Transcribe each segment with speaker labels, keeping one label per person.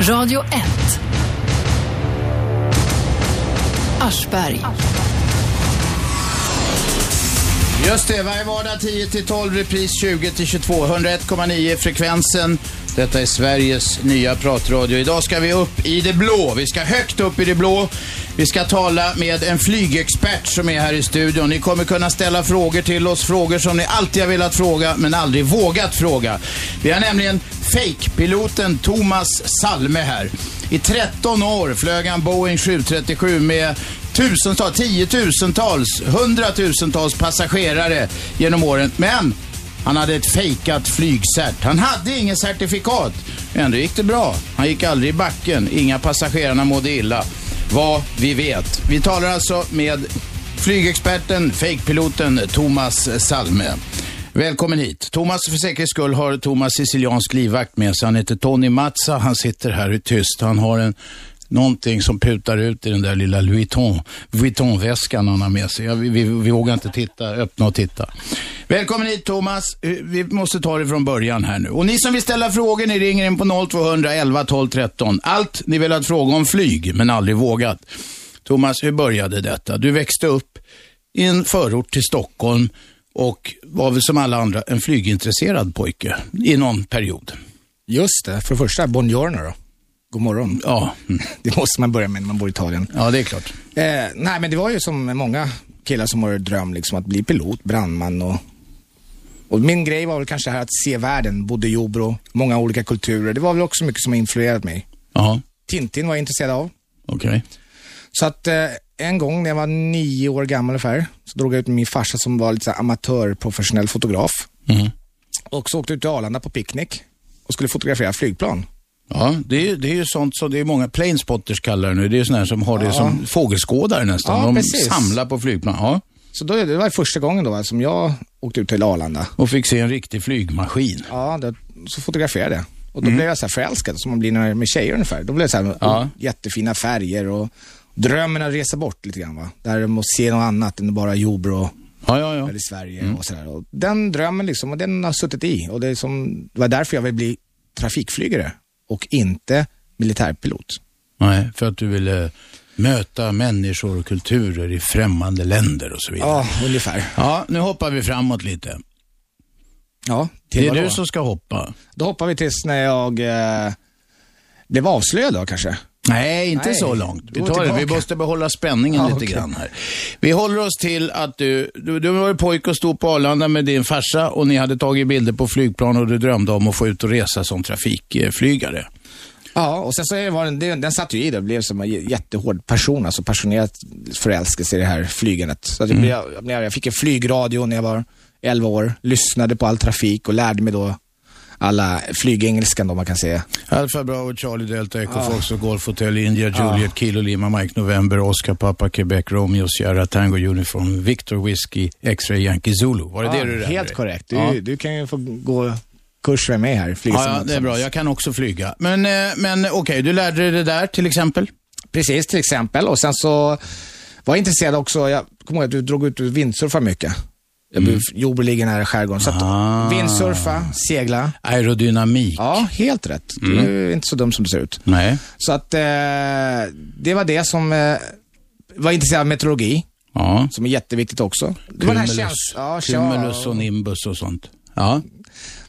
Speaker 1: Radio 1. Aschberg.
Speaker 2: Just det, varje vardag 10 till 12, repris 20 till 22, 101,9 frekvensen. Detta är Sveriges nya pratradio. Idag ska vi upp i det blå. Vi ska högt upp i det blå. Vi ska tala med en flygexpert som är här i studion. Ni kommer kunna ställa frågor till oss, frågor som ni alltid har velat fråga men aldrig vågat fråga. Vi har nämligen fejkpiloten Thomas Salme här. I 13 år flög han Boeing 737 med tusentals, tiotusentals, hundratusentals passagerare genom åren. Men han hade ett fejkat flygcert. Han hade ingen certifikat. Ändå gick det bra. Han gick aldrig i backen. Inga passagerarna mådde illa. Vad vi vet. Vi talar alltså med flygexperten, fejkpiloten Thomas Salme. Välkommen hit. Thomas, för säkerhets skull har Thomas siciliansk livvakt med sig. Han heter Tony Mazza. Han sitter här i tyst. Han har en någonting som putar ut i den där lilla Louis Vuitton- Vuitton-väskan han har med sig. Ja, vi, vi, vi vågar inte titta, öppna och titta. Välkommen hit Thomas. Eh, Vi måste ta det från början här nu. Och ni som vill ställa frågor, ni ringer in på 0200 11 12 13. Allt ni velat fråga om flyg, men aldrig vågat. Thomas, hur började detta? Du växte upp i en förort till Stockholm och var väl som alla andra en flygintresserad pojke i någon period.
Speaker 3: Just det, för det första, buongiorno då. God morgon.
Speaker 2: Ja, mm.
Speaker 3: Det måste man börja med när man bor i Italien.
Speaker 2: ja det är klart.
Speaker 3: Eh, nej, men det var ju som många killar som har dröm liksom att bli pilot, brandman och... Och min grej var väl kanske det här att se världen, bodde i Jobro, många olika kulturer. Det var väl också mycket som har influerat mig.
Speaker 2: Ja,
Speaker 3: Tintin var jag intresserad av.
Speaker 2: okej.
Speaker 3: Så att eh, en gång när jag var nio år gammal ungefär, så drog jag ut med min farsa som var lite så här amatörprofessionell fotograf.
Speaker 2: Mhm.
Speaker 3: Och så åkte jag ut till Arlanda på picknick och skulle fotografera flygplan.
Speaker 2: Ja, det är, ju- det är ju sånt som det är många planespotters kallar det nu. Det är ju sådana här som har det som fågelskådare nästan.
Speaker 3: Ja,
Speaker 2: De
Speaker 3: precis.
Speaker 2: samlar på flygplan. Ja,
Speaker 3: Så då, det var första gången då va, som jag åkte ut till Arlanda.
Speaker 2: och fick se en riktig flygmaskin. Mm.
Speaker 3: Ja, det, så fotograferade jag. Och då blev jag så här förälskad, som man blir när, med tjejer ungefär. Då blev det så här,
Speaker 2: Ja.
Speaker 3: jättefina färger och drömmen att resa bort lite grann. Va? Där man måste se något annat än bara Jobro
Speaker 2: Ja, ja, Mm. ja.
Speaker 3: eller Sverige och sådär. Och Den drömmen liksom, och den har suttit i. Och det, är som, det var därför jag ville bli trafikflygare och inte militärpilot.
Speaker 2: Nej, för att du ville möta människor och kulturer i främmande länder och så vidare. Ja,
Speaker 3: Ja, ungefär.
Speaker 2: nu hoppar vi framåt lite.
Speaker 3: Ja, till
Speaker 2: Det är
Speaker 3: vad
Speaker 2: du
Speaker 3: då?
Speaker 2: som ska hoppa.
Speaker 3: då hoppar vi tills när jag eh, blev avslöjad då kanske.
Speaker 2: Nej, inte
Speaker 3: Nej,
Speaker 2: så långt. Vi
Speaker 3: gå
Speaker 2: tar det. Vi
Speaker 3: tillbaka.
Speaker 2: måste behålla spänningen
Speaker 3: Ja,
Speaker 2: lite
Speaker 3: okej.
Speaker 2: grann här. Vi håller oss till att du, du, du var ju pojk och stod på Arlanda med din farsa och ni hade tagit bilder på flygplan och du drömde om att få ut och resa som trafikflygare.
Speaker 3: Ja, och sen så är det- var den, den, den satt ju i det och blev som en j- jättehård person, alltså passionerat förälskelse i det här flygandet. Så
Speaker 2: Mm.
Speaker 3: att det blev, jag, blev- jag fick en flygradio när jag var 11 år, lyssnade på all trafik och lärde mig då alla flygengelskan då man kan säga.
Speaker 2: Alfa Bravo, Charlie Delta, Echo Fox och Golf Hotel, India, Juliet, Kilo, Lima, Mike, November, Oscar, Papa, Quebec, Romeo, Sierra, Tango, Uniform, Victor, Whiskey, X-Ray, Yankee, Zulu. Var det det du lärde
Speaker 3: Helt
Speaker 2: dig?
Speaker 3: korrekt. Du,
Speaker 2: Ja.
Speaker 3: du kan ju få gå kurs med mig här.
Speaker 2: Ja, ja, det är bra. Jag kan också flyga. Men, eh, men okej, du lärde dig det där till exempel?
Speaker 3: Precis, till exempel. Och sen så var jag intresserad också, jag kommer ihåg att du drog ut och windsurfa mycket. Jag blev Jordbro ligger nära skärgården. Så att
Speaker 2: Mm. Ah.
Speaker 3: windsurfa, segla.
Speaker 2: Aerodynamik? Mm.
Speaker 3: Ja, helt rätt. Du är inte så dum som du ser ut.
Speaker 2: Nej.
Speaker 3: Så att eh, det var det som eh, var intresserad av meteorologi,
Speaker 2: Ja.
Speaker 3: som är jätteviktigt också. Det var den här
Speaker 2: Cumulus,
Speaker 3: käns- ja,
Speaker 2: cumulus
Speaker 3: tja,
Speaker 2: och nimbus och sånt. Ja.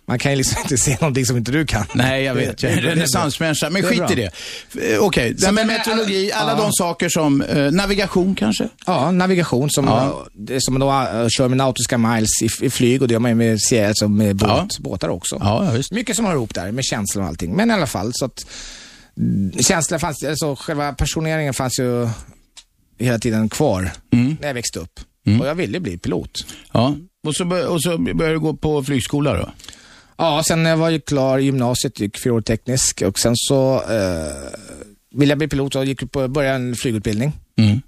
Speaker 3: Man kan ju liksom inte se någonting som inte du kan.
Speaker 2: Nej, jag vet. Jag är en renässansmänniska, men
Speaker 3: Det är
Speaker 2: skit
Speaker 3: bra.
Speaker 2: i det. Eh, Okej, det här med
Speaker 3: men-
Speaker 2: meteorologi, alla
Speaker 3: ja.
Speaker 2: de saker som eh, navigation kanske?
Speaker 3: Ja, navigation som,
Speaker 2: Ja.
Speaker 3: eh, som då eh, kör med nautiska miles i, i flyg och det gör man ju med, se- alltså med båt,
Speaker 2: Ja.
Speaker 3: båtar också.
Speaker 2: Ja, ja, visst.
Speaker 3: Mycket som hör ihop där med känslor och allting. Men i alla fall så att mm, känslan fanns, alltså själva personeringen fanns ju hela tiden kvar när jag växte upp. Och jag ville bli pilot.
Speaker 2: Mm. Ja. Och så, bör, och så började du gå på flygskola då?
Speaker 3: Ja, sen när jag var ju klar i gymnasiet, gick fyra år teknisk och sen så eh, ville jag bli pilot och gick på, började en flygutbildning
Speaker 2: Mm.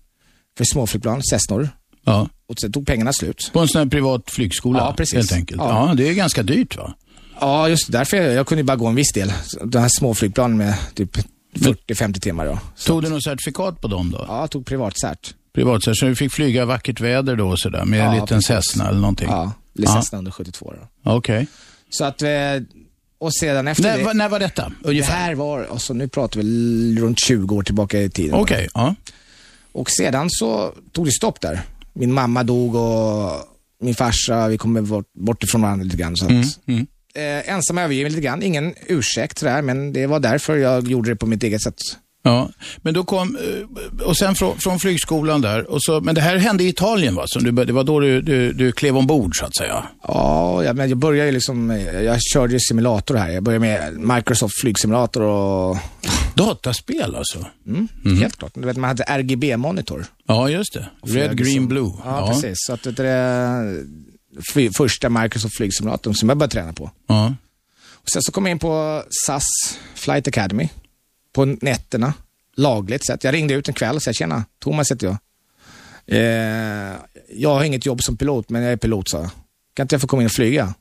Speaker 3: för småflygplan, Cessnor.
Speaker 2: Ja.
Speaker 3: Och sen tog pengarna slut.
Speaker 2: På en sån här privat flygskola
Speaker 3: Ja, precis.
Speaker 2: helt enkelt? Ja.
Speaker 3: Ja.
Speaker 2: det är ganska dyrt va?
Speaker 3: Ja, just det. Därför jag, jag kunde ju bara gå en viss del. Så De här småflygplanen med typ 40-50 timmar då.
Speaker 2: Tog du något certifikat på dem då?
Speaker 3: Ja, jag tog privatcert.
Speaker 2: Privat, så du fick flyga vackert väder då och sådär med en
Speaker 3: Ja,
Speaker 2: liten Cessna eller någonting?
Speaker 3: Ja,
Speaker 2: Ja.
Speaker 3: licensen under 72 då.
Speaker 2: Okej.
Speaker 3: Så att, eh, och sedan efter
Speaker 2: När,
Speaker 3: det...
Speaker 2: va- när var detta?
Speaker 3: Det
Speaker 2: Ungefär?
Speaker 3: här var, alltså nu pratar vi runt 20 år tillbaka i tiden.
Speaker 2: Okej, ja.
Speaker 3: Och sedan så tog det stopp där. Min mamma dog och min farsa, vi kom bort, bort ifrån varandra lite grann. Så
Speaker 2: Mm,
Speaker 3: att, Eh, ensam övergiven lite grann. Ingen ursäkt där, men det var därför jag gjorde det på mitt eget sätt.
Speaker 2: ja. Men då kom, eh, och sen från, från flygskolan där, och så, men det här hände i Italien va? Som du, började- det var då du, du, du klev ombord så att säga?
Speaker 3: Ja, jag, men jag började ju liksom, eh, jag körde ju simulator här. Jag började med Microsoft flygsimulator och,
Speaker 2: Dataspel alltså?
Speaker 3: mm, helt klart. Du vet, man hade RGB-monitor.
Speaker 2: Ja, just det. Red, green, blue.
Speaker 3: liksom. Ja, precis. Så att, vet du, det fly, första Microsoft flygsimulatorn som jag började träna på.
Speaker 2: Ja.
Speaker 3: Och sen så kom jag in på SAS Flight Academy på nätterna, lagligt sett. Jag ringde ut en kväll och sa, tjena, Thomas heter jag. Eh, jag har inget jobb som pilot, men jag är pilot, sa jag. Kan inte jag få komma in och flyga?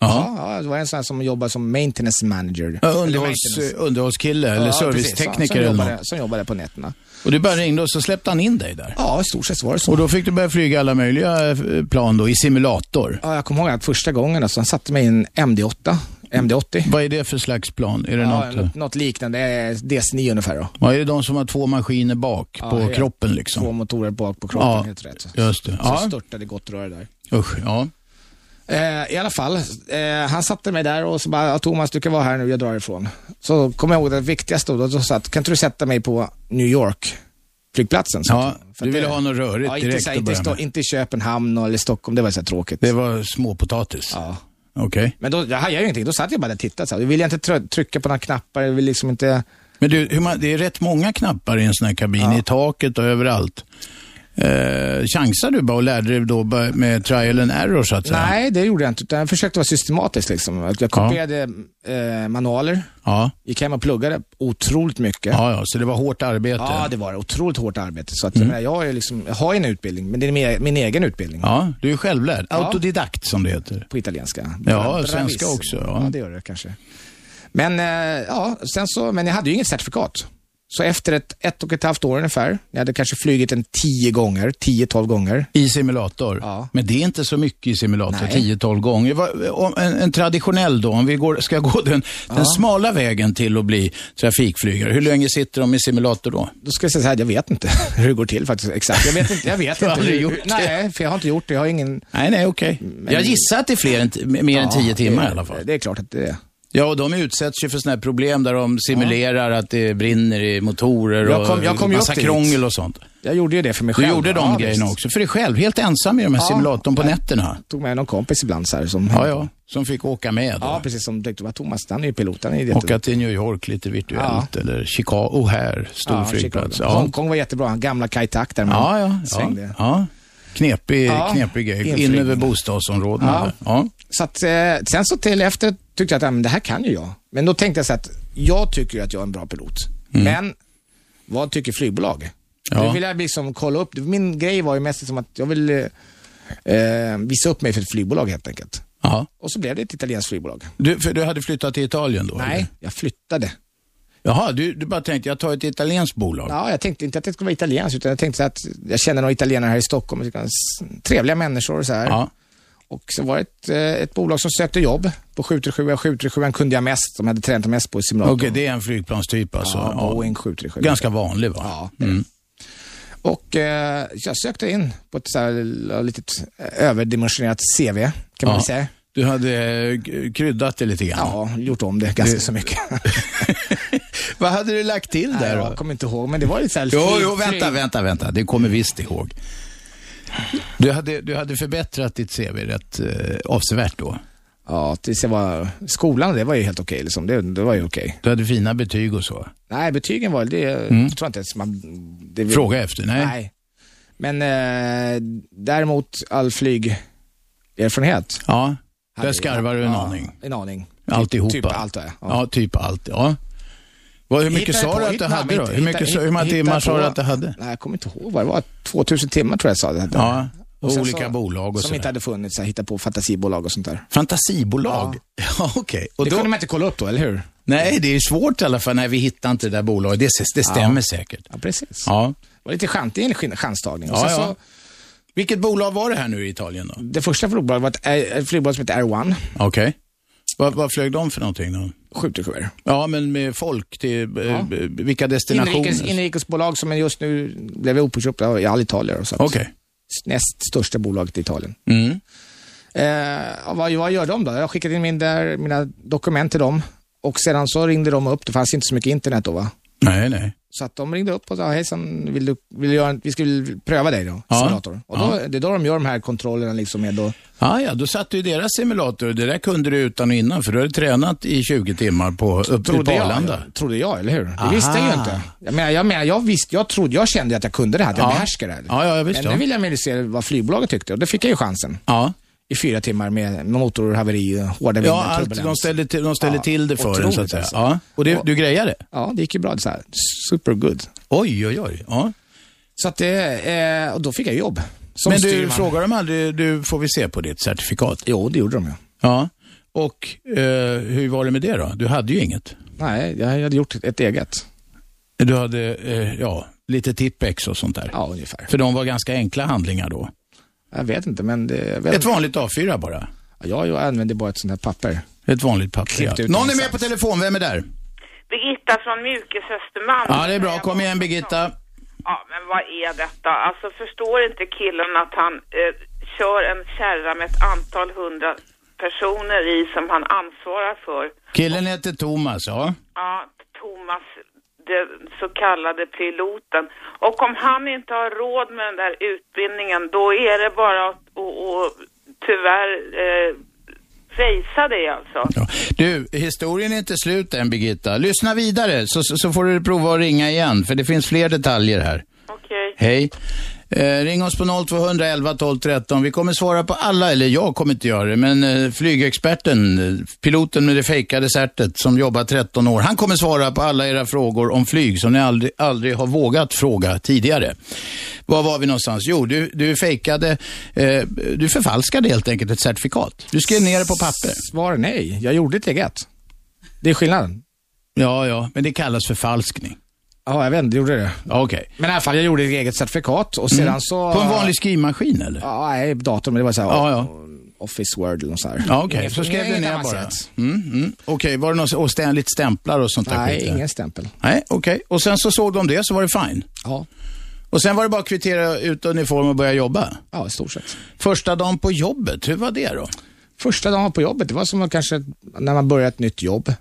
Speaker 2: Ja.
Speaker 3: Ja, ja det var en sån här som jobbar som maintenance manager.
Speaker 2: Ja,
Speaker 3: Eller
Speaker 2: Underhålls,
Speaker 3: maintenance.
Speaker 2: underhållskille eller
Speaker 3: Ja, precis, som,
Speaker 2: servicetekniker
Speaker 3: som,
Speaker 2: eller
Speaker 3: jobbade,
Speaker 2: något.
Speaker 3: som jobbade på nätterna.
Speaker 2: Och du bara ringde och så släppte han in dig där.
Speaker 3: Ja, i stort sett var det så.
Speaker 2: Och då fick du börja flyga alla möjliga eh, plan då i simulator.
Speaker 3: Ja, jag kommer ihåg att första gången, alltså, han satte mig i en MD-8, MD-80.
Speaker 2: Vad är det för slags plan? Är det
Speaker 3: Ja,
Speaker 2: något? eh?
Speaker 3: något, något liknande, eh, DC-9 ungefär då.
Speaker 2: Ja, är det de som har två maskiner bak
Speaker 3: Ja,
Speaker 2: på
Speaker 3: helt-
Speaker 2: kroppen
Speaker 3: Två
Speaker 2: liksom?
Speaker 3: motorer bak på kroppen,
Speaker 2: Ja,
Speaker 3: helt rätt. Så
Speaker 2: just det. Ja.
Speaker 3: störtade gott röre där.
Speaker 2: Usch, ja.
Speaker 3: Eh, I alla fall, eh, han satte mig där och så bara, ja, Thomas du kan vara här nu, jag drar ifrån. Så kommer jag ihåg det viktigaste då, då sa att, kan inte du sätta mig på New York flygplatsen? Så
Speaker 2: ja.
Speaker 3: att- för
Speaker 2: Du
Speaker 3: att
Speaker 2: ville
Speaker 3: det-
Speaker 2: ha något rörigt
Speaker 3: Ja, inte,
Speaker 2: direkt
Speaker 3: så här,
Speaker 2: att
Speaker 3: inte,
Speaker 2: börja
Speaker 3: stå,
Speaker 2: med.
Speaker 3: inte i Köpenhamn eller Stockholm, det var så här tråkigt.
Speaker 2: Det var småpotatis.
Speaker 3: Ja.
Speaker 2: Okej.
Speaker 3: Men då, jag hajade ju ingenting, då satt jag bara där och tittade. Så här. Jag ville inte trö- trycka på några knappar, jag ville liksom inte...
Speaker 2: Men du, hur man, det är rätt många knappar i en sån här kabin, i taket och överallt. Eh, chansar du bara och lärde dig då bara med trial and error så att säga?
Speaker 3: Nej, det gjorde jag inte, utan jag försökte vara systematisk liksom. Att Jag kopierade eh, manualer,
Speaker 2: Ja.
Speaker 3: gick hem och pluggade otroligt mycket.
Speaker 2: Ja, ja, så det var hårt arbete. Mm.
Speaker 3: Ja, det var det. Otroligt hårt arbete. Så att, jag, menar, jag, är liksom, jag har ju en utbildning, men det är min, min egen utbildning
Speaker 2: Ja, du är självlärd. Autodidakt som det heter.
Speaker 3: på italienska.
Speaker 2: Ja,
Speaker 3: Bravissimo.
Speaker 2: svenska också, ja.
Speaker 3: Ja. det gör det kanske. Men, eh, ja, sen så, men jag hade ju inget certifikat. Så efter ett, ett och ett halvt år ungefär, jag hade kanske flugit en tio gånger, tio, tolv gånger.
Speaker 2: I simulator.
Speaker 3: Ja.
Speaker 2: Men det är inte så mycket i simulator,
Speaker 3: Nej.
Speaker 2: 10-12 gånger. Vad- om- En, en traditionell då, om vi går, ska gå den, den smala vägen till att bli trafikflygare. Hur länge sitter de i simulator då?
Speaker 3: Då ska jag säga så här, jag vet inte hur det går till faktiskt. Exakt, jag vet inte. Jag vet
Speaker 2: Du har
Speaker 3: inte hur,
Speaker 2: aldrig gjort
Speaker 3: hur,
Speaker 2: det.
Speaker 3: Nej, för jag har inte gjort det. Jag har ingen...
Speaker 2: Nej, nej, okej.
Speaker 3: Mm,
Speaker 2: Jag gissar att det är fler än, t- mer än 10 timmar i alla fall.
Speaker 3: Det är klart att det är.
Speaker 2: Ja, och de utsätts ju för sådana här problem där de simulerar att det brinner i motorer och
Speaker 3: Jag kom- jag kom ju
Speaker 2: massa
Speaker 3: upp dit.
Speaker 2: krångel och sånt.
Speaker 3: Jag gjorde ju det för mig
Speaker 2: Du
Speaker 3: själv.
Speaker 2: gjorde de
Speaker 3: Ja,
Speaker 2: grejerna
Speaker 3: visst.
Speaker 2: också, för dig själv, helt ensam i de här
Speaker 3: Ja.
Speaker 2: simulatorn på nätterna.
Speaker 3: Tog med någon kompis ibland så här som...
Speaker 2: Ja, ja, som fick åka med då.
Speaker 3: Mm. Ja, precis som tyckte var Thomas, han är ju pilot, han är ju
Speaker 2: Åka till New York lite virtuellt eller Chicago här, stor
Speaker 3: Ja,
Speaker 2: flygplats.
Speaker 3: Chicago.
Speaker 2: Ja.
Speaker 3: Hongkong var jättebra, han gamla Kai Tak där. men
Speaker 2: Ja, ja, ja,
Speaker 3: svängde.
Speaker 2: ja. Knepig,
Speaker 3: Ja,
Speaker 2: knepig grej. In
Speaker 3: inflygning.
Speaker 2: över bostadsområdena.
Speaker 3: Ja.
Speaker 2: där. Ja.
Speaker 3: Så att, eh, sen så till efter tyckte jag att ja, men det här kan ju jag. Men då tänkte jag så att jag tycker ju att jag är en bra pilot. Men vad tycker flygbolag?
Speaker 2: Mm. Ja.
Speaker 3: Nu vill jag liksom kolla upp, min grej var ju mest som att jag ville eh, visa upp mig för ett flygbolag helt enkelt.
Speaker 2: Ja.
Speaker 3: Och så blev det ett italienskt flygbolag.
Speaker 2: Du, för du hade flyttat till Italien då? eller?
Speaker 3: Nej, jag flyttade.
Speaker 2: Jaha, du, du bara tänkte jag tar ett italienskt bolag.
Speaker 3: Ja, jag tänkte inte att det skulle vara italienskt, utan jag tänkte så att jag känner några italienare här i Stockholm, jag tycker de är trevliga människor och så här.
Speaker 2: Ja.
Speaker 3: Och så var det ett, eh, ett bolag som sökte jobb på 737. 737 kunde jag mest, de hade tränat mest på i
Speaker 2: Okej,
Speaker 3: simulatorn.
Speaker 2: det är en flygplanstyp alltså.
Speaker 3: ja,
Speaker 2: Ja.
Speaker 3: Boeing 737.
Speaker 2: Ganska Mm. vanlig va?
Speaker 3: Ja, det är det. Och eh, jag sökte in på ett så här litet överdimensionerat CV, kan man väl säga.
Speaker 2: Du hade eh, k- kryddat det lite grann.
Speaker 3: Ja, gjort om det ganska så mycket.
Speaker 2: Vad hade du lagt till där då?
Speaker 3: jag kommer inte ihåg, men det var lite så här...
Speaker 2: Jo,
Speaker 3: flyg-
Speaker 2: jo, vänta,
Speaker 3: flyg-
Speaker 2: vänta, vänta. Det kommer visst ihåg. Du hade, du hade förbättrat ditt CV rätt eh, avsevärt då.
Speaker 3: Ja, tills jag var... Skolan, det var ju helt okej liksom. Det, det var ju okej.
Speaker 2: Du hade fina betyg och så.
Speaker 3: Nej, betygen var det, jag tror inte ens man... Det,
Speaker 2: Mm. Fråga efter, nej.
Speaker 3: Nej. Men eh, däremot all flygerfarenhet.
Speaker 2: Ja,
Speaker 3: hade
Speaker 2: där
Speaker 3: jag.
Speaker 2: skarvar du en
Speaker 3: ja,
Speaker 2: aning.
Speaker 3: En aning.
Speaker 2: Alltihopa.
Speaker 3: Typ allt har jag. Ja.
Speaker 2: Ja, typ allt. Ja. Vad, hur mycket
Speaker 3: Hittade
Speaker 2: sa
Speaker 3: på,
Speaker 2: du att du
Speaker 3: hittade-
Speaker 2: hade då?
Speaker 3: hittade-
Speaker 2: Hur, mycket, sa- hur många
Speaker 3: hittade
Speaker 2: timmar sa
Speaker 3: på-
Speaker 2: du att du hade?
Speaker 3: Nej, jag kommer inte ihåg vad det var. 2000 timmar tror jag jag sa det. hette.
Speaker 2: Ja, och
Speaker 3: sen
Speaker 2: olika bolag och
Speaker 3: Som
Speaker 2: så.
Speaker 3: inte hade funnits, så här, hitta på fantasibolag och sånt där.
Speaker 2: Fantasibolag? Ja, okej. Och
Speaker 3: det
Speaker 2: då-
Speaker 3: kunde man inte kolla upp då, eller hur?
Speaker 2: Nej, det är svårt i alla fall. när vi hittar inte det där bolaget. Det, det stämmer säkert.
Speaker 3: Ja, precis.
Speaker 2: Ja.
Speaker 3: Det var lite chans, det är en skin- chanstagning. Och
Speaker 2: Ja,
Speaker 3: sen
Speaker 2: ja.
Speaker 3: Så,
Speaker 2: Vilket bolag var det här nu i Italien då?
Speaker 3: det första flygbolaget var ett, ett flygbolag som hette Air One.
Speaker 2: Okej. Vad, vad flög de för någonting då?
Speaker 3: Skjuterkuvert.
Speaker 2: Ja, men med folk till eh, b- vilka destinationer?
Speaker 3: Inrikes, inrikesbolag som just nu blev uppköpta av Alitalia. och så att-
Speaker 2: Okej.
Speaker 3: Näst största bolaget i Italien.
Speaker 2: Mm.
Speaker 3: Eh, och vad, vad gör de då? Jag skickade in min där, mina dokument till dem och sedan så ringde de upp. Det fanns inte så mycket internet då va?
Speaker 2: Nej, nej.
Speaker 3: Så att de ringde upp och sa, hejsan, vill du, vill du göra, en- vi skulle pröva dig då,
Speaker 2: Ja.
Speaker 3: simulator. Och då, Det är då de gör de här kontrollerna liksom med då.
Speaker 2: Ah, ja, då satt du i deras simulator. Det där kunde du utan och innan, för du hade tränat i 20 timmar på, upp till på Typ Arlanda.
Speaker 3: jag, trodde jag, eller hur? Det visste jag ju inte. Jag menar, jag, menar, jag, visste, jag trodde, jag kände att jag kunde det här, att
Speaker 2: Ja.
Speaker 3: jag behärskade det. här.
Speaker 2: Ja, ja, visst.
Speaker 3: Men
Speaker 2: ja.
Speaker 3: nu vill jag mer se vad flygbolaget tyckte och det fick jag ju chansen.
Speaker 2: Ja,
Speaker 3: I fyra timmar med motorhaveri, hårda vindar,
Speaker 2: ja alltså, allt,
Speaker 3: turbulens.
Speaker 2: de ställde till, de ställde
Speaker 3: Ja,
Speaker 2: till det för en, så att
Speaker 3: otroligt
Speaker 2: säga.
Speaker 3: alltså.
Speaker 2: Ja. Och det, du grejade?
Speaker 3: Ja, det gick ju bra. Så här. Super good.
Speaker 2: Oj, oj, oj. Ja.
Speaker 3: Så att det, eh, och då fick jag jobb. Som
Speaker 2: Men du
Speaker 3: styrman.
Speaker 2: frågar dem aldrig, du får vi se på ditt certifikat?
Speaker 3: Jo, det gjorde de ju.
Speaker 2: Ja. Och eh, hur var det med det då? Du hade ju inget.
Speaker 3: Nej, jag hade gjort ett eget.
Speaker 2: Du hade, eh, ja, lite tippex och sånt där.
Speaker 3: Ja, ungefär.
Speaker 2: För de var ganska enkla handlingar då.
Speaker 3: Jag vet inte, men det... Jag, vet,
Speaker 2: Ett vanligt A4 bara.
Speaker 3: ja, jag använde bara ett sånt här papper.
Speaker 2: Ett vanligt papper.
Speaker 3: Klippt
Speaker 2: Ja.
Speaker 3: ut
Speaker 2: Någon är med
Speaker 3: någonstans.
Speaker 2: på telefon, vem är där?
Speaker 4: Birgitta från Mjukis Östermalm.
Speaker 2: Ja, det är bra.
Speaker 4: Jag
Speaker 2: Kom
Speaker 4: måste
Speaker 2: igen
Speaker 4: ta-
Speaker 2: Birgitta.
Speaker 4: Ja, men vad är detta? Alltså förstår inte killen att han eh, kör en kärra med ett antal hundra personer i som han ansvarar för?
Speaker 2: Killen heter Thomas, ja.
Speaker 4: Ja, Thomas, den så kallade piloten. Och om han inte har råd med den där utbildningen, då är det bara att och, och, tyvärr eh, fejsa det alltså.
Speaker 2: Ja. Du, historien är inte slut än Birgitta. Lyssna vidare så, så, så får du prova att ringa igen för det finns fler detaljer här.
Speaker 4: Okej.
Speaker 2: Hej. Eh, ring oss på 0211 12 13. Vi kommer svara på alla, eller jag kommer inte göra det, men eh, flygexperten, eh, piloten med det fejkade certet som jobbar 13 år, han kommer svara på alla era frågor om flyg som ni aldrig, aldrig har vågat fråga tidigare. Var var vi någonstans? Jo, du, du fejkade, eh, du förfalskade helt enkelt ett certifikat. Du skrev ner det på papper.
Speaker 3: Svar nej. Jag gjorde ett eget. Det är skillnaden.
Speaker 2: Ja, ja, men det kallas förfalskning.
Speaker 3: Ja, jag vet inte, jag gjorde det.
Speaker 2: Ja, Okej. Mm.
Speaker 3: Men i alla fall, jag gjorde ett eget certifikat och sedan så...
Speaker 2: På en vanlig skrivmaskin eller?
Speaker 3: Ja, nej, datorn, men det var så här...
Speaker 2: Ja, ja.
Speaker 3: Office word eller något sånt här.
Speaker 2: Ja, okej.
Speaker 3: Inget-
Speaker 2: Så skrev du
Speaker 3: inget
Speaker 2: ner bara.
Speaker 3: avancerat.
Speaker 2: Mm, mm. Okej, var det något, och ständigt stämplar och sånt där
Speaker 3: Nej,
Speaker 2: skit?
Speaker 3: ingen stämpel.
Speaker 2: Nej, okej. Och sen så såg de det, så var det fine.
Speaker 3: Ja,
Speaker 2: Och sen var det bara att kvittera ut uniform och börja jobba.
Speaker 3: ja i stort sett.
Speaker 2: Första dagen på jobbet, hur var det då?
Speaker 3: Första dagen på jobbet, det var som att kanske när man börjar ett nytt jobb.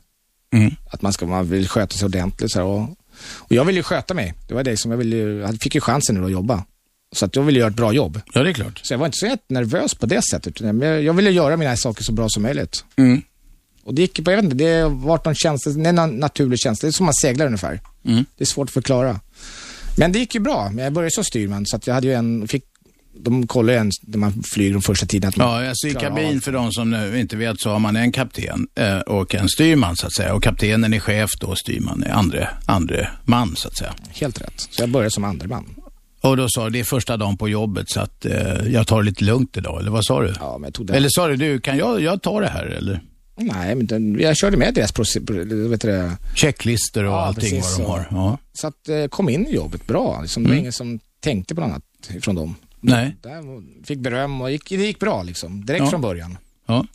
Speaker 2: Mm.
Speaker 3: Att man, ska, man vill sköta sig ordentligt. Så här, och, och jag ville ju sköta mig. Det var det som jag ville, ju- jag fick ju chansen nu att jobba. Så att jag ville göra ett bra jobb.
Speaker 2: Ja, det är klart.
Speaker 3: Så jag var inte så jättenervös på det sättet. utan Jag, jag ville göra mina saker så bra som möjligt.
Speaker 2: Mm.
Speaker 3: Och det gick, på- jag vet inte, det vart någon känsla, det är en naturlig känsla. Det är som man seglar ungefär.
Speaker 2: Mm.
Speaker 3: Det är svårt att förklara. Men det gick ju bra. Men jag började som styrman, så att jag hade ju en, fick, de kollar ju en när man flyger den första tiden. Att man,
Speaker 2: Ja, alltså i
Speaker 3: Mm. Klara
Speaker 2: kabin
Speaker 3: av.
Speaker 2: för de som nu inte vet så har man en kapten eh, och en styrman så att säga. Och kaptenen är chef då och styrman är andre, andre man så att säga.
Speaker 3: Helt rätt. Så jag började som andreman.
Speaker 2: Och då sa du, det är första dagen på jobbet så att eh, jag tar det lite lugnt idag, eller vad sa du?
Speaker 3: Ja, men jag tog det.
Speaker 2: Eller sa du, du kan jag, jag ta det här eller?
Speaker 3: Nej, men den, jag körde med deras proce- pro- vet du det.
Speaker 2: Checklister och
Speaker 3: Ja,
Speaker 2: allting vad
Speaker 3: precis
Speaker 2: de
Speaker 3: så.
Speaker 2: har. Ja. Mm.
Speaker 3: Så att eh, kom in i jobbet bra. Liksom, Det var ingen som tänkte på något annat från dem.
Speaker 2: Nej.
Speaker 3: Där fick beröm och gick, det gick bra liksom, direkt
Speaker 2: Ja.
Speaker 3: från början.
Speaker 2: Ja.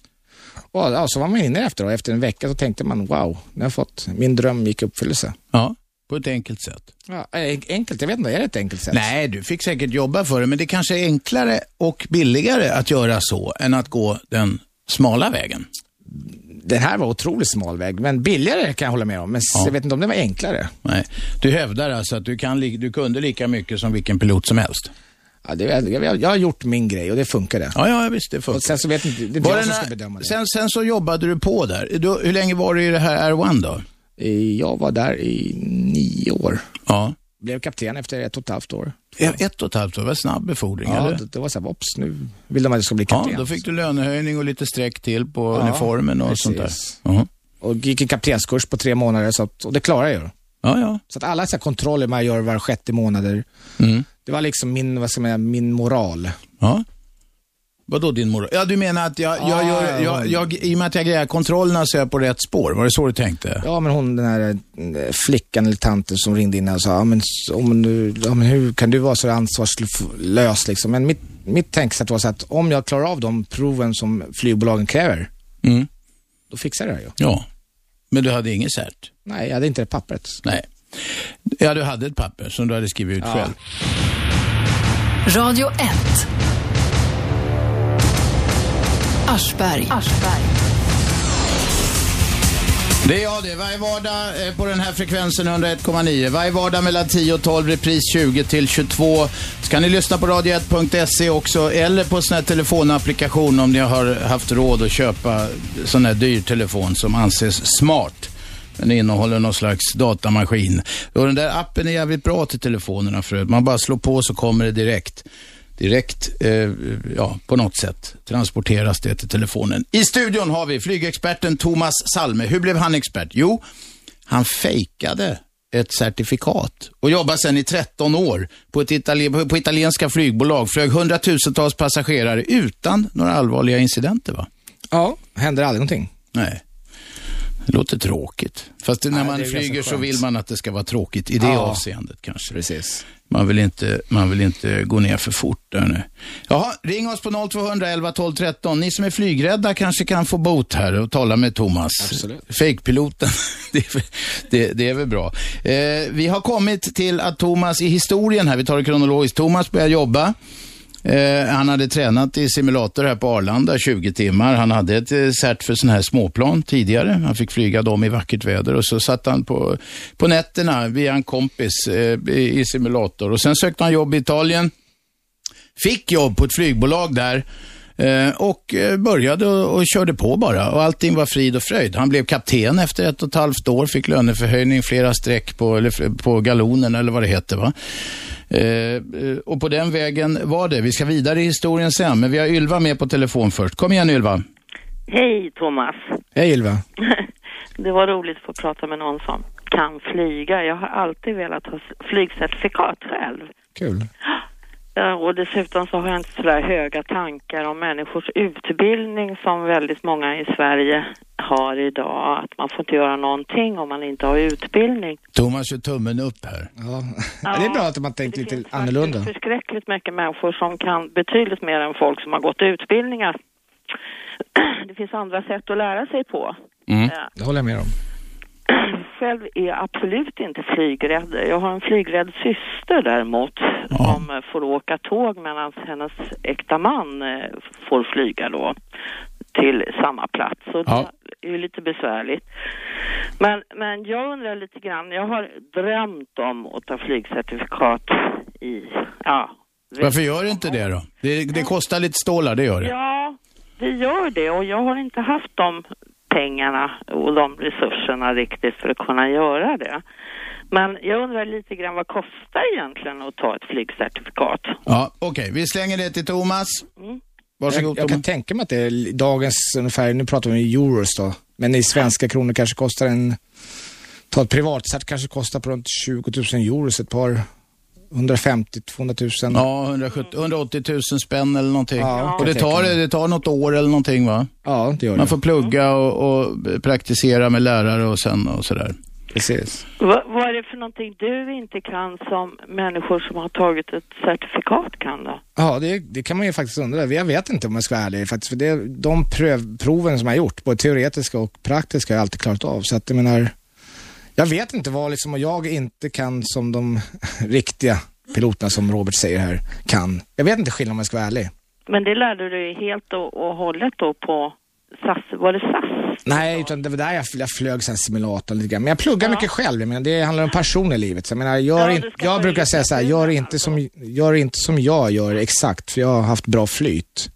Speaker 3: Och, ja, så var man inne efter och efter en vecka så tänkte man wow, nu har jag fått, min dröm gick i uppfyllelse.
Speaker 2: ja, på ett enkelt sätt.
Speaker 3: Ja, en- enkelt, jag vet inte, är det ett enkelt sätt?
Speaker 2: Nej, du fick säkert jobba för det, men det kanske är enklare och billigare att göra så än att gå den smala vägen.
Speaker 3: Den här var otroligt smal väg, men billigare kan jag hålla med om. Men s- jag vet inte om det var enklare.
Speaker 2: Nej. Du hävdar alltså att du, kan, li- du kunde lika mycket som vilken pilot som helst?
Speaker 3: Ja, det, jag, jag, jag har gjort min grej och det funkade.
Speaker 2: Ja, ja visst, det
Speaker 3: Och
Speaker 2: funkar.
Speaker 3: sen så vet inte, det är inte
Speaker 2: Var
Speaker 3: jag
Speaker 2: det
Speaker 3: som
Speaker 2: när-
Speaker 3: ska bedöma det.
Speaker 2: sen, sen så jobbade du på där. Du, hur länge var du i det här R1 då?
Speaker 3: Eh, Jag var där i nio år.
Speaker 2: Ja.
Speaker 3: Blev kapten efter ett och ett halvt år.
Speaker 2: Ett ett och ett halvt år, var snabb befordring
Speaker 3: Ja,
Speaker 2: eller?
Speaker 3: det, det var så här, ops, nu vill de att jag ska bli
Speaker 2: Ja,
Speaker 3: kapten.
Speaker 2: då fick du lönehöjning och lite streck till på
Speaker 3: Ja,
Speaker 2: uniformen och sånt där.
Speaker 3: precis.
Speaker 2: Ja,
Speaker 3: Och gick en kaptenskurs på tre månader, så att, och det klarade jag ju.
Speaker 2: ja. ja.
Speaker 3: Så att alla så här kontroller man gör var sjätte månader,
Speaker 2: Mm.
Speaker 3: det var liksom min, vad ska man säga, min moral.
Speaker 2: Ja. Vadå din moral? Ja, du menar att jag, jag,
Speaker 3: Ah,
Speaker 2: gör, jag, jag, i och med att jag grejar kontrollerna så är jag på rätt spår? Var det så du tänkte?
Speaker 3: Ja, men hon den här eh, flickan eller tanten som ringde in och sa, ja, men, s- om du, ja, men hur kan du vara så ansvarslös liksom? Men mitt, mitt tänkesätt var så att om jag klarar av de proven som flygbolagen kräver,
Speaker 2: Mm.
Speaker 3: då fixar jag det ju.
Speaker 2: Ja. Men du hade inget cert?
Speaker 3: Nej, jag hade inte det pappret.
Speaker 2: Nej. Ja, du hade ett papper som du hade skrivit ut själv.
Speaker 1: Radio 1. Aschberg.
Speaker 2: Det är jag det. Varje vardag eh, på den här frekvensen 101,9. Varje vardag mellan 10 och 12, repris 20 till 22. Så kan ni lyssna på radio1.se också eller på sån här telefonapplikation om ni har haft råd att köpa sån här dyr telefon som anses smart. Den innehåller någon slags datamaskin. Och den där appen är jävligt bra till telefonerna förut. Man bara slår på så kommer det direkt. Direkt, eh, ja, på något sätt transporteras det till telefonen. I studion har vi flygexperten Thomas Salme. Hur blev han expert? Jo, han fejkade ett certifikat och jobbade sedan i 13 år på, ett itali- på italienska flygbolag. Flög hundratusentals passagerare utan några allvarliga incidenter, va?
Speaker 3: Ja, händer aldrig någonting.
Speaker 2: Nej. Det låter tråkigt. Fast när
Speaker 3: Nej,
Speaker 2: man
Speaker 3: det är ganska
Speaker 2: flyger så
Speaker 3: skönt.
Speaker 2: vill man att det ska vara tråkigt i det
Speaker 3: Ja.
Speaker 2: avseendet kanske.
Speaker 3: Precis.
Speaker 2: Man vill, inte, man vill inte gå ner för fort där nu. Jaha, ring oss på 0200 11 12 13. Ni som är flygrädda kanske kan få bot här och tala med Thomas.
Speaker 3: Absolut.
Speaker 2: Fejkpiloten, det, är väl- det, det är väl bra. Eh, vi har kommit till att Thomas i historien här, vi tar det kronologiskt, Thomas börjar jobba. Eh, han hade tränat i simulator här på Arlanda 20 timmar. Han hade ett eh, cert för sådana här småplan tidigare. Han fick flyga dem i vackert väder och så satt han på, på nätterna via en kompis eh, i i simulator. Och sen sökte han jobb i Italien fick jobb på ett flygbolag där eh, och eh, började och, och körde på bara. Och allting var frid och fröjd. Han blev kapten efter ett och ett halvt år, fick löneförhöjning, flera streck på, eller, f- på galonen eller vad det heter. Va? Eh, eh, och på den vägen var det. Vi ska vidare i historien sen, men vi har Ylva med på telefon först. Kom igen Ylva.
Speaker 5: Hej Thomas.
Speaker 3: Hej Ylva.
Speaker 5: Det var roligt att få prata med någon som kan flyga. Jag har alltid velat ha flygcertifikat själv.
Speaker 3: Kul.
Speaker 5: Eh, Och dessutom så har jag inte sådär höga tankar om människors utbildning som väldigt många i Sverige har idag. Att man får inte göra någonting om man inte har utbildning.
Speaker 2: Thomas gör tummen upp här.
Speaker 3: Ja. det är bra att man tänkt lite
Speaker 5: finns
Speaker 3: annorlunda.
Speaker 5: faktiskt förskräckligt mycket människor som kan betydligt mer än folk som har gått utbildningar. Det finns andra sätt att lära sig på.
Speaker 2: Mm.
Speaker 5: Eh,
Speaker 3: Det håller jag med om.
Speaker 5: Själv är jag absolut inte flygrädd. Jag har en flygrädd syster däremot som eh, får åka tåg medan hennes äkta man eh, får flyga då till samma plats. Och
Speaker 2: Ja.
Speaker 5: Det är ju lite besvärligt. Men, men jag undrar lite grann, jag har drömt om att ta flygcertifikat i, ja.
Speaker 2: Varför gör du inte det då? Det, det kostar lite stålar, det gör det.
Speaker 5: Ja, det gör det och jag har inte haft de pengarna och de resurserna riktigt för att kunna göra det. Men jag undrar lite grann vad kostar egentligen att ta ett flygcertifikat?
Speaker 2: Ja, Okej, vi slänger det till Thomas.
Speaker 3: Mm.
Speaker 2: Varsågod
Speaker 3: Jag, jag kan
Speaker 2: Thomas.
Speaker 3: tänka mig att det är li- dagens ungefär, nu pratar vi om euros då, men i svenska kronor kanske kostar en, ta ett privatcert kanske kostar på runt 20 000 euro, så ett par 150-200 000.
Speaker 2: Ja, 170, 180 000 spänn eller någonting.
Speaker 3: Ja,
Speaker 2: Och det tar, det tar något år eller någonting va?
Speaker 3: Ja, det Mm. gör
Speaker 2: Man
Speaker 3: det.
Speaker 2: får plugga och, och praktisera med lärare och sen och sådär.
Speaker 3: Precis.
Speaker 5: Va, vad är det för någonting du inte kan som människor som har tagit ett certifikat kan då?
Speaker 3: Ja, det, det kan man ju faktiskt undra. Jag vet inte om jag ska vara ärlig faktiskt, för det, de pröv, proven som jag har gjort, både teoretiska och praktiska, har jag alltid klarat av. Så att jag menar, jag vet inte vad liksom jag inte kan som de riktiga piloterna som Robert säger här kan. Jag vet inte skillnaden om jag ska vara ärlig.
Speaker 5: Men det lärde du dig helt och, och hållet då på SAS, var det SAS?
Speaker 3: Nej, utan det var där jag, jag flög sen simulatorn lite grann. Men jag pluggar mycket själv, jag menar, det handlar om passion i livet. Så jag, menar, gör
Speaker 5: Ja, du
Speaker 3: inte,
Speaker 5: ska
Speaker 3: jag
Speaker 5: ta
Speaker 3: brukar
Speaker 5: lite
Speaker 3: säga så här,
Speaker 5: tid
Speaker 3: gör
Speaker 5: med
Speaker 3: inte,
Speaker 5: allt
Speaker 3: som, gör inte som jag gör exakt, för jag har haft bra flyt.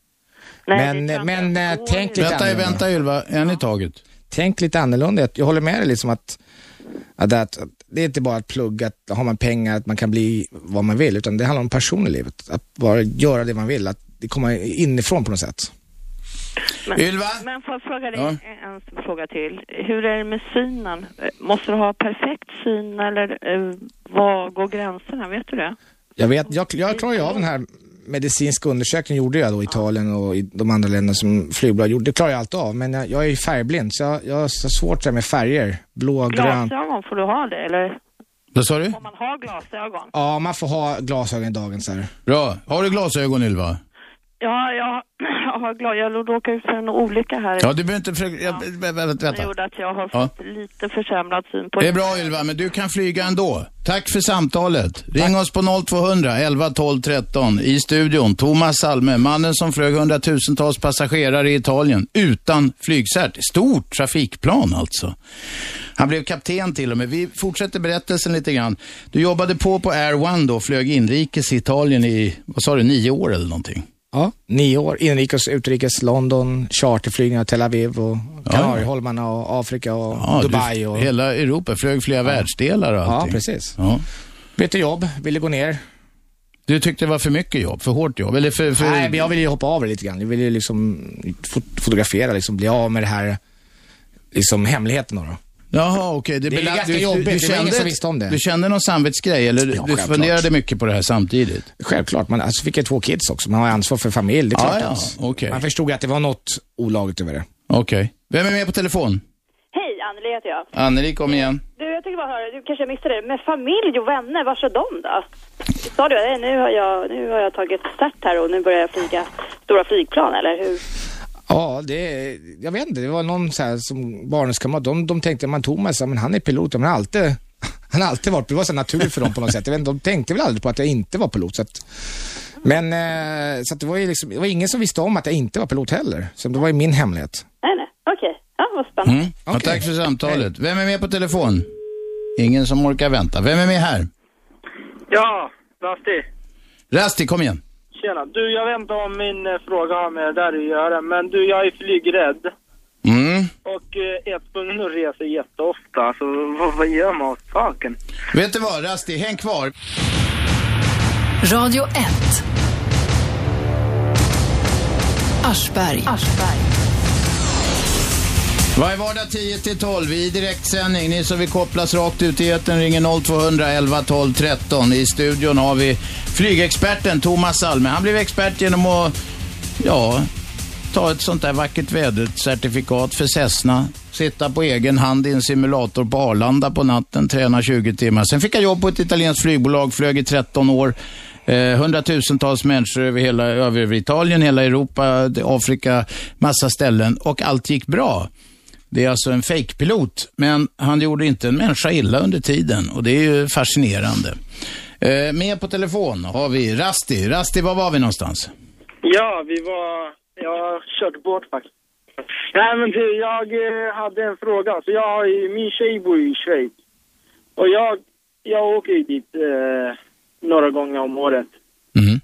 Speaker 3: Men-
Speaker 5: det kan
Speaker 3: men,
Speaker 5: inte.
Speaker 3: eh,
Speaker 5: Oj.
Speaker 3: tänk lite-
Speaker 2: Vänta,
Speaker 3: annorlunda.
Speaker 2: vänta Ylva, en i taget.
Speaker 3: Tänk lite annorlunda, jag håller med dig liksom att, att, det- att det är inte bara att plugga, att har man pengar, att man kan bli vad man vill, utan det handlar om passion i livet. Att bara göra det man vill, att det kommer inifrån på något sätt.
Speaker 5: Men-
Speaker 2: Ylva?
Speaker 5: Men får jag fråga dig
Speaker 2: Ja.
Speaker 5: en, en fråga till? Hur är det med synen? Eh, Måste du ha perfekt syn eller eh, var går gränserna? Vet du det?
Speaker 3: Jag vet, jag, jag klarar ju av den här medicinska undersökningen gjorde jag då i Italien och i de andra länderna som flygbolag gjorde. Det klarar jag allt av, men jag, jag är ju färgblind så jag, jag har så svårt så här med färger. Blå, grönt.
Speaker 5: Glasögon, får du ha det? Eller
Speaker 2: Vad sa du?
Speaker 5: får man ha glasögon?
Speaker 3: Ja, man får ha glasögon i dagens här.
Speaker 2: Bra. Har du glasögon Ylva?
Speaker 5: Ja, jag, jag var glad. Jag låg- råkade ut för en olycka här.
Speaker 2: Ja, du behöver inte... För... Ja. Vänta.
Speaker 5: Det gjorde att jag har
Speaker 2: Ja.
Speaker 5: fått lite försämrad syn på
Speaker 2: Det är bra Ylva, men du kan flyga ändå. Tack för samtalet. Ring oss på 0200 11 12 13 i studion. Thomas Salme, mannen som flög hundratusentals passagerare i Italien utan flygcert. Stort trafikplan alltså. Han blev kapten till och med. Vi fortsätter berättelsen lite grann. Du jobbade på på Air One då, flög inrikes i Italien i, vad sa du, nio år eller någonting?
Speaker 3: Ja, nio år. Inrikes, utrikes, London, charterflygningar, Tel Aviv och Kanarieholmarna och Afrika och
Speaker 2: Ja, du-
Speaker 3: Dubai. Och...
Speaker 2: Hela Europa, flög flera världsdelar och
Speaker 3: Ja,
Speaker 2: allting.
Speaker 3: precis.
Speaker 2: Ja.
Speaker 3: Bytte jobb, ville gå ner.
Speaker 2: Du tyckte det var för mycket jobb, för hårt jobb? Eller för, för...
Speaker 3: Nej, men jag ville ju hoppa av det lite grann. Jag ville ju liksom fot- fotografera, liksom bli av med det här, liksom hemligheten då. då.
Speaker 2: Jaha, okej. Det,
Speaker 3: Det är
Speaker 2: bela-
Speaker 3: ganska jobbigt. Det var ingen som visste om det.
Speaker 2: Du kände någon samvetsgrej eller du- du
Speaker 3: självklart.
Speaker 2: funderade mycket på det här samtidigt?
Speaker 3: Självklart, man alltså, fick jag två kids också. Man har ansvar för familj, det är
Speaker 2: Ja,
Speaker 3: klart. alltså.
Speaker 2: ja,
Speaker 3: att-
Speaker 2: okej.
Speaker 3: Man förstod att det var något olagligt över det.
Speaker 2: Okej. Vem är med på telefon?
Speaker 6: Hej, Anneli heter jag.
Speaker 2: Anneli, kom igen.
Speaker 6: Du, jag tycker bara höra, du kanske missade det, men familj och vänner, var är de då? Sa du det? Nu har jag, nu har jag tagit start här och nu börjar jag flyga stora flygplan, eller hur?
Speaker 3: Ja, det, jag vet inte. Det var någon så här som barndomskamrat, de, de tänkte, man tog mig så här, men han är pilot, men han har alltid, han har alltid varit, det var så här naturligt för dem på något sätt. Jag vet inte, de tänkte väl aldrig på att jag inte var pilot. Så att, men eh, så att det var ju liksom, det var ingen som visste om att jag inte var pilot heller. Så det var ju min hemlighet.
Speaker 6: Nej, nej, okej. Ja, vad spännande.
Speaker 2: Mm. Ja,
Speaker 3: Okej.
Speaker 2: tack för samtalet. Vem är med på telefon? Ingen som orkar vänta. Vem är med här?
Speaker 7: Ja, Dusty.
Speaker 2: Rasti, kom igen.
Speaker 7: Tjena. Du, jag vet inte om min eh, fråga har med det där att göra, men du, jag är flygrädd.
Speaker 2: Mm.
Speaker 7: Och eh, är tvungen att resa jätteofta, så vad, vad gör man åt saken?
Speaker 2: Vet du vad, Rasti, häng kvar.
Speaker 1: Radio 1. Aschberg.
Speaker 2: Varje vardag 10 till 12 i direktsändning. Ni som vill kopplas rakt ut i etern ringer 0200 11 12 13. I studion har vi flygexperten Thomas Salme. Han blev expert genom att, ja, ta ett sånt där vackert vädercertifikat för Cessna. Sitta på egen hand i en simulator på Arlanda på natten, träna 20 timmar. Sen fick jag jobb på ett italienskt flygbolag, flög i 13 år. Eh, hundratusentals människor över hela över Italien, hela Europa, Afrika, massa ställen och allt gick bra. Det är alltså en fejkpilot, men han gjorde inte en människa illa under tiden och det är ju fascinerande. Eh, med på telefon har vi Rasti. Rasti, var var vi någonstans?
Speaker 7: Ja, vi var... Jag har kört båt faktiskt. Nej, men du, jag eh, hade en fråga. Så jag har ju... Min tjej bor ju i Schweiz. Och jag, jag åker ju dit eh, några gånger om året.
Speaker 2: Mm.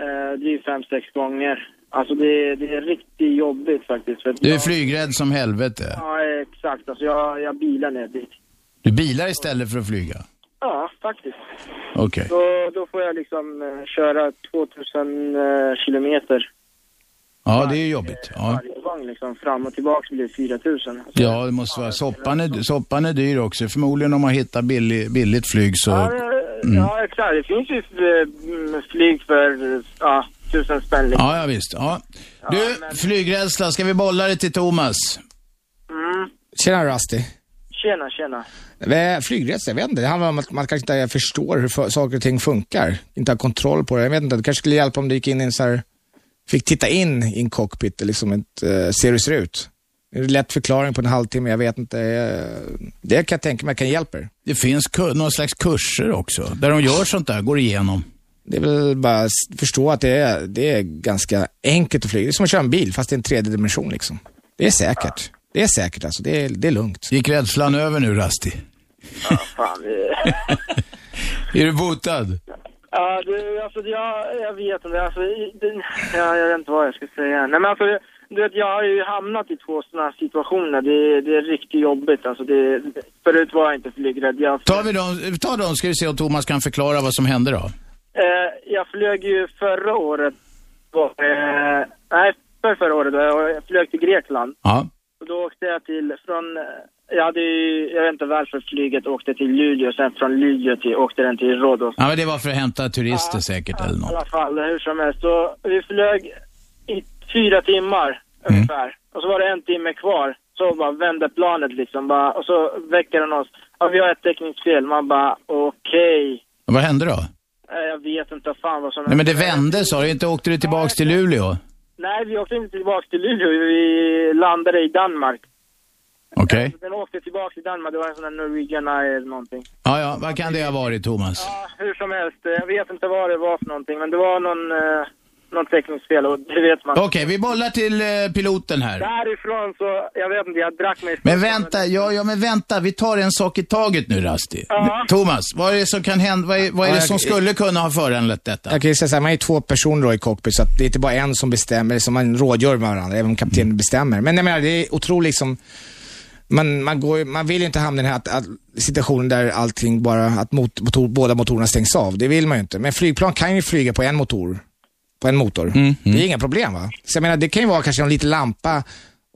Speaker 7: Eh, det är fem, sex gånger. Alltså det, det är riktigt jobbigt faktiskt. För att
Speaker 2: Du är
Speaker 7: jag-
Speaker 2: flygrädd som helvete.
Speaker 7: Ja, exakt. Alltså jag, jag bilar ner dit.
Speaker 2: Du bilar istället för att flyga.
Speaker 7: Ja, faktiskt.
Speaker 2: Okej.
Speaker 7: Då, då får jag liksom eh, köra 2000 eh, kilometer
Speaker 2: Ja, det är ju jobbigt. Ja.
Speaker 7: varje gång liksom. Fram och tillbaka blir det 4000. Alltså,
Speaker 2: ja, det måste vara. Soppan är, soppan är dyr också. Förmodligen om man hittar billig, billigt flyg
Speaker 7: Ja,
Speaker 2: så...
Speaker 7: det-
Speaker 2: Mm.
Speaker 7: ja, exakt. Det finns ju eh, mm, flyg för eh, ja, 1000 spänn. liksom.
Speaker 2: Ja, ja visst. Ja. Du, flygrädsla. Ska vi bolla det till Thomas?
Speaker 7: Mm.
Speaker 3: Tjena Rusty.
Speaker 7: Tjena, tjena.
Speaker 3: Eh, Flygrädsla, jag vet inte. Det handlar om att man kanske inte förstår hur för, saker och ting funkar. Inte har kontroll på det. Jag vet inte, det kanske skulle hjälpa om du gick in i en så här, fick titta in i en cockpit och liksom inte eh, se hur det ser ut. Det är en lätt förklaring på en halvtimme, jag vet inte. Eh, det kan jag tänka mig kan hjälpa er.
Speaker 2: Det finns ku- någon slags kurser också, där de gör sånt där, går igenom.
Speaker 3: Det är väl bara att s- förstå att det är, det är ganska enkelt att flyga. Det är som att köra en bil, fast i en tredje dimension liksom. Det är säkert. Det är säkert alltså, det är, det är lugnt.
Speaker 2: Gick rädslan över nu, Rasti?
Speaker 7: Fan. eh.
Speaker 2: Är du botad?
Speaker 7: Ja, du, alltså jag, jag vet inte. Alltså, i- det, ja, jag vet inte vad jag ska säga. Nej, men alltså, du vet, jag har ju hamnat i två sådana situationer. Det, det är riktigt jobbigt. Alltså, det, förut var jag inte flygrädd. Jag,
Speaker 2: Ta, vi dem, ta dem ska vi se om Thomas kan förklara vad som hände då.
Speaker 7: eh, jag flög ju förra året. Var, eh, nej, för förra året. Då, jag flög till Grekland.
Speaker 2: Ja.
Speaker 7: Och då åkte jag till, från, eh, jag hade ju, jag vet inte varför flyget åkte till Luleå. Sen från Luleå till, åkte den till Rhodos.
Speaker 2: ja, men det var för att hämta turister säkert eller
Speaker 7: I
Speaker 2: något.
Speaker 7: alla fall, hur som helst. Så vi flög i fyra timmar
Speaker 2: Mm.
Speaker 7: ungefär. Och så var det en timme kvar. Så bara vände planet liksom bara, och så väcker den oss. Ja, vi har ett täckningsfel. Man bara, okej.
Speaker 2: Vad hände då?
Speaker 7: Eh, Jag vet inte fan vad som
Speaker 2: Nej, men det vände sa du, inte åkte du tillbaks till Luleå?
Speaker 7: Nej, vi åkte inte tillbaka till Luleå. Vi landade i Danmark.
Speaker 2: Okej.
Speaker 7: Den åkte tillbaka till Danmark. Det var en sån där Norwegian Eye eller någonting.
Speaker 2: Ja, ja, vad kan det ha varit Thomas?
Speaker 7: Ja, hur som helst. eh, Jag vet inte vad det var för någonting, men det var någon, eh, någon tekniskt fel och det vet man.
Speaker 2: Okej, vi bollar till eh, piloten här.
Speaker 7: Därifrån så, jag vet inte, jag drack mig...
Speaker 2: Men vänta, ja, ja men vänta, vi tar en sak i taget nu Rasti.
Speaker 7: Ja.
Speaker 2: Thomas, vad är det som kan hända, vad är, vad är det som skulle kunna ha föranlett detta?
Speaker 3: Jag kan ju säga så här, man är ju två personer då i cockpit, så att det är inte bara en som bestämmer, som man rådgör med varandra, även om kaptenen
Speaker 2: Mm.
Speaker 3: bestämmer. Men jag menar, det är otroligt liksom, man, man, går, ju- man vill ju inte hamna i den här att, att situationen där allting bara, att mot, motor, båda motorerna stängs av. Det vill man ju inte. Men flygplan kan ju flyga på en motor. På en motor.
Speaker 2: Mm,
Speaker 3: Det är inga problem va? Så jag menar, det kan ju vara kanske en liten lampa.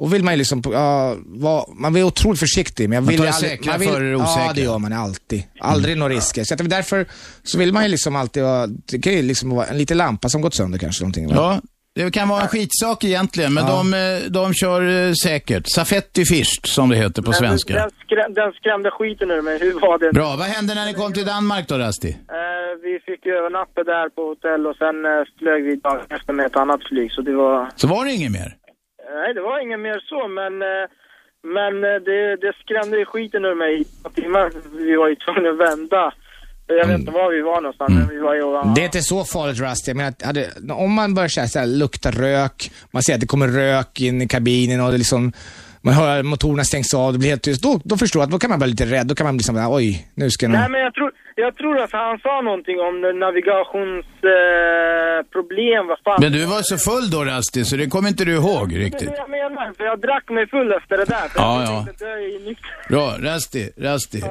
Speaker 3: Och vill man ju liksom, ja, vara, man vill vara otroligt försiktig. Men jag vill
Speaker 2: tar
Speaker 3: ju
Speaker 2: det
Speaker 3: aldrig-
Speaker 2: säkra
Speaker 3: man vill,
Speaker 2: före det
Speaker 3: Ja,
Speaker 2: osäkra. Mm.
Speaker 3: det gör man alltid. Aldrig några risker. Så att därför så vill man ju liksom alltid vara, det kan ju liksom vara en liten lampa som gått sönder kanske. Någonting, va?
Speaker 2: Ja, det kan vara en skitsak egentligen, men de, eh, de kör eh, säkert. Safetti first, som det heter på svenska.
Speaker 7: Den, skräm, den skrämde skiten ur mig. Hur var det?
Speaker 2: Bra, vad hände när ni kom till Danmark då Rasti?
Speaker 7: Eh, vi fick ju övernatta där på hotell och sen eh, flög vi dagen efter med ett annat flyg. Så det var... eh,
Speaker 2: Så var det inget mer?
Speaker 7: Nej, det var inget mer så, men... eh, Men eh, det, det skrämde skiten ur mig i några timmar. Vi var ju tvungna att vända. Jag vet inte
Speaker 2: Mm.
Speaker 7: var vi var någonstans, men vi var ju...
Speaker 3: Det är inte så farligt Rust. Jag menar, att hade, om man börjar så här, så här, lukta rök, man ser att det kommer rök in i kabinen och det liksom, man hör att motorerna stängs av, det blir helt tyst. Då, då förstår jag att då kan man bli lite rädd. Då kan man bli liksom, oj, nu ska
Speaker 7: Nej,
Speaker 3: någon...
Speaker 7: men jag tror, jag tror att han sa någonting om navigationsproblem, eh, problem, vad fan.
Speaker 2: Men du var så full då Rasti, så det kommer inte du ihåg
Speaker 7: Det är
Speaker 2: riktigt.
Speaker 7: det jag menar, för jag drack mig full efter det där. För
Speaker 2: Ja,
Speaker 7: jag
Speaker 2: ja.
Speaker 7: tänkte att jag är nykter.
Speaker 2: Bra, Rasti, Rasti.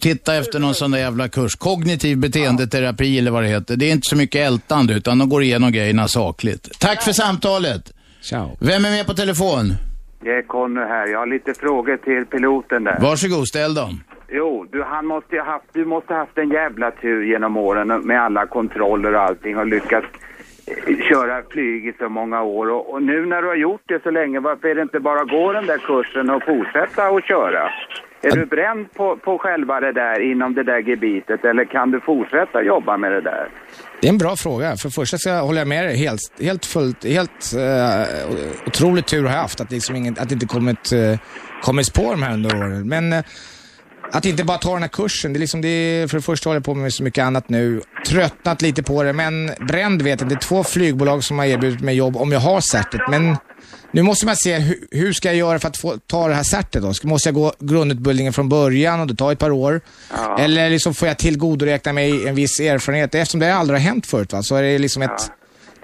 Speaker 2: Titta efter någon sån där jävla kurs. Kognitiv beteendeterapi eller vad det heter. Det är inte så mycket ältande, utan de går igenom grejerna sakligt. Tack för samtalet.
Speaker 3: Ciao.
Speaker 2: Vem är med på telefon?
Speaker 8: Det är Conny här. Jag har lite frågor till piloten där.
Speaker 2: Varsågod, ställ dem.
Speaker 8: Jo, du, han måste ju ha haft, du måste ha haft en jävla tur genom åren med alla kontroller och allting och lyckats eh, köra flyg i så många år. Och, och nu när du har gjort det så länge, varför är det inte bara att gå den där kursen och fortsätta att köra? Är du bränd på, på själva det där inom det där gebitet eller kan du fortsätta jobba med det där?
Speaker 3: Det är en bra fråga. För det första så håller jag med dig helt, helt fullt, helt eh, otroligt tur har jag haft att, liksom ingen, att det inte kommit, eh, kommit på de här under åren. Men eh, att inte bara ta den här kursen, det är liksom det, är- för det första håller jag på med så mycket annat nu. Tröttnat lite på det, men bränd vet jag, det är två flygbolag som har erbjudit mig jobb om jag har certet. Men nu måste man se hur, hur ska jag göra för att få ta det här certet då? Ska, måste jag gå grundutbildningen från början och det tar ett par år? Eller liksom får jag tillgodoräkna mig en viss erfarenhet? Eftersom det aldrig har hänt förut va? så är det liksom ett...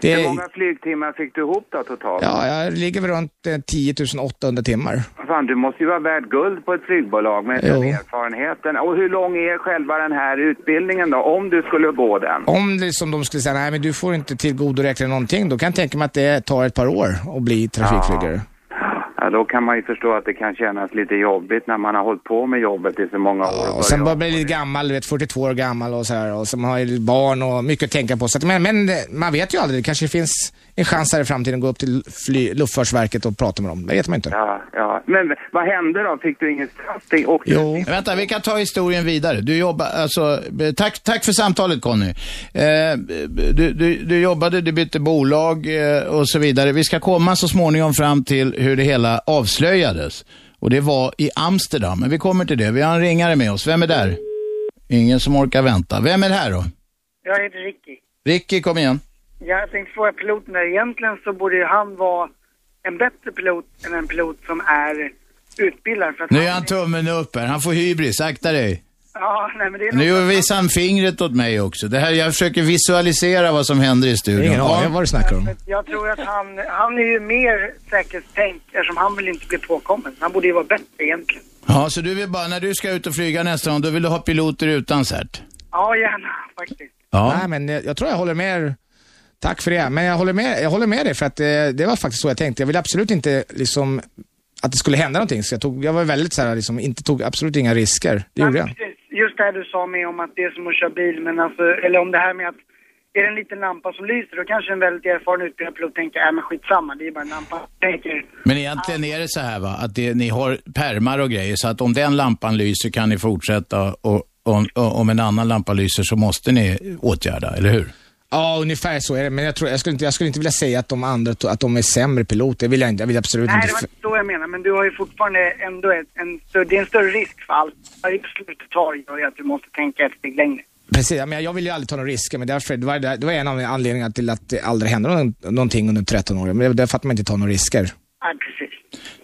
Speaker 3: Det
Speaker 8: Hur
Speaker 3: är,
Speaker 8: många flygtimmar fick du ihop då totalt?
Speaker 3: ja, jag ligger väl runt eh, 10 800 timmar.
Speaker 8: Fan, du måste ju vara värd guld på ett flygbolag med den
Speaker 3: Jo.
Speaker 8: erfarenheten. Och hur lång är själva den här utbildningen då, om du skulle gå den?
Speaker 3: Om det som de skulle säga, nej men du får inte tillgodoräkna dig någonting, då kan jag tänka mig att det tar ett par år att bli trafikflygare.
Speaker 8: Ja, då kan man ju förstå att det kan kännas lite jobbigt när man har hållit på med jobbet i så många år.
Speaker 3: och sen bara bli lite gammal, du vet 42 år gammal och så här. Och sen har jag ju barn och mycket att tänka på. Så att, men, men eh, man vet ju aldrig, det kanske finns en chans här i framtiden att gå upp till fly, Luftfartsverket och prata med dem. Det vet man inte.
Speaker 8: Ja, ja. Men vad hände då? Fick du inget straff? Fick- Och...
Speaker 3: Jo.
Speaker 2: Men Vänta, vi kan ta historien vidare. Du jobbar, alltså, eh, tack, tack för samtalet Conny. Eh, du, du, du jobbade, du bytte bolag eh, och så vidare. Vi ska komma så småningom fram till hur det hela avslöjades. Och det var i Amsterdam, men vi kommer till det. Vi har en ringare med oss. Vem är där? Ingen som orkar vänta. Vem är det här då?
Speaker 9: Jag heter Ricky.
Speaker 2: Ricky, kom igen.
Speaker 9: Jag tänkte fråga piloten där. Egentligen så borde ju han vara en bättre pilot än en pilot som är utbildad. För att
Speaker 2: Nu är han tummen upp här. Han får hybris. Akta dig.
Speaker 9: Ja, nej men det är något-
Speaker 2: Nu visar han fingret åt mig också. Det här, jag försöker visualisera vad som händer i
Speaker 3: Det är
Speaker 2: studion.
Speaker 3: ingen
Speaker 2: Ja.
Speaker 3: aning om vad du snackar om.
Speaker 9: Jag tror att han, han är ju mer säkerhetstänk eftersom han vill inte bli påkommen. Han borde ju vara bättre egentligen.
Speaker 2: Ja, så du vill bara, när du ska ut och flyga nästa gång, då vill du ha piloter utan cert?
Speaker 9: Ja, gärna faktiskt.
Speaker 2: Ja.
Speaker 3: Nej, men eh, jag, jag tror jag håller med er. Tack för det. Men jag håller med, jag håller med dig för att eh, det var faktiskt så jag tänkte. Jag ville absolut inte liksom att det skulle hända någonting. Så jag, tog, jag var väldigt så här, liksom, inte tog absolut inga risker. Det gjorde
Speaker 9: Ja,
Speaker 3: jag.
Speaker 9: precis. Just det här du sa med om att det är som att köra bil, men alltså, eller om det här med att är det en liten lampa som lyser, då kanske en väldigt erfaren utbildad pilot tänker, äh men skitsamma, det är bara en lampa. Tänker,
Speaker 2: Men egentligen är det så här va, att det, ni har permar och grejer, så att om den lampan lyser kan ni fortsätta och, och, om, om en annan lampa lyser så måste ni åtgärda, eller hur?
Speaker 3: Ja, ungefär så är det. Men jag, tror, jag, skulle, inte, jag skulle inte vilja säga att de andra to- att de är sämre piloter. Det vill jag, inte, jag vill absolut
Speaker 10: Nej,
Speaker 3: inte.
Speaker 10: det var
Speaker 3: för-
Speaker 10: inte så jag menar, men du har ju fortfarande ändå ett, en, större- det är en större risk för allt. Varje beslut du tar gör ju att du måste tänka ett steg längre.
Speaker 3: Precis, ja, men jag vill ju aldrig ta några risker, men därför, det, var, det var en av anledningarna till att det aldrig hände någon, någonting under 13 år. Men det var därför att man inte tar några risker.
Speaker 10: Ja, precis.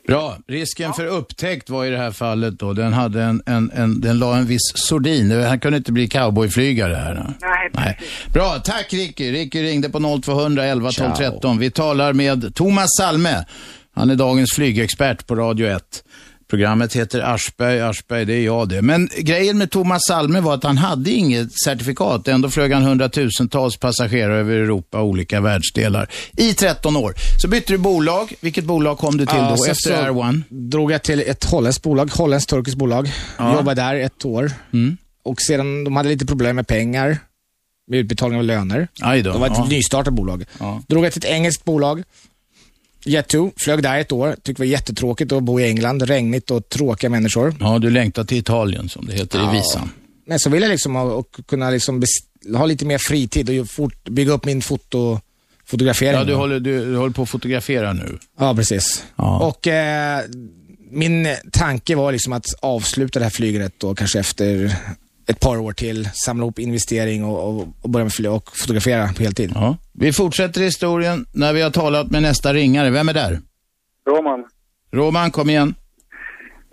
Speaker 2: Bra. Risken för upptäckt var i det här fallet då, den, hade en, en, en, den la en viss sordin. Han kunde inte bli cowboyflygare här.
Speaker 10: Nej,
Speaker 2: Nej. Bra, tack Ricky. Ricky ringde på 0200 11 12 13. Vi talar med Thomas Salme. Han är dagens flygexpert på Radio 1. Programmet heter Aschberg, Aschberg, det är jag det. Men grejen med Thomas Salme var att han hade inget certifikat. Ändå flög han hundratusentals passagerare över Europa och olika världsdelar i 13 år. Så bytte du bolag. Vilket bolag kom du till
Speaker 3: Ja,
Speaker 2: då
Speaker 3: sen
Speaker 2: efter
Speaker 3: så
Speaker 2: Air One?
Speaker 3: drog jag till ett holländskt bolag, holländskt turkiskt bolag. Jobbade där ett år.
Speaker 2: Mm.
Speaker 3: Och sedan, de hade lite problem med pengar, med utbetalning av löner.
Speaker 2: Aj då,
Speaker 3: det var ett
Speaker 2: ja.
Speaker 3: nystartat bolag. Drog jag till ett engelskt bolag, Jet2, flög där ett år. Tyckte det var jättetråkigt att bo i England, regnigt och tråkiga människor.
Speaker 2: Ja, du längtar till Italien som det heter i visan.
Speaker 3: Men så vill jag liksom ha, och kunna liksom bes- ha lite mer fritid och ju fort, bygga upp min foto, fotografering.
Speaker 2: Ja, du håller, du, du håller på att fotografera nu.
Speaker 3: Ja, precis. Och eh, min tanke var liksom att avsluta det här flyget då kanske efter ett par år till, samla ihop investering och, och, och börja med fly- och fotografera på heltid.
Speaker 2: Ja. Vi fortsätter historien när vi har talat med nästa ringare. Vem är där?
Speaker 11: Roman.
Speaker 2: Roman, kom igen.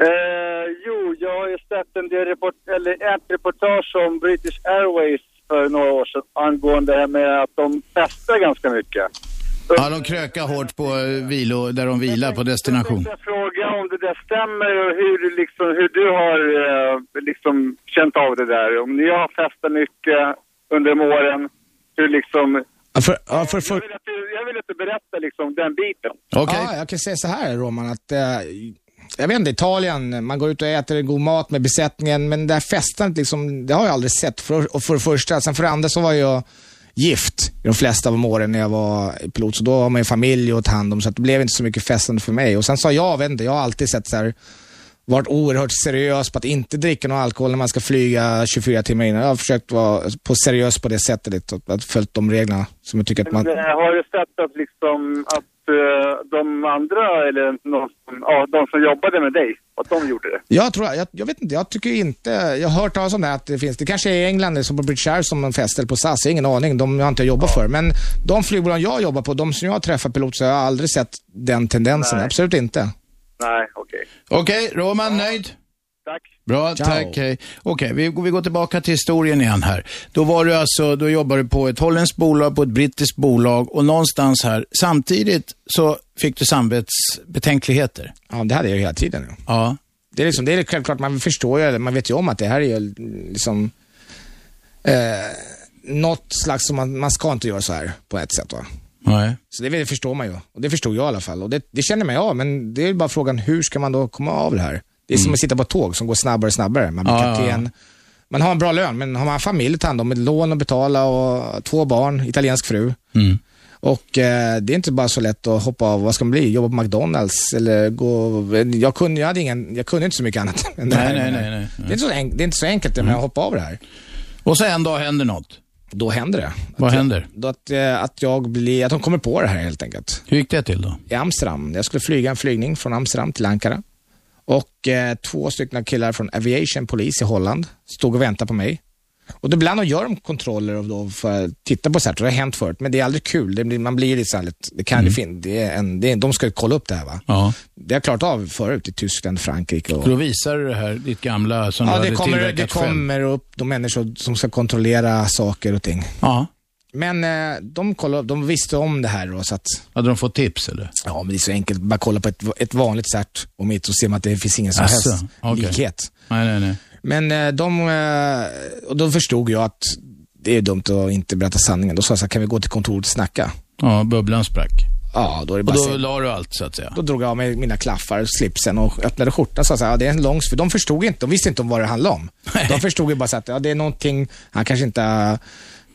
Speaker 11: Eh, jo, jag har ju sett en del report, eller ett reportage om British Airways för några år sedan angående det här med att de festar ganska mycket.
Speaker 2: Ja, de krökar hårt på eh, vilo, där de vilar på destination.
Speaker 11: Jag frågar om det där stämmer och hur, du liksom, hur du har eh, liksom känt av det där. Om ni har festat mycket under de åren, hur liksom...
Speaker 3: jag,
Speaker 11: vill att du, jag vill att du berättar liksom den biten.
Speaker 3: Ja, jag kan säga så här Roman, att eh, jag vet inte, Italien, man går ut och äter god mat med besättningen, men det här festandet liksom, det har jag aldrig sett. För, och för det första, sen för det andra så var jag gift i de flesta av de åren när jag var pilot, så då har man ju familj att ta hand om, så att det blev inte så mycket festande för mig. Och sen sa jag, jag vet inte, jag har alltid sett så här varit oerhört seriös på att inte dricka någon alkohol när man ska flyga 24 timmar innan. Jag har försökt vara på seriös på det sättet, lite, och att följt de reglerna som jag tycker att man...
Speaker 11: Men, eh, har du sett att liksom att eh, de andra eller någon, som- ja, de som jobbade med dig, att de gjorde det?
Speaker 3: Jag tror, jag, jag vet inte, jag tycker inte, jag har hört talas om det här att det finns, det kanske är i England det är som på British Airways som man fäster på SAS, jag har ingen aning, de har inte jag jobbat för. Men de flygbolag jag jobbar på, de som jag har träffat piloter, så har jag aldrig sett den tendensen,
Speaker 2: Nej.
Speaker 3: absolut inte.
Speaker 11: Nej, okej.
Speaker 2: Okej, Roman, nöjd?
Speaker 11: Tack.
Speaker 2: Bra,
Speaker 3: Ciao.
Speaker 2: tack. hej. Okej, vi, vi går tillbaka till historien igen här. Då var du alltså, då jobbade du på ett holländskt bolag, på ett brittiskt bolag och någonstans här, samtidigt så fick du samvetsbetänkligheter.
Speaker 3: Ja, det hade jag ju hela tiden.
Speaker 2: Ja.
Speaker 3: Det är, liksom, det är självklart, man förstår ju, man vet ju om att det här är ju liksom eh, något slags som man, man ska inte göra så här på ett sätt. Va?
Speaker 2: Nej.
Speaker 3: Så det, det förstår man ju. Och det förstod jag i alla fall. Och det, det känner man ju av, men det är ju bara frågan hur ska man då komma av det här? Det är som att sitta på ett tåg som går snabbare och snabbare. Man blir
Speaker 2: Mm. Ja, ja,
Speaker 3: kapten. Man har en bra lön, men har man familj att ta hand om, ett lån att betala och två barn, italiensk fru.
Speaker 2: Mm.
Speaker 3: Och eh, det är inte bara så lätt att hoppa av, vad ska man bli? Jobba på McDonalds eller gå... Jag kunde, jag hade ingen, jag kunde inte så mycket annat än det här.
Speaker 2: Nej, nej, nej, nej. Mm.
Speaker 3: Det, är inte så enk, det är inte så enkelt det med att hoppa av det här.
Speaker 2: Och så en dag händer något.
Speaker 3: Då händer det.
Speaker 2: Vad händer?
Speaker 3: Då att, eh, att jag blir, att de kommer på det här helt enkelt.
Speaker 2: Hur gick det till då?
Speaker 3: i Amsterdam. Jag skulle flyga en flygning från Amsterdam till Ankara. Och eh, två stycken killar från Aviation Police i Holland stod och väntade på mig. Och då ibland gör de kontroller och då för att titta på så här, det har hänt förut, men det är aldrig kul. Det blir, man blir lite så här, lite- det kan det fin- det är en, det är, de ska ju kolla upp det här va.
Speaker 2: Mm. Ja.
Speaker 3: Det har jag klarat av förut i Tyskland, Frankrike och...
Speaker 2: Då visar du det här, ditt gamla som
Speaker 3: Ja,
Speaker 2: du
Speaker 3: det
Speaker 2: hade
Speaker 3: kommer, det
Speaker 2: tillverkat själv.
Speaker 3: kommer upp de människor som ska kontrollera saker och ting.
Speaker 2: Ja.
Speaker 3: Men eh, de, kollade, de visste om det här då, så att...
Speaker 2: Hade de fått tips eller?
Speaker 3: Ja, men det är så enkelt. Bara kolla på ett, ett vanligt cert och mitt och ser man att det finns ingen som
Speaker 2: Asså,
Speaker 3: helst
Speaker 2: okej.
Speaker 3: likhet.
Speaker 2: Nej, nej, nej.
Speaker 3: Men eh, de, eh, och då förstod jag att det är dumt att inte berätta sanningen. Då sa jag så här, kan vi gå till kontoret och snacka?
Speaker 2: Ja, bubblan sprack.
Speaker 3: Ja, då är det
Speaker 2: Och
Speaker 3: bara
Speaker 2: då
Speaker 3: då,
Speaker 2: la du allt så att säga.
Speaker 3: då drog jag av mig mina klaffar, slipsen och öppnade skjortan och sa så här, ja, det är en lång, för de förstod inte, de visste inte om vad det handlade om. De förstod ju bara så att ja, det är någonting, han kanske inte har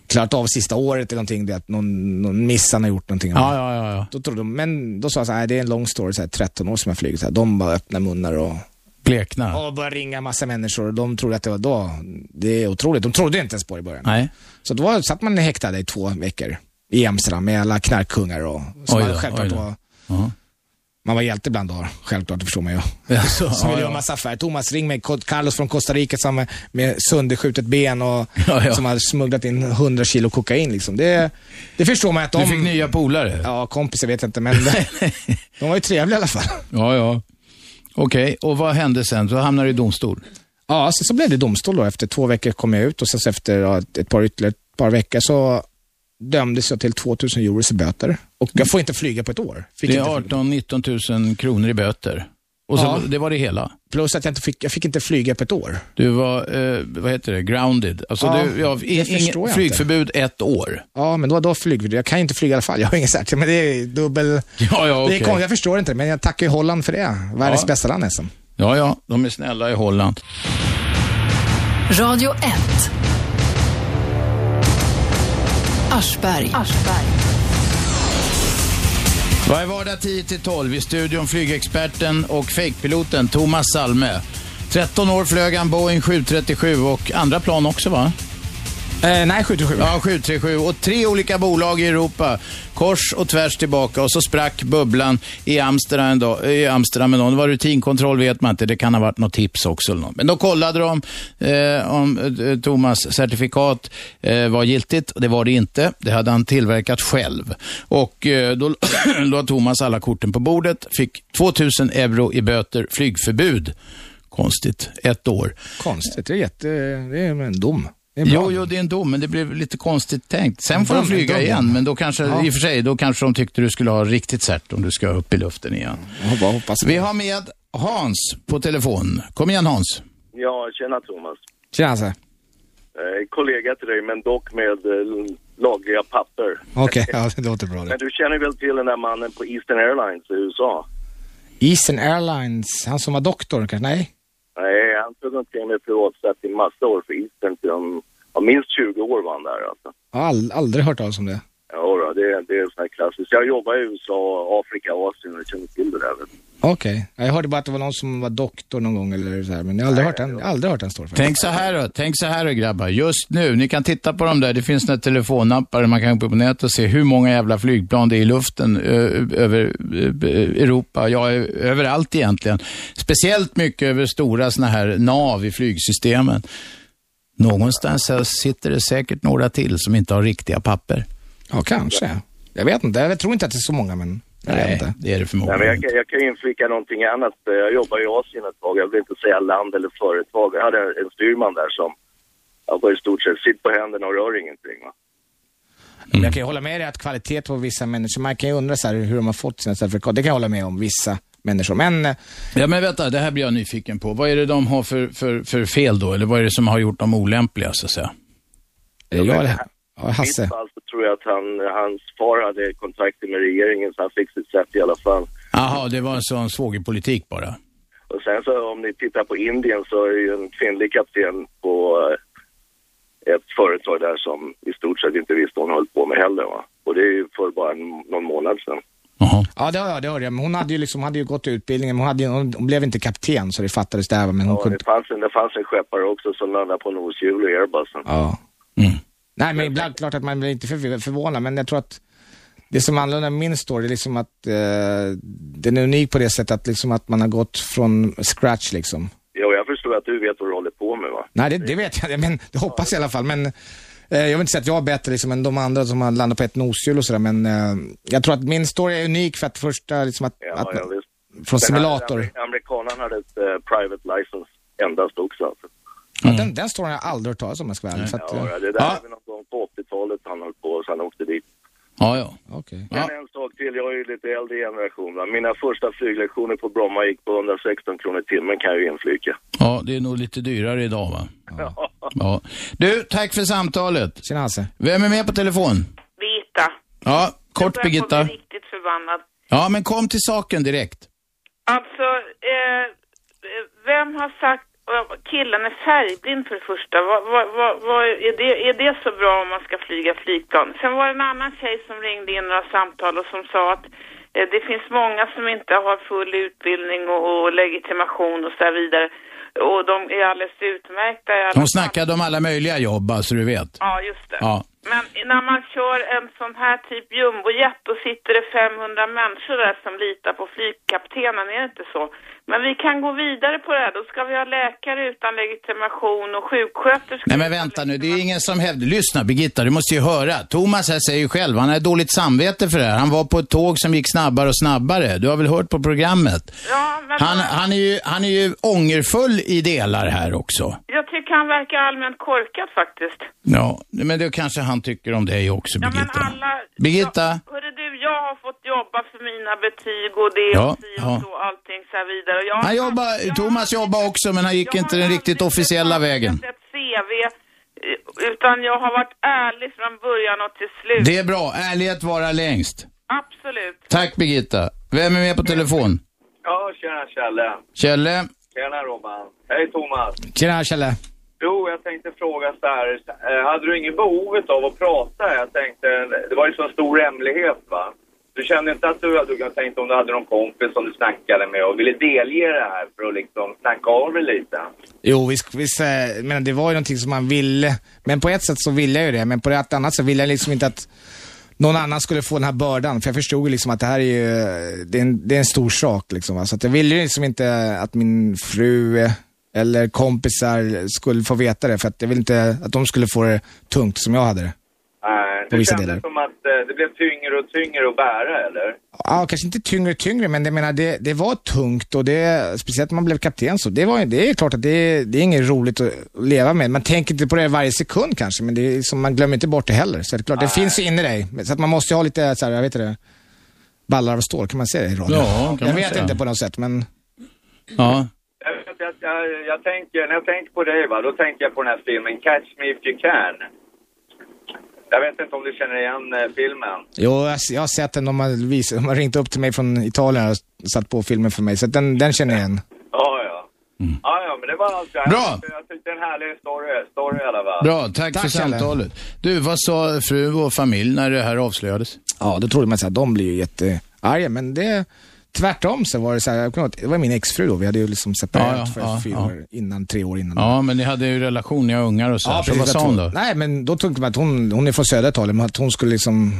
Speaker 3: klarat av sista året eller någonting, det är att någon, någon miss han har gjort någonting.
Speaker 2: Ja, ja, ja. ja.
Speaker 3: Då trodde de, men då sa jag så här, det är en lång story, så här, 13 år som jag flugit. Så här, de bara öppnar munnar och
Speaker 2: Blekna.
Speaker 3: Ja, och började ringa massa människor och de trodde att det var då. Det är otroligt. De trodde inte ens på det i början.
Speaker 2: Nej.
Speaker 3: Så då var- satt man häktad i två veckor i Amsterdam med alla knarkkungar och som
Speaker 2: Oj
Speaker 3: hade
Speaker 2: då,
Speaker 3: självklart
Speaker 2: oj då.
Speaker 3: var,
Speaker 2: Ja.
Speaker 3: man var hjälte bland dagar. Självklart, det förstår man ju.
Speaker 2: Jaså,
Speaker 3: Så
Speaker 2: Alltså, ja, ja.
Speaker 3: ville göra massa affärer. Thomas ring mig, Co- Carlos från Costa Rica som med, med sönderskjutet ben och
Speaker 2: Ja, ja.
Speaker 3: som hade smugglat in 100 kilo kokain liksom. Det, det förstår man att de...
Speaker 2: Du fick nya polare?
Speaker 3: Ja, kompisar vet jag inte, men de var ju trevliga i alla fall.
Speaker 2: Ja, ja. Okej, och vad hände sen? Så hamnade du i domstol?
Speaker 3: Ja, sen så blev det domstol då. Efter två veckor kom jag ut och sen så efter ja, ett- ett par ytterligare ett par veckor så dömdes jag till 2000 euro i böter. Och jag får inte flyga på ett år. Fick
Speaker 2: det
Speaker 3: inte
Speaker 2: är 18-19 000 kronor i böter. Och så,
Speaker 3: Ja.
Speaker 2: det var det hela.
Speaker 3: Plus att jag inte fick, jag fick inte flyga på ett år.
Speaker 2: Du var, eh, vad heter det, grounded. Alltså
Speaker 3: Ja,
Speaker 2: du, ja,
Speaker 3: det
Speaker 2: in,
Speaker 3: förstår
Speaker 2: ingen,
Speaker 3: jag
Speaker 2: flygförbud ett år.
Speaker 3: Ja, men då, då flygförbud. Jag kan ju inte flyga i alla fall. Jag har inget särskilt, men det är dubbel...
Speaker 2: Ja, ja,
Speaker 3: Det är
Speaker 2: okej.
Speaker 3: konstigt, jag förstår inte det, men jag tackar ju Holland för det. Världens
Speaker 2: Ja.
Speaker 3: bästa land nästan.
Speaker 2: Ja, ja, de är snälla i Holland.
Speaker 1: Radio 1. Aschberg.
Speaker 2: Varje vardag 10-12 i studion flygexperten och fejkpiloten Thomas Salme. 13 år flög han Boeing 737 och andra plan också va?
Speaker 3: Eh, nej, 737.
Speaker 2: Ja, 737 och tre olika bolag i Europa. Kors och tvärs tillbaka och så sprack bubblan i Amsterdam en dag. I Amsterdam en dag. Det var rutinkontroll vet man inte. Det kan ha varit något tips också eller något. Men då kollade de eh, om eh, Thomas certifikat eh, var giltigt. Det var det inte. Det hade han tillverkat själv. Och eh, då la Thomas alla korten på bordet. Fick 2000 euro i böter, flygförbud. Konstigt. Ett år.
Speaker 3: Konstigt, det är jätte... Det är en dom. Det är bra.
Speaker 2: Jo, jo, det är en dom, men det blev lite konstigt tänkt. Sen får
Speaker 3: Dom
Speaker 2: de
Speaker 3: är
Speaker 2: flyga
Speaker 3: dom.
Speaker 2: igen, men då kanske,
Speaker 3: Ja.
Speaker 2: i och för sig, då kanske de tyckte du skulle ha riktigt cert om du ska upp i luften igen.
Speaker 3: Jag bara hoppas.
Speaker 2: Vi har med Hans på telefon. Kom igen Hans.
Speaker 12: Ja, tjena Thomas.
Speaker 3: Tjena Hasse.
Speaker 12: Eh, kollega till dig, men dock med eh, lagliga papper.
Speaker 3: Okej, ja, det låter bra det.
Speaker 12: Men du känner väl till den där mannen på Eastern Airlines i USA?
Speaker 3: Eastern Airlines, han som var doktor kanske? Nej?
Speaker 12: Nej, han tog omkring med privatjet i massa år för Eastern. Till de, ja, minst 20 år var han där alltså.
Speaker 3: Jag har all, aldrig hört talas om det.
Speaker 12: Ja, då, det, det är sån här klassiskt. Jag jobbar i USA, Afrika, Asien och känner till det där. Vet. du.
Speaker 3: Okej. Jag hörde bara att det var någon som var doktor någon gång eller så här, men jag har aldrig hört den, jag har aldrig hört den storyn.
Speaker 2: Tänk så här då, tänk så här då grabbar. Just nu, ni kan titta på dem där, det finns några telefonnappar man kan gå på nätet och se hur många jävla flygplan det är i luften ö- över ö- Europa, ja ö- överallt egentligen. Speciellt mycket över stora sådana här nav i flygsystemen. Någonstans så sitter det säkert några till som inte har riktiga papper.
Speaker 3: Ja, kanske. Jag vet inte, jag tror inte att det är så många men jag vet
Speaker 2: Nej,
Speaker 3: inte.
Speaker 2: det är det
Speaker 12: Nej, men
Speaker 2: förmodligen
Speaker 12: jag,
Speaker 2: inte.
Speaker 12: kan- jag kan ju inflika någonting annat. Eh, Jag jobbar i Asien ett tag. Jag vill inte säga land eller företag. Jag hade en styrman där som jag var i stort sett sitt på händerna och rör ingenting. Va?
Speaker 2: Mm.
Speaker 12: Mm.
Speaker 3: Men Jag kan ju hålla med dig att kvalitet på vissa människor, man kan ju undra så här hur de har fått sina certifikat. Det kan jag hålla med om, vissa människor. Men eh,
Speaker 2: Ja, men vänta, det här blir jag nyfiken på. Vad är det de har för, för, för fel då? Eller vad är det som har gjort dem olämpliga, så att säga?
Speaker 3: jag, Eh, ja, Hasse.
Speaker 12: mitt fall så tror jag att han, hans far hade kontakter med regeringen så han fick sitt sätt i alla fall.
Speaker 2: Jaha, det var en sån svågerpolitik bara.
Speaker 12: Och sen så om ni tittar på Indien så är ju en kvinnlig kapten på eh, ett företag där som i stort sett inte visste vad hon höll på med heller. Va? Och det är ju för bara en, någon månad sedan.
Speaker 2: Mm.
Speaker 3: Ja, det, har jag- det hörde jag. Men hon hade ju, liksom, hon hade ju gått utbildningen, men hon, hade, ju- hon, hon blev inte kapten så det fattades där va, men hon
Speaker 12: Och
Speaker 3: kunde...
Speaker 12: det, fanns en, det fanns en skeppare också som landade på en oshjul i Airbusen.
Speaker 3: Ja. Nej, men ibland klart att man blir inte förv- förvånad, men jag tror att det som är annorlunda med min story är liksom att eh, den är unik på det sättet att, liksom att man har gått från scratch liksom.
Speaker 12: Ja, och jag förstår att du vet vad du håller på med va?
Speaker 3: Nej, det, det vet jag, men det hoppas jag i alla fall. Men, eh, jag vill inte säga att jag är bättre liksom, än de andra som har landat på ett noshjul och sådär, men eh, jag tror att min story är unik för att första, liksom att,
Speaker 12: Ja,
Speaker 3: att
Speaker 12: ja, visst.
Speaker 3: från
Speaker 12: Den här
Speaker 3: simulator.
Speaker 12: amer- Amerikanen hade ett eh, private license endast också. Alltså.
Speaker 3: Ja, den, den storyn har jag aldrig hört talas om, jag ska vara ärlig. Så att, eh,
Speaker 12: Mm. Ja, det där är väl någon gång på 80-talet han höll på så han åkte dit.
Speaker 2: Ja, ja.
Speaker 3: okej.
Speaker 12: Men en sak till, jag är ju lite äldre generation. Va? Mina första flyglektioner på Bromma gick på 116 kronor i timmen kan jag ju inflika.
Speaker 2: Ja, det är nog lite dyrare idag, va?
Speaker 12: Ja.
Speaker 2: Ja. Du, tack för samtalet.
Speaker 3: Tjena Hasse.
Speaker 2: Vem är med på telefon?
Speaker 4: Birgitta.
Speaker 2: Ja, kort
Speaker 4: Jag börjar få
Speaker 2: Birgitta.
Speaker 4: bli riktigt förbannad.
Speaker 2: Ja, men kom till saken direkt.
Speaker 4: Alltså, eh, eh, vem har sagt eh, killen är färgblind för det första. Vad, vad, vad, vad är, det, är det så bra om man ska flyga flygplan? Sen var det en annan tjej som ringde in några samtal och som sa att Eh, Det finns många som inte har full utbildning och, och legitimation och så där vidare. Och de är alldeles utmärkta i alla
Speaker 2: De snackade om alla möjliga jobb, bara så du vet.
Speaker 4: Ja, just det.
Speaker 2: Ja.
Speaker 4: Men när man kör en sån här typ jumbojet då sitter det 500 människor där som litar på flygkaptenen, är det inte så? Men vi kan gå vidare på det här. Då ska vi ha läkare utan legitimation och sjuksköterskor.
Speaker 2: Nej men vänta nu, det är ingen som hävdar... Lyssna Birgitta, du måste ju höra. Thomas här säger ju själv, han har dåligt samvete för det här. Han var på ett tåg som gick snabbare och snabbare. Du har väl hört på programmet?
Speaker 4: Ja, men
Speaker 2: Han, han, är, ju, han är ju ångerfull i delar här också.
Speaker 4: jag tycker han verkar allmänt korkad faktiskt.
Speaker 2: Ja, men det kanske han tycker om dig också
Speaker 4: Ja, men
Speaker 2: Birgitta.
Speaker 4: alla...
Speaker 2: Birgitta?
Speaker 4: Ja, hörru du, jag har fått jobba för mina betyg och det
Speaker 2: Ja,
Speaker 4: och si och
Speaker 2: ja.
Speaker 4: så, allting så här vidare. Och jag har
Speaker 2: Han jobbar, Thomas jobbar också men han gick inte den riktigt officiella vägen.
Speaker 4: ett CV, eh, utan jag har varit ärlig från början och till slut.
Speaker 2: Det är bra, ärlighet vara längst.
Speaker 4: Absolut.
Speaker 2: Tack Birgitta. Vem är med på telefon?
Speaker 11: Ja, tjena Kjelle.
Speaker 2: Kjelle?
Speaker 11: Tjena Robban. Hej Thomas.
Speaker 3: Tjena Kjelle.
Speaker 11: Jo, jag tänkte fråga så här. eh, Hade du inget behovet av att prata? Jag tänkte, det var ju så stor hemlighet va? Du kände inte att du, du jag tänkte om du hade någon kompis som du snackade med och ville delge det här för att liksom snacka av dig lite?
Speaker 3: Jo, visst, visst eh, men det var ju någonting som man ville. Men på ett sätt så ville jag ju det, men på ett annat sätt ville jag liksom inte att någon annan skulle få den här bördan. För jag förstod ju liksom att det här är ju, det är en, det är en stor sak liksom. va. Så att jag ville ju liksom inte att min fru eh, eller kompisar skulle få veta det, för att jag ville inte att de skulle få det tungt som jag hade det.
Speaker 11: Nej,
Speaker 3: På
Speaker 11: Eh, det
Speaker 3: vissa
Speaker 11: kändes
Speaker 3: delar.
Speaker 11: som att eh, det blev tyngre och tyngre att bära eller?
Speaker 3: Ja, kanske inte tyngre och tyngre, men jag menar, det, det var tungt och det, speciellt när man blev kapten så, det, var, ju- det är klart att det, det är inget roligt att leva med. Man tänker inte på det varje sekund kanske, men det är, som, man glömmer inte bort det heller. Så det, är klart, det finns ju inne i dig, Men- så att man måste ju ha lite, så här, jag vet inte, det, ballar av stål, kan man säga det i radio?
Speaker 2: Ja, kan
Speaker 3: jag
Speaker 2: man
Speaker 3: vet
Speaker 2: säga.
Speaker 3: inte på något sätt, men...
Speaker 2: Ja.
Speaker 11: Jag, vet, jag, jag, jag tänker, när jag tänker på dig va, då tänker jag på den här filmen Catch Me If You Can. Jag vet inte om du känner igen eh, filmen?
Speaker 3: Jo, jag, jag har sett den, de har, vis, de har ringt upp till mig från Italien och satt på filmen för mig, så att den, den känner jag igen.
Speaker 11: Ja, ja. Ja, ja, men det var allt. Jag,
Speaker 2: Mm. Bra.
Speaker 11: jag tyckte det är en härlig story, story i alla fall.
Speaker 2: Bra, tack, för samtalet. Du, vad sa fru och familj när det här avslöjades?
Speaker 3: Ja, då trodde man att de blir ju jättearga, men det... Tvärtom så var det så här, jag kommer ihåg att det var min exfru då, vi hade ju liksom separerat
Speaker 2: Ja, ja,
Speaker 3: för
Speaker 2: ja,
Speaker 3: fyra
Speaker 2: ja.
Speaker 3: år innan, tre år innan.
Speaker 2: Ja, men ni hade ju relation, ni har ungar och så. här. så vad
Speaker 3: precis, jag
Speaker 2: sa hon
Speaker 3: tror-
Speaker 2: då?
Speaker 3: Nej, men då tänkte man att hon, hon är från södra Italien, men att hon skulle liksom,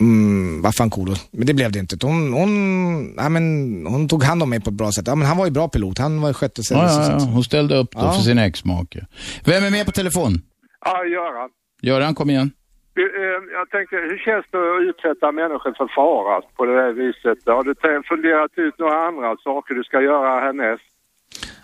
Speaker 3: mm, vad fan cool. Men det blev det inte. Hon, hon, nej, men, hon tog hand om mig på ett bra sätt. Ja, men han var ju bra pilot, han var ju skötte sig.
Speaker 2: Ja,
Speaker 3: så-
Speaker 2: ja, ja.
Speaker 3: så-
Speaker 2: Hon ställde upp då
Speaker 3: Ja.
Speaker 2: för sin exmake. Vem är med på telefon?
Speaker 13: Ja, Göran.
Speaker 2: Göran, kom igen.
Speaker 13: Du, eh, Jag tänkte, hur känns det att utsätta människor för fara på det här viset? Har du te- funderat ut några andra saker du ska göra härnäst?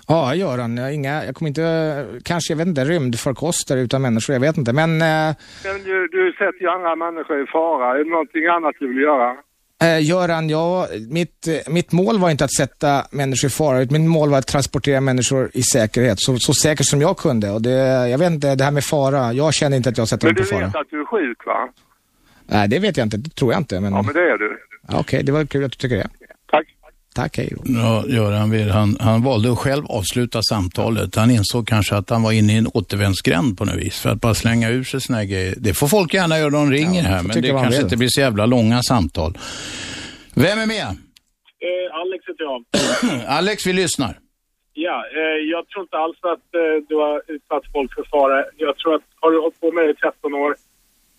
Speaker 3: Ja, Göran, jag, har inga, jag kommer inte, kanske, jag vet inte, rymdfarkoster utan människor, jag vet inte. Men eh,
Speaker 13: Men Du, du sätter ju andra människor i fara. Är det någonting annat du vill göra?
Speaker 3: Eh, Göran, jag, mitt, eh, mitt mål var inte att sätta människor i fara, utan mitt mål var att transportera människor i säkerhet, så, så säkert som jag kunde. Och det, jag vet inte, det här med fara, jag känner inte att jag sätter
Speaker 13: Men
Speaker 3: dem
Speaker 13: du
Speaker 3: i fara.
Speaker 13: vet att du är sjuk va?
Speaker 3: Nej, det vet jag inte, det tror jag inte. Men,
Speaker 13: Ja, men det är du.
Speaker 3: Ja, Okej, det var kul att du tycker det. Tack. Tack, hej då.
Speaker 2: Ja, Göran vill, han, han valde att själv avsluta samtalet. Han insåg kanske att han var inne i en återvändsgränd på något vis. För att bara slänga ur sig såna här grejer. Det får folk gärna göra, de ringer här.
Speaker 14: får
Speaker 2: Men
Speaker 14: tycka
Speaker 2: det
Speaker 14: vad man
Speaker 2: kanske
Speaker 14: vill.
Speaker 2: inte blir så jävla långa samtal. Vem är med?
Speaker 14: Eh, Alex heter jag.
Speaker 2: Alex, vi lyssnar.
Speaker 14: Ja, eh, jag tror inte alls att eh, du har utsatt folk för fara. Jag tror att har du hållit på med det i 13 år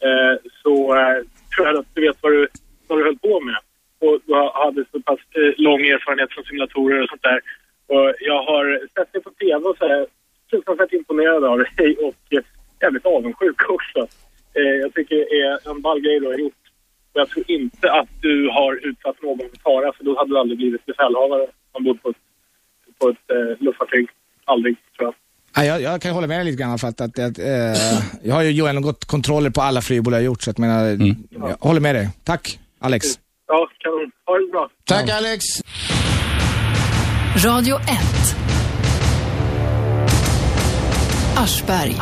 Speaker 14: eh, så eh, tror jag att du vet vad du, vad du höll på med. Och du har- hade så pass eh, lång erfarenhet från simulatorer och sånt där. Och jag har sett dig på tv och så här fruktansvärt imponerad av dig och eh, jävligt avundsjuk också. Eh, jag tycker det är en ball grej du har gjort. Och jag tror inte att du har utsatt någon för fara för då hade du aldrig blivit befälhavare ombord på ett på ett eh, luftfartyg. Aldrig, tror jag.
Speaker 3: Ja, jag, jag kan hålla med dig lite grann, för att, att, att eh, jag har ju genomgått kontroller på alla flygbolag jag har gjort, så att, men, jag- jag håller med dig. Tack, Alex.
Speaker 14: Ja, kanon. Ha det bra.
Speaker 2: Tack Alex.
Speaker 1: Radio 1. Aschberg.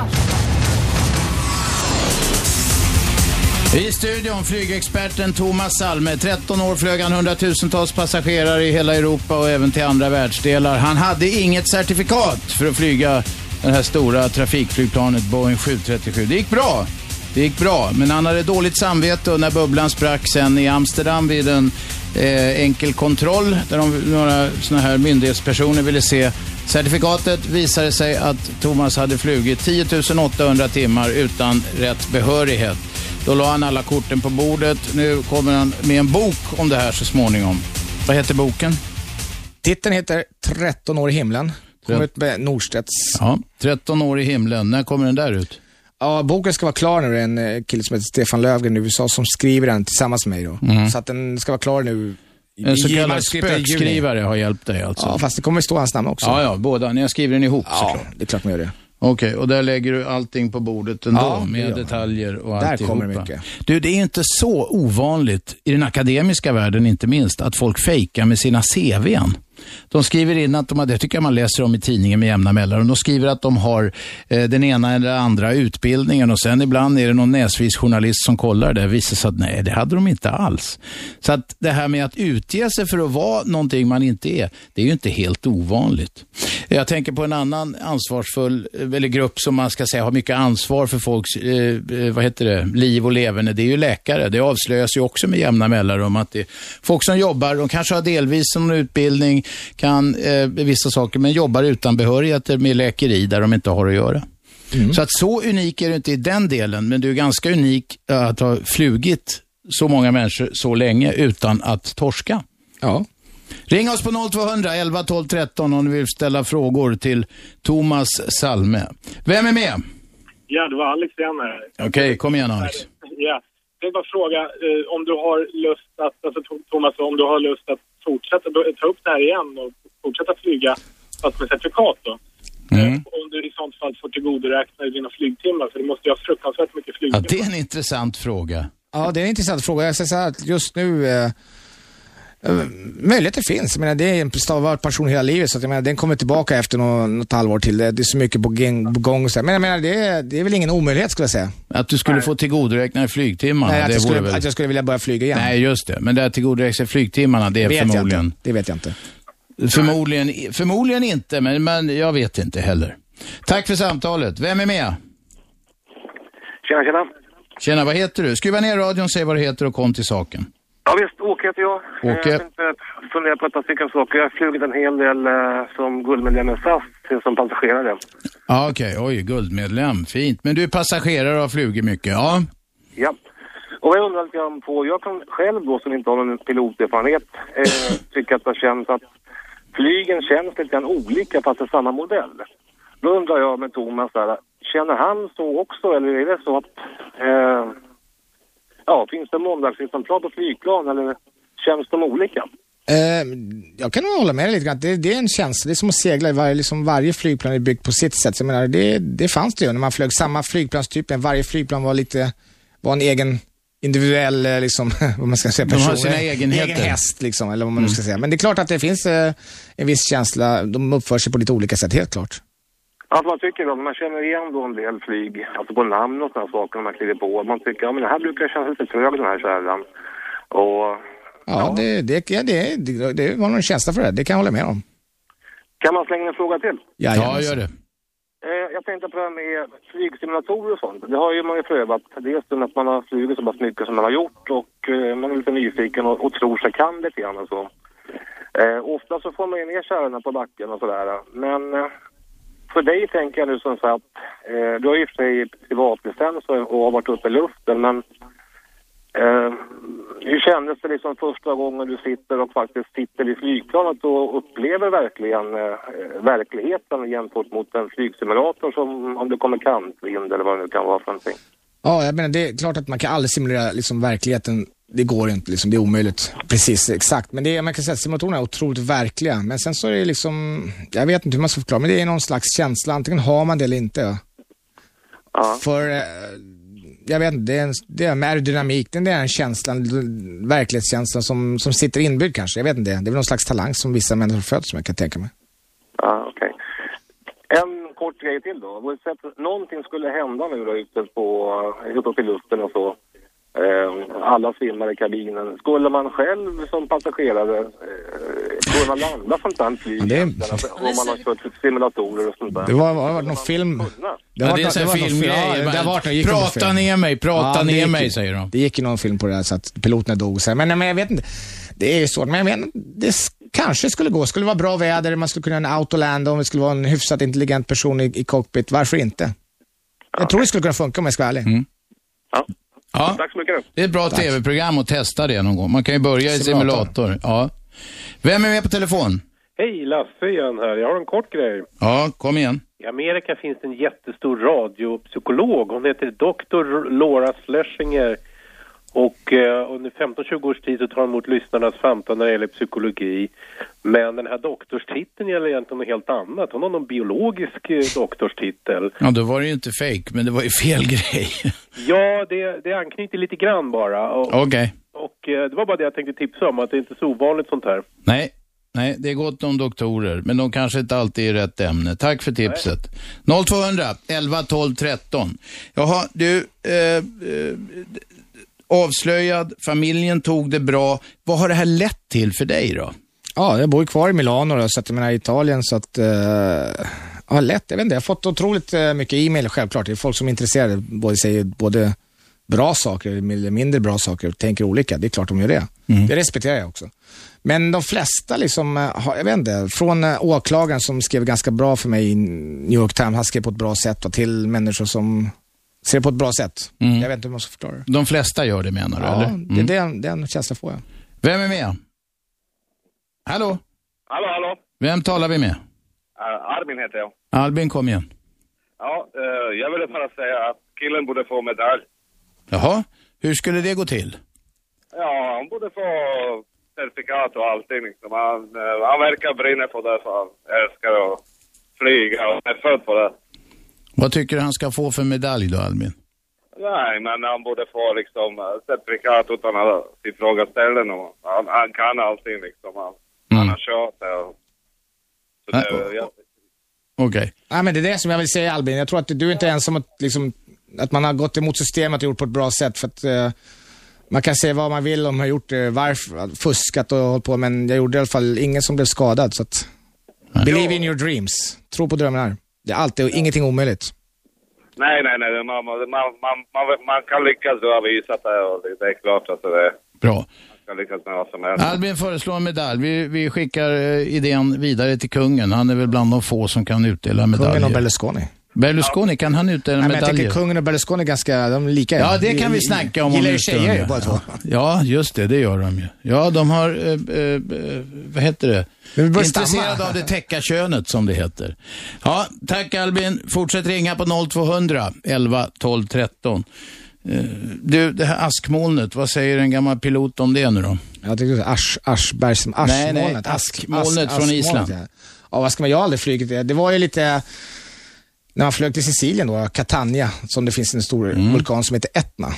Speaker 2: I studion flygexperten Thomas Salme. 13 år flög han hundratusentals passagerare i hela Europa och även till andra världsdelar. Han hade inget certifikat för att flyga det här stora trafikflygplanet Boeing 737. Det gick bra. Det gick bra, men han hade dåligt samvete och när bubblan sprack sen i Amsterdam vid en eh, enkel kontroll där de, några såna här myndighetspersoner ville se certifikatet. Visade sig att Thomas hade flugit 10 800 timmar utan rätt behörighet. Då la han alla korten på bordet. Nu kommer han med en bok om det här så småningom. Vad heter
Speaker 13: Mm.
Speaker 2: boken?
Speaker 3: Titeln heter 13 år i himlen. Kom ut med Norstedts.
Speaker 2: Ja, 13 år i himlen. När kommer den där ut?
Speaker 3: Ja, boken ska vara klar nu. Det är en eh, kille som heter Stefan Lövgren i USA som skriver den tillsammans med mig då.
Speaker 2: Mm.
Speaker 3: Så att den ska vara klar nu. i-
Speaker 2: En så
Speaker 3: i-
Speaker 2: kallad
Speaker 3: manuskriptet i juni.
Speaker 2: spökskrivare har hjälpt dig alltså?
Speaker 3: Ja, fast det kommer stå hans namn också.
Speaker 2: Ja, ja, båda. Ni har skrivit den ihop
Speaker 3: Ja,
Speaker 2: såklart.
Speaker 3: det är klart man gör det.
Speaker 2: Okej, och där lägger du allting på bordet ändå
Speaker 3: Ja, det gör
Speaker 2: med
Speaker 3: man.
Speaker 2: detaljer och
Speaker 3: Där
Speaker 2: alltihopa.
Speaker 3: kommer mycket.
Speaker 2: Du, det är inte så ovanligt, i den akademiska världen inte minst, att folk fejkar med sina CVn. De skriver in att de har, det tycker jag man läser om i tidningen med jämna mellanrum, de skriver att de har eh, den ena eller andra utbildningen och sen ibland är det någon näsvis journalist som kollar det och visar sig att nej, det hade de inte alls. Så att det här med att utge sig för att vara någonting man inte är, det är ju inte helt ovanligt. Jag tänker på en annan ansvarsfull, eh, eller grupp som man ska säga har mycket ansvar för folks, eh, eh, vad heter det, liv och leverne. Det är ju läkare. Det avslöjas ju också med jämna mellanrum att det är folk som jobbar, de kanske har delvis en utbildning, kan eh, vissa saker, men jobbar utan behörigheter med läkeri där de inte har att göra. Så att så unik är du inte i den delen, men du är ganska unik eh, att ha flugit så många människor så länge utan att torska.
Speaker 3: Ja.
Speaker 2: Ring oss på 0200 11 12 13 om du vill ställa frågor till Thomas Salme. Vem är med?
Speaker 14: Ja, det var Alex igen här.
Speaker 2: Okej, kom igen Alex.
Speaker 14: Ja, jag vill bara fråga eh, om du har lust att, alltså Tom- Thomas, om du har lust att fortsätta be- ta upp det här igen och fortsätta flyga fast med certifikat då?
Speaker 2: Mm.
Speaker 14: Om du i sånt fall får tillgodoräkna dig dina flygtimmar för du måste ju ha fruktansvärt mycket
Speaker 2: Ja,
Speaker 14: flygtimmar.
Speaker 2: det är en intressant fråga.
Speaker 3: Ja, det är en intressant fråga. Jag säger så här att just nu, eh, eh, möjligheter finns. Jag menar, det är en stavvart passion hela livet, så att jag menar, den kommer tillbaka efter något, något halvår till. Det det är så mycket på, gäng, på gång. och Så här. Men jag menar, det är, det är väl ingen omöjlighet skulle jag säga.
Speaker 2: Att du skulle få tillgodoräkna dig flygtimmarna,
Speaker 3: Nej, att,
Speaker 2: det
Speaker 3: jag skulle,
Speaker 2: vore väl...
Speaker 3: att jag skulle vilja börja flyga igen.
Speaker 2: Nej, just det. Men det här tillgodoräkna sig flygtimmarna, det är
Speaker 3: vet Jag
Speaker 2: förmodligen...
Speaker 3: inte. Det vet jag inte.
Speaker 2: Förmodligen, förmodligen inte, men, men jag vet inte heller. Tack för samtalet. Vem är med?
Speaker 15: Tjena, tjena.
Speaker 2: Tjena, vad heter du? Skruva ner radion, säg vad du heter och kom till saken.
Speaker 15: Ja visst, Åke heter jag.
Speaker 2: Åke.
Speaker 15: Jag tänkte att fundera på ett par stycken saker. Jag har flugit en hel del eh, som guldmedlem i SAS till- som passagerare.
Speaker 2: Ja, okej. Oj, guldmedlem. Fint. Men du är passagerare och har flugit mycket. Ja.
Speaker 15: Ja. Och vad jag undrar lite grann på, jag kan själv då som inte har någon piloterfarenhet eh, tycka att det känns att flygen känns lite grann olika fast det är samma modell. Då undrar jag med Thomas där, känner han så också eller är det så att eh, ja, finns det måndagsexemplar på flygplan eller känns de olika?
Speaker 3: Eh, jag kan nog hålla med dig lite grann. Det, det är en känsla. Det är som att segla. Varje, liksom varje flygplan är byggt på sitt sätt. Så jag menar, det, det fanns det ju när man flög samma flygplanstyp. men Varje flygplan var lite, var en egen individuell, eh, liksom, vad man ska säga,
Speaker 2: De har
Speaker 3: person.
Speaker 2: sina
Speaker 3: En
Speaker 2: egenheter. Mm.
Speaker 3: Egen häst, liksom, eller vad man nu ska säga. Men det är klart att det finns eh, en viss känsla. De uppför sig på lite olika sätt, helt klart.
Speaker 15: Att man tycker då, man känner igen då en del flyg, alltså på namn och sådana saker när man kliver på. Man tycker, ja men det här brukar kännas lite trög den här kärran. Och
Speaker 3: Ja, Det, det, ja det, det, det var någon känsla för det. Det kan jag hålla med om. alltså.
Speaker 15: kan man slänga en fråga till?
Speaker 3: Jajamensan.
Speaker 15: Eh, jag tänkte på det här med flygsimulatorer och sånt. Det har ju man ju prövat. Dels den att man har flugit så pass mycket som man har gjort och eh, man är lite nyfiken och, och tror sig kan lite grann och så. Eh, ofta så får man ju ner kärrorna på backen och sådär. Men eh, för dig tänker jag nu som så att eh, du har ju i och för sig privatlicens och och har varit uppe i luften men eh, hur kändes det liksom första gången du sitter och faktiskt sitter i flygplanet och upplever verkligen eh, verkligheten jämfört mot en flygsimulator som om det kommer kantvind eller vad det nu kan vara för någonting?
Speaker 3: Ja, jag menar det är klart att man kan aldrig simulera liksom, verkligheten. Det går inte, liksom, det är omöjligt. Precis, exakt. Men det är, man kan säga att simulatorerna är otroligt verkliga. Men sen så är det liksom, jag vet inte hur man ska förklara, men det är någon slags känsla. Antingen har man det eller inte. För, eh, jag vet inte, det är, en, det är med aerodynamik, den där känslan, l- verklighetskänslan som, som sitter inbyggd kanske. Jag vet inte, det är väl någon slags talang som vissa människor föds med, kan jag tänka mig.
Speaker 15: Ja, okej. En kort grej till då. Oavsett, någonting skulle hända nu då ute på, eh, ute uppe i luften och så. Eh, alla svimmar i kabinen. Skulle man själv som passagerare eh, kunna landa sånt där flyg?
Speaker 3: Det är-
Speaker 15: Alltså, Om man har kört simulatorer och sånt där.
Speaker 3: Det var, var, var någon film. Det
Speaker 2: Ja,
Speaker 3: var
Speaker 2: det är
Speaker 3: någon-
Speaker 2: en sån här
Speaker 3: var någon
Speaker 2: filmgrej.
Speaker 3: film. Ja, det har varit någon- gick det
Speaker 2: Prata
Speaker 3: någon film?
Speaker 2: ner mig, prata
Speaker 3: det
Speaker 2: ner
Speaker 3: gick
Speaker 2: mig,
Speaker 3: ju-
Speaker 2: säger de.
Speaker 3: Det gick ju någon film på det där så att piloterna dog. Så här. Men, nej, men jag vet inte. Det är ju svårt, men jag menar, det s- kanske skulle gå. Skulle det vara bra väder, man skulle kunna göra en autoland om det skulle vara en hyfsat intelligent person i, i cockpit. Varför inte? Jag tror det skulle kunna funka om jag ska vara ärlig.
Speaker 2: Mm. Ja.
Speaker 12: Tack så mycket.
Speaker 2: Det är ett bra tv-program att testa det någon gång. Man kan ju börja i
Speaker 16: Simulator.
Speaker 2: simulator. Ja. Vem är med på telefon?
Speaker 16: Hej, Lasse igen här. Jag har en kort grej.
Speaker 2: Ja, kom igen.
Speaker 16: I Amerika finns en jättestor radiopsykolog. Hon heter Dr. Laura Schlesinger. Och eh, under 15-20 års tid så tar hon emot lyssnarnas samtal när det gäller psykologi. Men den här doktorstiteln gäller egentligen något helt annat. Hon har någon biologisk eh, doktorstitel.
Speaker 2: Ja, då var det ju inte fake, men det var ju fel grej.
Speaker 16: Ja, det, det anknyter lite grann bara. Och,
Speaker 2: Okej.
Speaker 16: och eh, det var bara det jag tänkte tipsa om, att det är inte så ovanligt sånt här.
Speaker 2: Nej. Nej, det är gott om doktorer, men de kanske inte alltid är rätt ämne. Tack för tipset. 0200 11 12 13. Jaha, du, eh, eh, d- avslöjad, familjen tog det bra. Vad har det här lett till för dig då?
Speaker 3: Ja, jag bor ju kvar i Milano då, så att jag menar i Italien så att, eh, ja lätt, jag vet inte, jag har fått otroligt eh, mycket e-mail självklart. Det är folk som är intresserade, både säger både bra saker eller mindre bra saker och tänker olika. Det är klart de gör det. Det respekterar jag också. Men de flesta, liksom, eh, har, jag vet inte, från eh, åklagaren som skrev ganska bra för mig i New York Times, han skrev på ett bra sätt, och till människor som ser det på ett bra sätt. Jag vet inte hur man ska förklara det.
Speaker 2: De flesta gör det menar du,
Speaker 3: Ja,
Speaker 2: eller? Mm.
Speaker 3: det, den, den känslan får jag.
Speaker 2: Vem är med? Hallå?
Speaker 17: Hallå, hallå.
Speaker 2: Vem talar vi med?
Speaker 17: Eh, Armin heter jag.
Speaker 2: Albin, kom igen.
Speaker 17: Ja, eh, jag ville bara säga att killen borde få medalj.
Speaker 2: Jaha, hur skulle det gå till?
Speaker 17: Ja, han borde få certifikat och allting. Liksom. Han, eh, han verkar brinna på det, för han älskar att flyga och är född på det.
Speaker 2: Vad tycker du han ska få för medalj då, Albin?
Speaker 17: Nej, men han borde få liksom eh, certifikat utan att ifrågaställa någon. Han, han kan allting liksom. Han, han har kört det. och- Så
Speaker 3: Nej,
Speaker 17: det jag,
Speaker 2: Okej.
Speaker 3: Nej, men det är det som jag vill säga Albin. Jag tror att du är inte ensam att, liksom, att man har gått emot systemet och gjort på ett bra sätt. För att, eh, man kan säga vad man vill om man har gjort det, varför, fuskat och hållit på, men jag gjorde i alla fall ingen som blev skadad. Så att, believe in your dreams. Tro på drömmar. Det är alltid och ingenting omöjligt.
Speaker 17: nej, nej, nej. Man, man, man, man, man kan lyckas. Du har visat det och det, det är klart att det
Speaker 2: Bra.
Speaker 17: Man kan lyckas med vad som helst.
Speaker 2: Albin föreslår en medalj. Vi, vi skickar eh, idén vidare till kungen. Han är väl bland de få som kan utdela medaljer.
Speaker 3: Kungen och Berlusconi.
Speaker 2: Berlusconi, kan han utdela
Speaker 3: Nej, men jag
Speaker 2: medaljer?
Speaker 3: tänker kungen och Berlusconi är ganska, de är lika.
Speaker 2: Ja, det kan vi snacka om. om
Speaker 3: Gillar ju
Speaker 2: en stund,
Speaker 3: tjejer ju
Speaker 2: ja.
Speaker 3: båda två.
Speaker 2: Ja, just det. Det gör de ju. Ja, de har, eh, eh, eh, vad heter det?
Speaker 3: vi börjar
Speaker 2: Intresserade
Speaker 3: stamma.
Speaker 2: av det täcka könet, som det heter. Ja, tack Albin. Fortsätt ringa på 0200 11 12 13. Eh, Du, det här askmolnet, vad säger en gammal pilot om det nu då?
Speaker 3: Jag tyckte asch, aschbergs,
Speaker 2: Nej,
Speaker 3: aschmolnet.
Speaker 2: nej,
Speaker 3: Ask-
Speaker 2: askmolnet från
Speaker 3: askmolnet,
Speaker 2: Island.
Speaker 3: ja. Ja, vad ska man, jag har aldrig flugit det. Det var ju lite, när man flög till Sicilien då, Catania, som det finns en stor
Speaker 2: Mm.
Speaker 3: vulkan som heter Etna,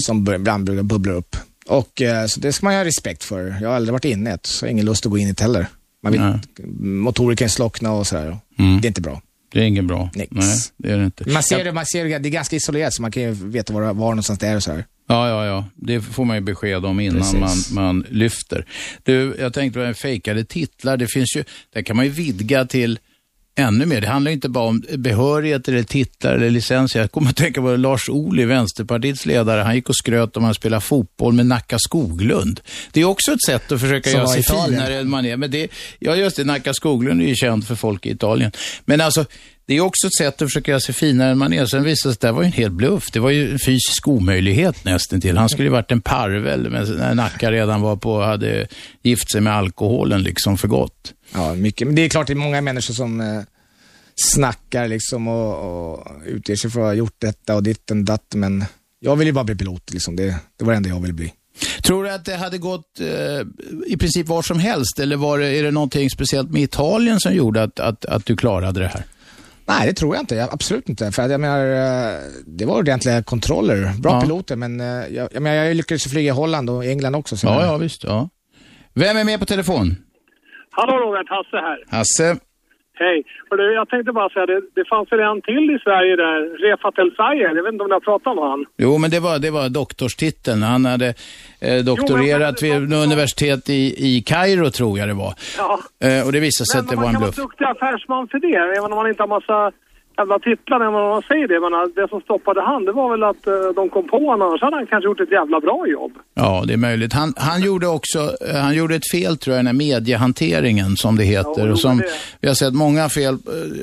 Speaker 3: som bör- ibland brukar bubbla upp. Och, eh, så det ska man ju ha respekt för. Jag har aldrig varit inne i ett, så jag har ingen lust att gå in i det heller. Man vill, motorer kan slockna och sådär.
Speaker 2: Mm.
Speaker 3: Det är inte bra.
Speaker 2: Det är inget bra.
Speaker 3: Nix.
Speaker 2: Nej, det är det inte.
Speaker 3: Man ser,
Speaker 2: Jag-
Speaker 3: det, man ser det, det är ganska isolerat, så man kan ju veta var, var någonstans det är och sådär.
Speaker 2: Ja, ja, ja. Det får man ju besked om innan man,
Speaker 3: Precis.
Speaker 2: man lyfter. Du, jag tänkte på det här med fejkade titlar. Det finns ju, där kan man ju vidga till ännu mer. Det handlar ju inte bara om behörighet eller titlar eller licens. Jag kommer att tänka på Lars Ohly, Vänsterpartiets ledare. Han gick och skröt om att han spelade fotboll med Nacka Skoglund. Det är också ett sätt att försöka
Speaker 3: Som
Speaker 2: göra
Speaker 3: var i
Speaker 2: sig
Speaker 3: Italien.
Speaker 2: finare än man är. Men det, ja, just det. Nacka Skoglund är ju känd för folk i Italien. Men alltså, det är också ett sätt att försöka göra sig finare än man är. Sen visade det sig att det var ju en hel bluff. Det var ju en fysisk omöjlighet nästan till. Han skulle ju varit en parvel men när Nacka redan var på, hade gift sig med alkoholen liksom för gott.
Speaker 3: Ja, mycket. Men det är klart det är många människor som eh, snackar liksom och, och utger sig för att ha gjort detta och ditten och datt, men jag vill ju bara bli pilot liksom. Det, det var det enda jag ville bli.
Speaker 2: Tror du att det hade gått eh, i princip var som helst eller var det, är det någonting speciellt med Italien som gjorde att, att, att du klarade det här?
Speaker 3: Nej, det tror jag inte. Jag, absolut inte. För att jag menar, eh, det var ordentliga kontroller. Bra
Speaker 2: Ja.
Speaker 3: piloter, men eh, jag, jag, menar, jag lyckades ju flyga i Holland och England också. så jag
Speaker 2: Ja,
Speaker 3: menar-
Speaker 2: ja visst. Ja. Vem är med på telefon?
Speaker 14: Hallå Robert, Hasse här.
Speaker 2: Hasse.
Speaker 14: Hej. Och du, jag tänkte bara säga det, det fanns väl en till i Sverige där, Refat El Sayed. Jag vet inte om ni har pratat om han.
Speaker 2: Jo, men det var, det var doktorstiteln. Han hade eh, doktorerat vid universitet i, i Kairo, tror jag det var.
Speaker 14: Ja.
Speaker 2: Eh, och det visade sig att det var
Speaker 14: Man
Speaker 2: en
Speaker 14: kan vara
Speaker 2: bluff.
Speaker 14: duktig affärsman för det, även om man inte har massa
Speaker 18: jävla titlar när man säger det. Men eh, det som stoppade han, det var väl att eh, de kom på honom. Annars hade han kanske gjort ett jävla bra jobb.
Speaker 2: Ja, det är möjligt. Han, han gjorde också, eh, han gjorde ett fel tror jag, den här mediehanteringen som det heter. och som vi har sett många fel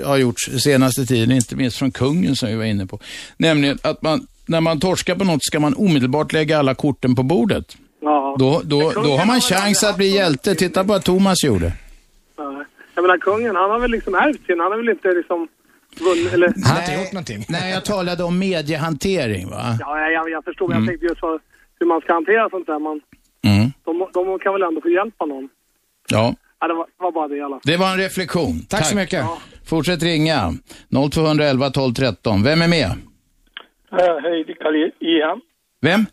Speaker 2: eh, har gjorts senaste tiden, inte minst från kungen som vi var inne på. Nämligen att man, när man torskar på något ska man omedelbart lägga alla korten på bordet.
Speaker 18: Ja.
Speaker 2: Då, då, då har man chans att bli hjälte. Titta på vad Thomas gjorde.
Speaker 18: Nej. Jag menar kungen, han har väl liksom ärvt sin. Han har väl inte liksom vunnit eller...
Speaker 2: Han har inte gjort någonting. Nej, jag talade om mediehantering va?
Speaker 18: Ja, jag, jag förstod.
Speaker 2: Mm.
Speaker 18: Jag tänkte just vad, hur man ska hantera sånt där. Man,
Speaker 2: Mm.
Speaker 18: de, de kan väl ändå få hjälpa någon.
Speaker 2: Ja.
Speaker 18: Ja, det var, var bara det i alla fall.
Speaker 2: Det var en reflektion.
Speaker 18: Tack så mycket. Ja.
Speaker 2: Fortsätt ringa. 0211 12 13. Vem är med?
Speaker 19: Ja, hej, det är Kalle Iham.
Speaker 2: Vem?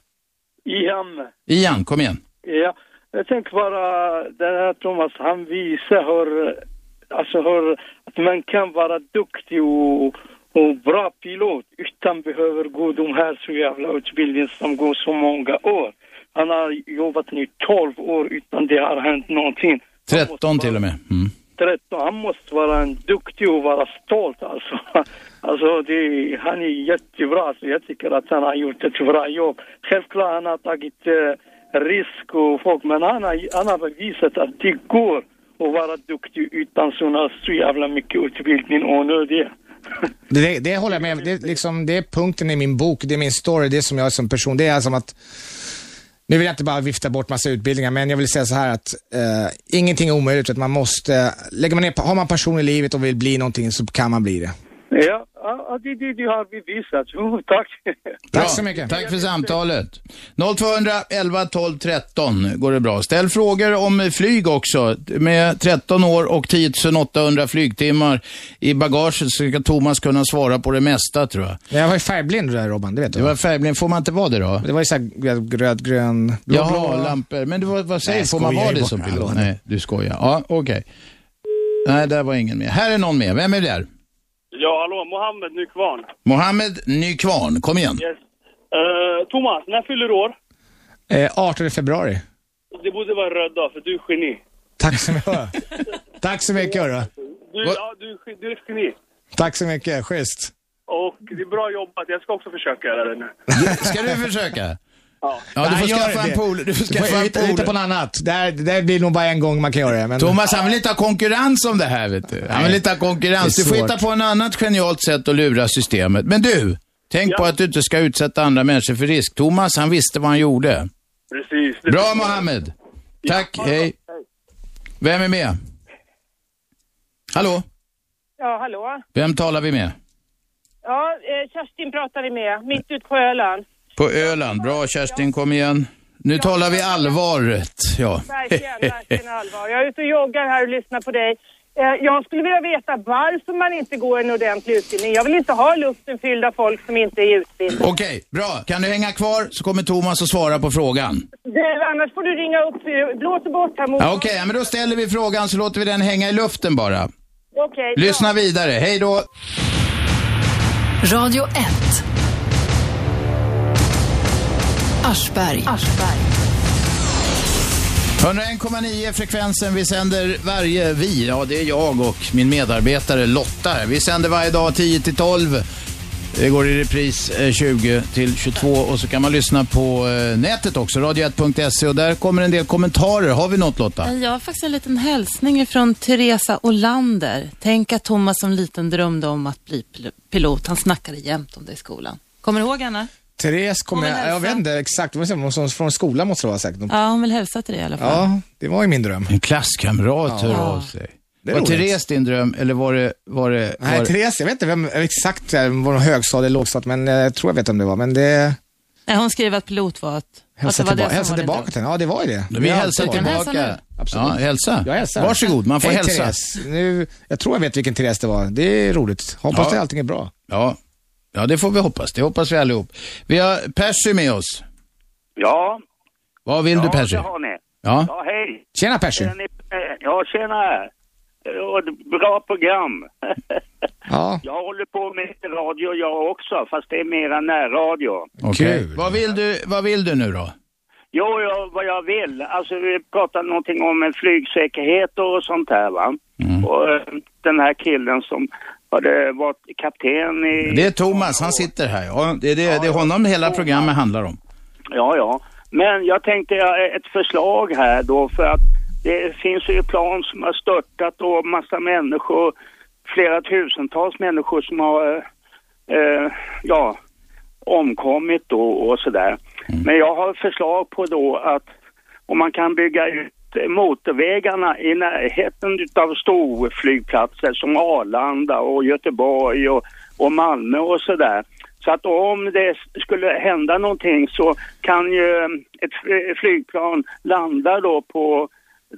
Speaker 19: Iham,
Speaker 2: Ian, kom igen.
Speaker 19: ja. Jag tänker bara, den här Thomas, han visar hur, alltså hur, att man kan vara duktig och, och bra pilot utan behöver gå de här så jävla utbildningen som går så många år. Han har jobbat nu 12 år utan det har hänt någonting.
Speaker 2: 13 till och med. Mm.
Speaker 19: 13, han måste vara en duktig och vara stolt alltså. Alltså det, han är jättebra, så jag tycker att han har gjort ett bra jobb. Självklart han har tagit eh, risk och folk, men han har, han har bevisat att det går att vara duktig utan såna så jävla mycket utbildning och onödiga.
Speaker 3: Det, det håller jag med om. det, liksom, det är punkten i min bok, det är min story, det är som jag är som person. Det är som att, nu vill jag inte bara vifta bort massa utbildningar, men jag vill säga så här att eh, ingenting är omöjligt, utan man måste, lägger man ner, har man passion i livet och vill bli någonting så kan man bli det.
Speaker 19: Ja, ja, det, det, det har bevisat. Jo, tack.
Speaker 2: Bra. Tack för samtalet. 0211 12 13 går det bra. Ställ frågor om flyg också. Med 13 år och 10 800 flygtimmar i bagaget så ska Thomas kunna svara på det mesta tror jag.
Speaker 3: Men jag var ju färgblind där Robban, det vet du.
Speaker 2: Du var färgblind, får man inte vara det då?
Speaker 3: Det var ju såhär gröd, gröd, grön, blå,
Speaker 2: Jaha,
Speaker 3: blå.
Speaker 2: lampor. Men du, vad, vad säger
Speaker 3: Nej,
Speaker 2: du? Får man
Speaker 3: skojar
Speaker 2: vara
Speaker 3: ju
Speaker 2: det
Speaker 3: bara.
Speaker 2: som pilot?
Speaker 3: Hallå.
Speaker 2: Nej, du skojar. Ja, okej. Nej, där var ingen med. Här är någon med. Vem är det där?
Speaker 20: Ja, hallå, Mohammed Nykvarn.
Speaker 2: Mohammed Nykvarn, kom igen.
Speaker 20: Yes. Eh, Thomas, när fyller år?
Speaker 3: Eh, 18 februari.
Speaker 20: Det borde vara en röd dag, för du är geni.
Speaker 3: Tack så mycket. Tack så mycket hörru.
Speaker 20: Du, ja, du, är ge- du är ett geni.
Speaker 3: Tack så mycket, schysst.
Speaker 20: Och det är bra jobbat. Jag ska också försöka göra det nu.
Speaker 2: Ska du försöka?
Speaker 20: Ja.
Speaker 2: Ja, du
Speaker 3: Nej,
Speaker 2: får
Speaker 3: gör
Speaker 2: skaffa en
Speaker 3: det.
Speaker 2: pool. Du får
Speaker 3: Du får
Speaker 2: skaffa en
Speaker 3: hitta- hitta
Speaker 2: pool.
Speaker 3: på något annat. Det, här, det här blir nog bara en gång man kan göra det. Men...
Speaker 2: Thomas, han vill inte ha konkurrens om det här, vet du. Han vill inte ha konkurrens. Du
Speaker 3: Det är
Speaker 2: får
Speaker 3: svårt.
Speaker 2: hitta på något annat genialt sätt att lura systemet. Men du, tänk på att du inte ska utsätta andra människor för risk. Thomas, han visste vad han gjorde.
Speaker 20: Precis.
Speaker 2: Bra, Mohammed. Tack, hej. Vem är med? Hallå,
Speaker 21: Ja, hallå.
Speaker 2: vem talar vi med?
Speaker 21: Ja, eh, Kerstin pratar vi med, mitt ute på Öland.
Speaker 2: På Öland. Bra, Kerstin, kom igen. Nu talar vi allvaret. Ja.
Speaker 21: Verkligen, verkligen allvar. Jag är ute och joggar här och lyssnar på dig. Eh, jag skulle vilja veta varför man inte går en ordentlig utbildning. Jag vill inte ha luften fylld av folk som inte är utbildade.
Speaker 2: Okej, bra. Kan du hänga kvar så kommer Thomas att svara på frågan.
Speaker 21: Det, annars får du ringa upp, eh, blås bort här mot...
Speaker 2: Ja, Okej, ja, men då ställer vi frågan så låter vi den hänga i luften bara.
Speaker 21: Okej, bra.
Speaker 2: Lyssna vidare. Hej då!
Speaker 1: Radio 1. Aschberg.
Speaker 2: 101,9 frekvensen. Vi sänder varje, vi, ja det är jag och min medarbetare Lotta. här. Vi sänder varje dag 10 till 12. Det går i repris eh, 20 till 22 och så kan man lyssna på eh, nätet också, radio1.se och där kommer en del kommentarer. Har vi något Lotta?
Speaker 22: Eh, Jag har faktiskt en liten hälsning från Teresa Olander. Tänk att Thomas som liten drömde om att bli pil- pilot. Han snackade jämt om det i skolan. Kommer du ihåg henne?
Speaker 3: Therese kommer
Speaker 22: Hon vill
Speaker 3: jag, jag vet inte exakt, vad säger man, som- från skolan måste det vara säkert.
Speaker 22: Ja, hon vill hälsa till dig i alla fall.
Speaker 3: Ja, det var ju min dröm.
Speaker 2: En klasskamrat
Speaker 3: Ja.
Speaker 2: hör av sig.
Speaker 3: Det är
Speaker 2: var
Speaker 3: roligt.
Speaker 2: Therese din dröm eller var det... Var det var...
Speaker 3: Nej, Therese, jag vet inte vem, exakt vem- var det högstadie eller lågstadiet, men eh, jag tror jag vet vem det var. Men det,
Speaker 22: Nej, Eh, hon skrev att pilot var att...
Speaker 3: hälsa
Speaker 22: att Alltså, det var det
Speaker 3: tillbaka, hälsa
Speaker 22: som var din
Speaker 3: tillbaka
Speaker 22: dröm.
Speaker 3: till henne. Ja, det var ju det.
Speaker 2: Vi
Speaker 3: Det har
Speaker 2: hälsar
Speaker 3: alltid varit.
Speaker 2: tillbaka. Hälsa nu. Ja, hälsa.
Speaker 3: Jag hälsar.
Speaker 2: Varsågod, man får
Speaker 3: Hej,
Speaker 2: hälsa.
Speaker 3: Therese. Nu, jag tror jag vet vilken Therese det var. Det är roligt. Hoppas
Speaker 2: Ja.
Speaker 3: att allting är bra.
Speaker 2: Ja. ja, det får vi hoppas. Det hoppas vi allihop. Vi har Percy med oss.
Speaker 23: Ja.
Speaker 2: Vad vill
Speaker 23: ja,
Speaker 2: du Percy?
Speaker 23: det har ni.
Speaker 2: Ja.
Speaker 23: ja hej.
Speaker 3: Tjena Percy.
Speaker 23: Är ni- eh, Ja, tjena. Och ett bra program.
Speaker 3: Ja.
Speaker 23: Jag håller på med radio jag också, fast det är mera närradio.
Speaker 2: Okej. Vad, vill du, vad vill du nu då?
Speaker 23: Jo, jag, vad jag vill. Alltså, vi pratade
Speaker 2: Mm.
Speaker 23: någonting om eh, flygsäkerhet och sånt här, va? Och eh, den här killen som har det varit kapten i...
Speaker 2: Det är Thomas, han sitter här. Ja, det, det, det är honom hela programmet handlar om.
Speaker 23: Ja, ja. Men jag tänkte eh, ett förslag här då för att det finns ju plan som har störtat och massa människor, flera tusentals människor som har, eh, eh, ja, omkommit då och sådär. Men jag har förslag på då att om man kan bygga ut motorvägarna i närheten av storflygplatser som Arlanda och Göteborg och, och Malmö och sådär. Så att om det skulle hända någonting så kan ju eh, ett fly- flygplan landa då på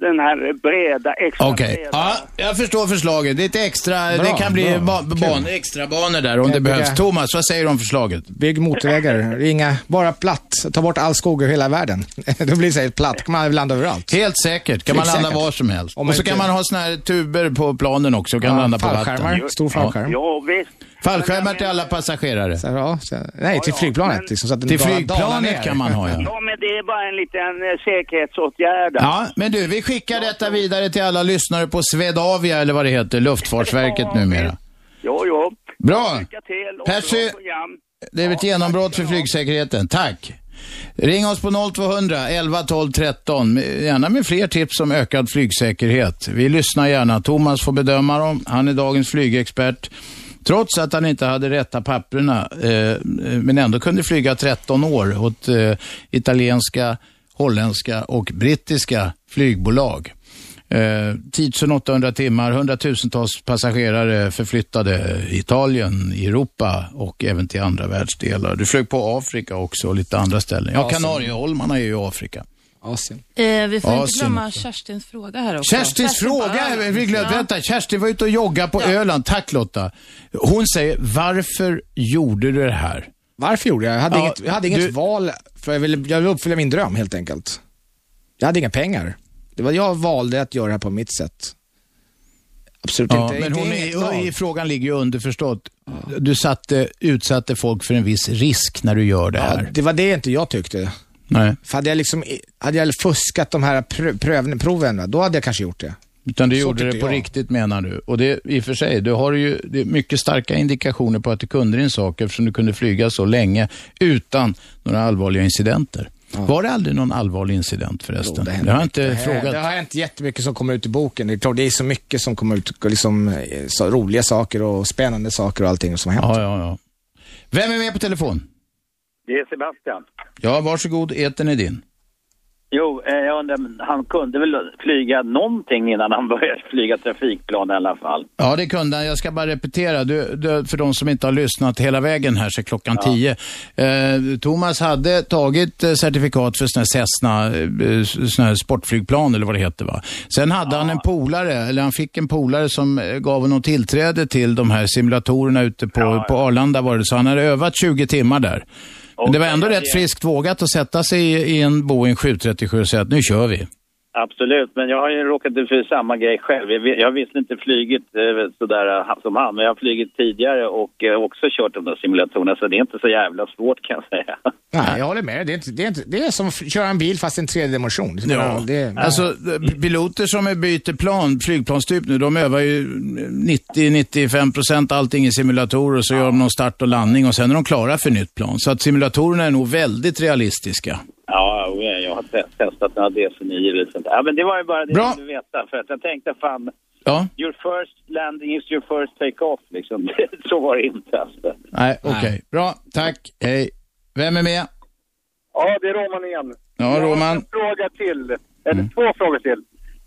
Speaker 23: den här breda, extra
Speaker 2: Okej,
Speaker 23: breda.
Speaker 2: ja, jag förstår förslaget. Det är ett extra,
Speaker 23: Bra,
Speaker 2: det kan bli
Speaker 23: bra.
Speaker 2: ba, ban,
Speaker 3: Kul. Eh,
Speaker 2: extra banor där om
Speaker 3: Jag
Speaker 2: det
Speaker 3: bygger-
Speaker 2: behövs. Thomas, vad säger du om förslaget?
Speaker 3: Bygg motorvägar, ringa, bara platt. Ta bort all skog över hela världen. Då blir det säkert platt, kan man landa överallt.
Speaker 2: Helt säkert, kan man
Speaker 3: Helt
Speaker 2: landa
Speaker 3: säkert.
Speaker 2: var som helst.
Speaker 3: Om
Speaker 2: Och så
Speaker 3: inte-
Speaker 2: kan man ha såna här tuber på planen också, kan
Speaker 3: Ja,
Speaker 2: landa på
Speaker 3: fallskärmar,
Speaker 2: vatten.
Speaker 3: stor fallskärm.
Speaker 23: Ja, visst.
Speaker 2: Fallskärmar till alla passagerare.
Speaker 3: Ja, så, nej, till flygplanet. liksom, så att den
Speaker 2: Till
Speaker 3: bara dalar
Speaker 2: flygplanet
Speaker 3: ner.
Speaker 2: kan man ha ja.
Speaker 23: Ja, men det är bara en liten eh, säkerhetsåtgärd.
Speaker 2: Ja, men du, vi skickar detta vidare till alla lyssnare på Swedavia, eller vad det heter, Luftfartsverket numera.
Speaker 23: Jo, jo.
Speaker 2: Bra!
Speaker 23: Lycka till och
Speaker 2: Percy,
Speaker 23: bra program.
Speaker 2: det är ett genombrott för flygsäkerheten. Tack! Ring oss på 0200 11 12 13, gärna med fler tips om ökad flygsäkerhet. Vi lyssnar gärna. Thomas får bedöma dem. Han är dagens flygexpert. Trots att han inte hade rätta papperna, eh, men ändå kunde flyga 13 år åt eh, italienska, holländska och brittiska flygbolag. Eh, Tidsön 800 timmar, hundratusentals passagerare förflyttade i Italien, i Europa och även till andra världsdelar. Du flög på Afrika också och lite andra ställen. Ja,
Speaker 3: Asien.
Speaker 2: Kanarieholmarna är ju i Afrika.
Speaker 3: Asien.
Speaker 22: Eh, vi får
Speaker 2: Ja,
Speaker 22: inte
Speaker 2: synd
Speaker 22: glömma Kerstins fråga här också.
Speaker 2: Kerstins fråga,
Speaker 22: bara-
Speaker 2: vi glömde,
Speaker 22: Ja.
Speaker 2: vänta, Kerstin var ute och jogga på Öland. Tack Lotta. Hon säger, varför gjorde du det här?
Speaker 3: Varför gjorde jag? Jag hade
Speaker 2: Ja,
Speaker 3: inget, jag hade inget
Speaker 2: du-
Speaker 3: val, för jag ville, jag ville uppfylla min dröm helt enkelt. Jag hade inga pengar. Det var, jag valde att göra det här på mitt sätt. Absolut
Speaker 2: Ja,
Speaker 3: inte.
Speaker 2: men
Speaker 3: inte
Speaker 2: hon
Speaker 3: inget
Speaker 2: är,
Speaker 3: val.
Speaker 2: i frågan ligger ju underförstått. Du satte, utsatte folk för en viss risk när du gör det här.
Speaker 3: det var det inte jag tyckte.
Speaker 2: Nej.
Speaker 3: För hade jag, liksom, hade jag fuskat de här prö- prövn- proven, va, då hade jag kanske gjort det.
Speaker 2: Utan du
Speaker 3: Så
Speaker 2: gjorde det
Speaker 3: tyckte
Speaker 2: på
Speaker 3: jag.
Speaker 2: riktigt menar du. Och det i och för sig, du har ju det är mycket starka indikationer på att du kunde din sak eftersom du kunde flyga så länge utan några allvarliga incidenter. Var det aldrig någon allvarlig incident förresten? det, har jag inte
Speaker 3: Det här-
Speaker 2: frågat.
Speaker 3: Det har hänt jättemycket som kommer ut i boken. Det är klart, det är så mycket som kommer ut, och liksom, eh, så, roliga saker och spännande saker och allting som har hänt.
Speaker 2: Ja, ja, ja. Vem är med på telefon?
Speaker 5: Det är Sebastian.
Speaker 2: Ja, varsågod, etern är din.
Speaker 5: Jo, eh, jag undrar, men han kunde väl flyga någonting innan han började flyga trafikplan i alla fall?
Speaker 2: Ja, det kunde han. Jag ska bara repetera. Du, du, för de som inte har lyssnat hela vägen här så är klockan tio. Eh, Thomas hade tagit eh, certifikat för sån här Cessna, eh, sån här sportflygplan eller vad det heter va. Sen hade han en polare, eller han fick en polare som eh, gav honom tillträde till de här simulatorerna ute på, på Arlanda var det. Så han hade övat 20 timmar där. Men det var ändå rätt friskt vågat att sätta sig i, i en Boeing 737 och säga att nu kör vi.
Speaker 5: Absolut, men jag har ju råkat ut för samma grej själv. Jag vi- jag har visst inte flugit eh, sådär eh, som han, men jag har flugit tidigare och eh, också kört de där simulatorerna, så det är inte så jävla svårt kan jag säga.
Speaker 3: Nej, jag håller med dig. Det är, inte, det, är inte, det är som att köra en bil fast en tredjedimension.
Speaker 2: Ja.
Speaker 3: Det,
Speaker 2: Alltså, d- piloter som är byter plan, flygplanstyp nu, de övar ju 90-95% allting i simulatorer och så gör de någon start och landning och sen är de klara för nytt plan. Så att simulatorerna är nog väldigt realistiska.
Speaker 5: Ja, jo, jag har te- testat några DC-9 eller sånt. Ja, men det var ju bara det
Speaker 2: Bra.
Speaker 5: jag ville veta, för att jag tänkte fan,
Speaker 2: Ja,
Speaker 5: your first landing is your first take-off liksom. så var det inte alltså.
Speaker 2: nej, okej. Bra, tack, hej. Vem är med?
Speaker 6: Ja, det är Roman igen.
Speaker 2: Ja, Roman.
Speaker 6: Jag har en fråga till. Eller
Speaker 3: Mm.
Speaker 6: två frågor till.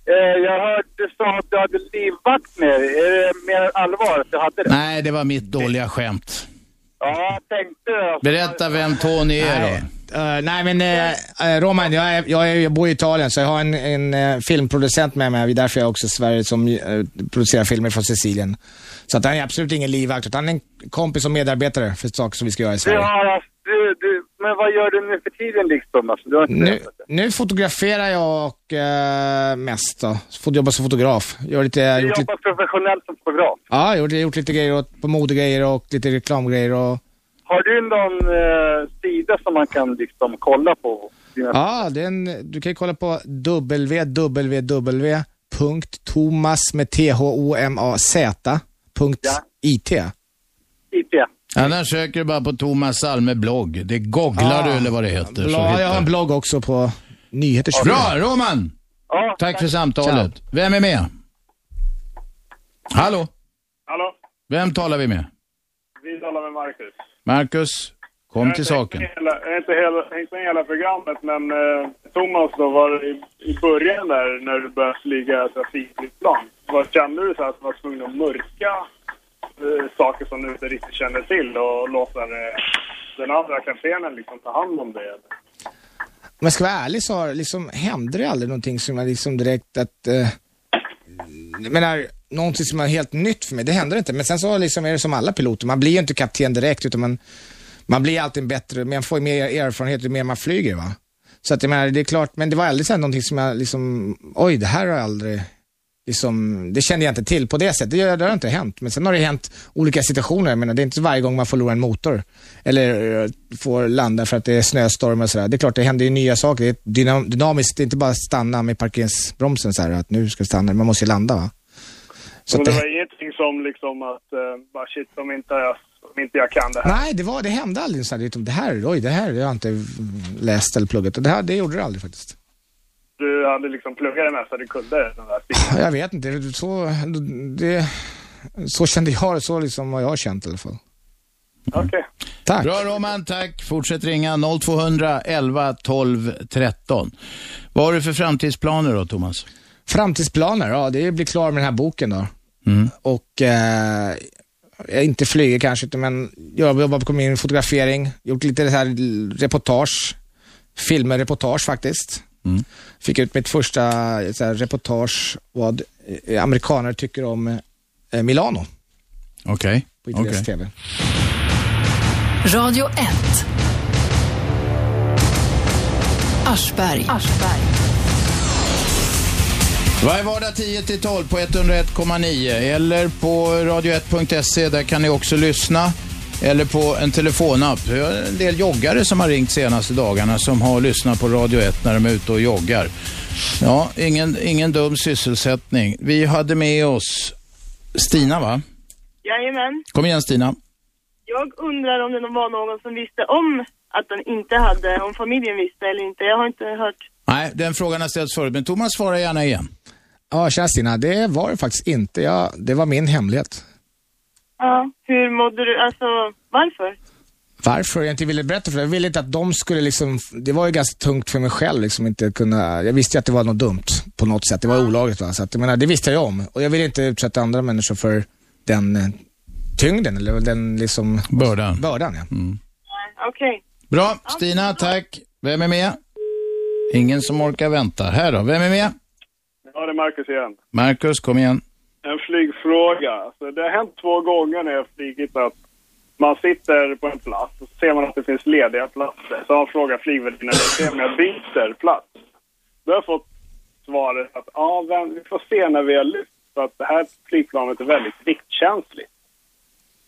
Speaker 6: Eh, jag hörde du sa att du hade livvakt med dig. Är det mer allvar att du hade det?
Speaker 2: Nej, det var mitt dåliga skämt.
Speaker 6: Ja, jag
Speaker 24: Eh,
Speaker 6: tänkte det.
Speaker 2: Berätta vem Tony är då.
Speaker 3: Nej. Eh, nej men eh, eh, Roman, jag, är, jag, är, jag bor i Italien så jag har en, en eh, filmproducent med mig. Det är därför jag också är i Sverige som eh, producerar filmer från Sicilien. Så att han är absolut ingen livvakt utan han är en kompis och medarbetare för saker som vi ska göra i
Speaker 6: Du
Speaker 3: Sverige.
Speaker 6: har haft, du, du, men vad gör du nu för tiden liksom? Alltså, du har inte
Speaker 3: Nu, nu fotograferar jag och, eh, mest då. Fot- Jobbar som fotograf. Gör lite,
Speaker 6: du
Speaker 3: gjort lite,
Speaker 6: jobbar professionellt som fotograf.
Speaker 3: ja, gjort, gjort lite grejer åt, på modegrejer och lite reklamgrejer och
Speaker 6: Har du någon eh, sida som man kan liksom kolla på? Dina-
Speaker 3: Ja, det är en, du kan ju kolla på www.thomas med t h o m a z IT?
Speaker 18: IT.
Speaker 2: Annars söker du bara på Thomas Salme blogg. Det googlar
Speaker 6: Ah.
Speaker 2: du eller vad det heter. så
Speaker 3: Bla, jag
Speaker 2: hittar
Speaker 3: har en blogg också på nyheter.
Speaker 2: du. Bra, Roman! tack, för samtalet. Vem är med? Hallå?
Speaker 11: Hallå?
Speaker 2: Vem talar vi med?
Speaker 11: Vi talar med Marcus.
Speaker 2: Marcus, kom till saken.
Speaker 11: Hela, jag har inte hela, hängt med hela programmet, men eh, Thomas då var det i, i början där när du började flyga trafikflygplan. Vad kände du så här att du var tvungen att mörka eh, saker som du inte riktigt kände till och låta eh, den andra kaptenen liksom ta hand om det? eller?
Speaker 3: Om jag ska vara ärlig så har, liksom, hände det aldrig någonting som jag liksom direkt att... Eh, jag menar, någonting som är helt nytt för mig, det händer inte. Men sen så liksom är det som alla piloter, man blir ju inte kapten direkt utan man, man blir alltid bättre, man får ju mer erfarenhet ju mer man flyger va. Så att jag menar, det är klart, men det var aldrig så här någonting som jag liksom, oj det här har jag aldrig, liksom, det kände jag inte till på det sättet. Det, det har inte hänt, men sen har det hänt olika situationer. Jag menar, det är inte varje gång man förlorar en motor eller eh, får landa för att det är snöstorm och sådär. Det är klart, det händer ju nya saker. Det är dynam- dynamiskt, det är inte bara stanna med parkeringsbromsen så här, att nu ska vi stanna, man måste ju landa va. Så
Speaker 11: Men
Speaker 3: att
Speaker 11: det
Speaker 3: det,
Speaker 11: var ingenting som liksom att, eh, bara shit om inte, jag, om inte jag kan det här.
Speaker 3: nej, det, var, det hände aldrig så här, det, det här, oj, det här har jag inte mm, läst eller pluggat. Och Det, här, det gjorde det aldrig faktiskt.
Speaker 11: Du hade liksom pluggat det mesta du kunde. Den där tiden.
Speaker 3: Jag vet inte, så, det, så kände jag, så liksom vad jag har känt i alla fall. Tack.
Speaker 2: Bra Roman, tack. Fortsätt ringa 0200 11 12 13. Vad har du för framtidsplaner då, Thomas?
Speaker 3: Framtidsplaner, ja det är att bli klar med den här boken då.
Speaker 2: Mm,
Speaker 3: Och eh, jag inte flyger kanske inte, men jag jobbar på min fotografering, gjort lite så här reportage, filmer, reportage faktiskt. Fick ut mitt första så här, reportage vad eh, amerikaner tycker om eh, Milano
Speaker 2: Okej.
Speaker 3: på italiensk
Speaker 2: okej.
Speaker 3: TV.
Speaker 1: Radio 1. Aschberg.
Speaker 2: Varje vardag 10-12 på 101,9 eller på radio1.se. Där kan ni också lyssna. Eller på en telefonapp. Vi har en del joggare som har ringt senaste dagarna som har lyssnat på Radio 1 när de är ute och joggar. Ja, ingen, ingen dum sysselsättning. Vi hade med oss Stina, va?
Speaker 7: Jajamän.
Speaker 2: Kom igen Stina.
Speaker 7: Jag undrar om det var någon som visste om att den inte hade, om familjen visste eller inte. Jag har inte hört.
Speaker 2: Nej, den frågan har ställts förut, men Thomas svarar gärna igen.
Speaker 3: Ja, tjena Stina, det var det faktiskt inte. Jag, det var min hemlighet.
Speaker 7: Ja. Hur mådde du, alltså varför?
Speaker 3: Varför jag inte ville berätta för dig? Jag ville inte att de skulle liksom, det var ju ganska tungt för mig själv liksom inte kunna, jag visste ju att det var något dumt på något sätt. Det var olagligt va, så att, jag menar, det visste jag ju om. Och jag ville inte utsätta andra människor för den eh, tyngden eller den liksom...
Speaker 2: Bördan. Mm.
Speaker 3: Bördan ja.
Speaker 7: Okej.
Speaker 2: Bra, Stina, tack. Vem är med? Ingen som orkar vänta. Här då, vem är med?
Speaker 11: Ja, det är Marcus igen.
Speaker 2: Marcus, kom igen.
Speaker 11: En flygfråga. Alltså, det har hänt två gånger när jag har flygit att man sitter på en plats och så ser man att det finns lediga platser. Så han frågar flygvärdinnan "Se om jag byter plats. Då har jag fått svaret att ja, vem, vi får se när vi har lyft för att det här flygplanet är väldigt viktkänsligt.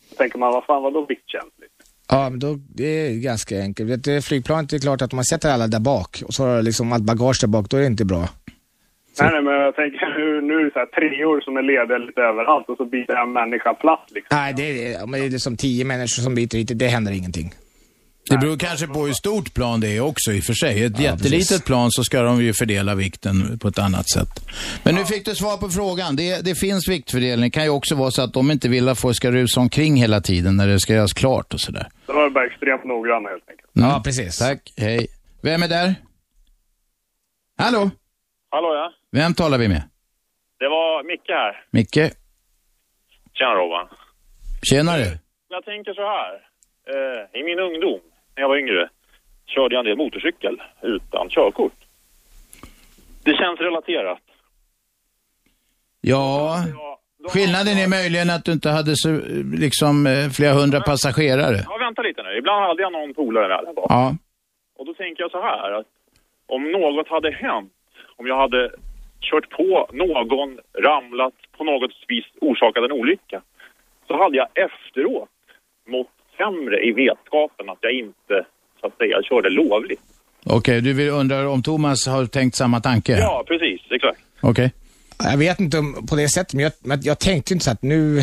Speaker 11: Då tänker man, vad fan vadå viktkänsligt?
Speaker 3: Ja, men då, det är ganska enkelt. Vet du, Flygplanet, det är klart att om man sätter alla där bak och så har du liksom allt bagage där bak, då är det inte bra.
Speaker 11: Nej, nej, men jag tänker nu, nu är det så här treor som är lediga lite överallt och så byter en människa plats liksom.
Speaker 3: Nej, det är, om det är liksom tio människor som byter hit, det händer ingenting.
Speaker 2: Det beror kanske på hur stort plan det är också i och för sig. Ett jättelitet plan så ska de ju fördela vikten på ett annat sätt. Men nu fick du svar på frågan. Det, det finns viktfördelning. Det kan ju också vara så att de inte vill att folk ska rusa omkring hela tiden när det ska göras klart och sådär.
Speaker 11: Så de är bara extremt noggranna helt enkelt.
Speaker 2: Ja, precis. Tack, hej. Vem är där? Hallå?
Speaker 25: Hallå ja,
Speaker 2: Vem talar vi med?
Speaker 25: det var Micke här.
Speaker 2: Micke?
Speaker 25: Tjena Robban.
Speaker 2: Tjenare.
Speaker 25: Jag tänker så här. Eh, I min ungdom, när jag var yngre, körde jag en del motorcykel utan körkort. Det känns relaterat.
Speaker 2: Ja, skillnaden är möjligen att du inte hade så, eh, liksom eh, flera hundra passagerare.
Speaker 25: Ja, vänta lite nu. Ibland hade jag någon polare med.
Speaker 2: Ja.
Speaker 25: Och då tänker jag så här att om något hade hänt, om jag hade kört på någon, ramlat, på något vis orsakat en olycka, så hade jag efteråt mått sämre i vetskapen att jag inte, så att säga, körde lovligt.
Speaker 2: Okej, du vill undra om Thomas har tänkt samma tanke?
Speaker 25: Ja, precis, exakt.
Speaker 2: Okej.
Speaker 3: Jag vet inte om, på det sättet, men jag, men jag tänkte inte så att nu,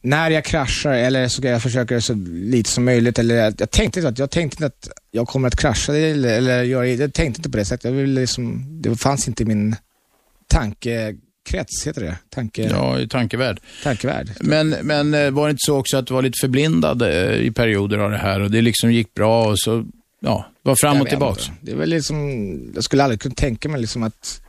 Speaker 3: när jag kraschar eller så ska jag försöka så lite som möjligt. Eller jag, jag tänkte inte att jag tänkte inte att jag kommer att krascha eller, eller göra, jag tänkte inte på det sättet. Jag ville liksom, det fanns inte i min tankekrets, heter det? Tanke...
Speaker 2: Ja, i tankevärld.
Speaker 3: Tankevärld.
Speaker 2: Men, men eh, var det inte så också att du var lite förblindad eh, i perioder av det här och det liksom gick bra och så, ja, det var fram
Speaker 3: Jag
Speaker 2: och
Speaker 3: vet
Speaker 2: tillbaks?
Speaker 3: inte. Det är väl liksom, jag skulle aldrig kunna tänka mig liksom att,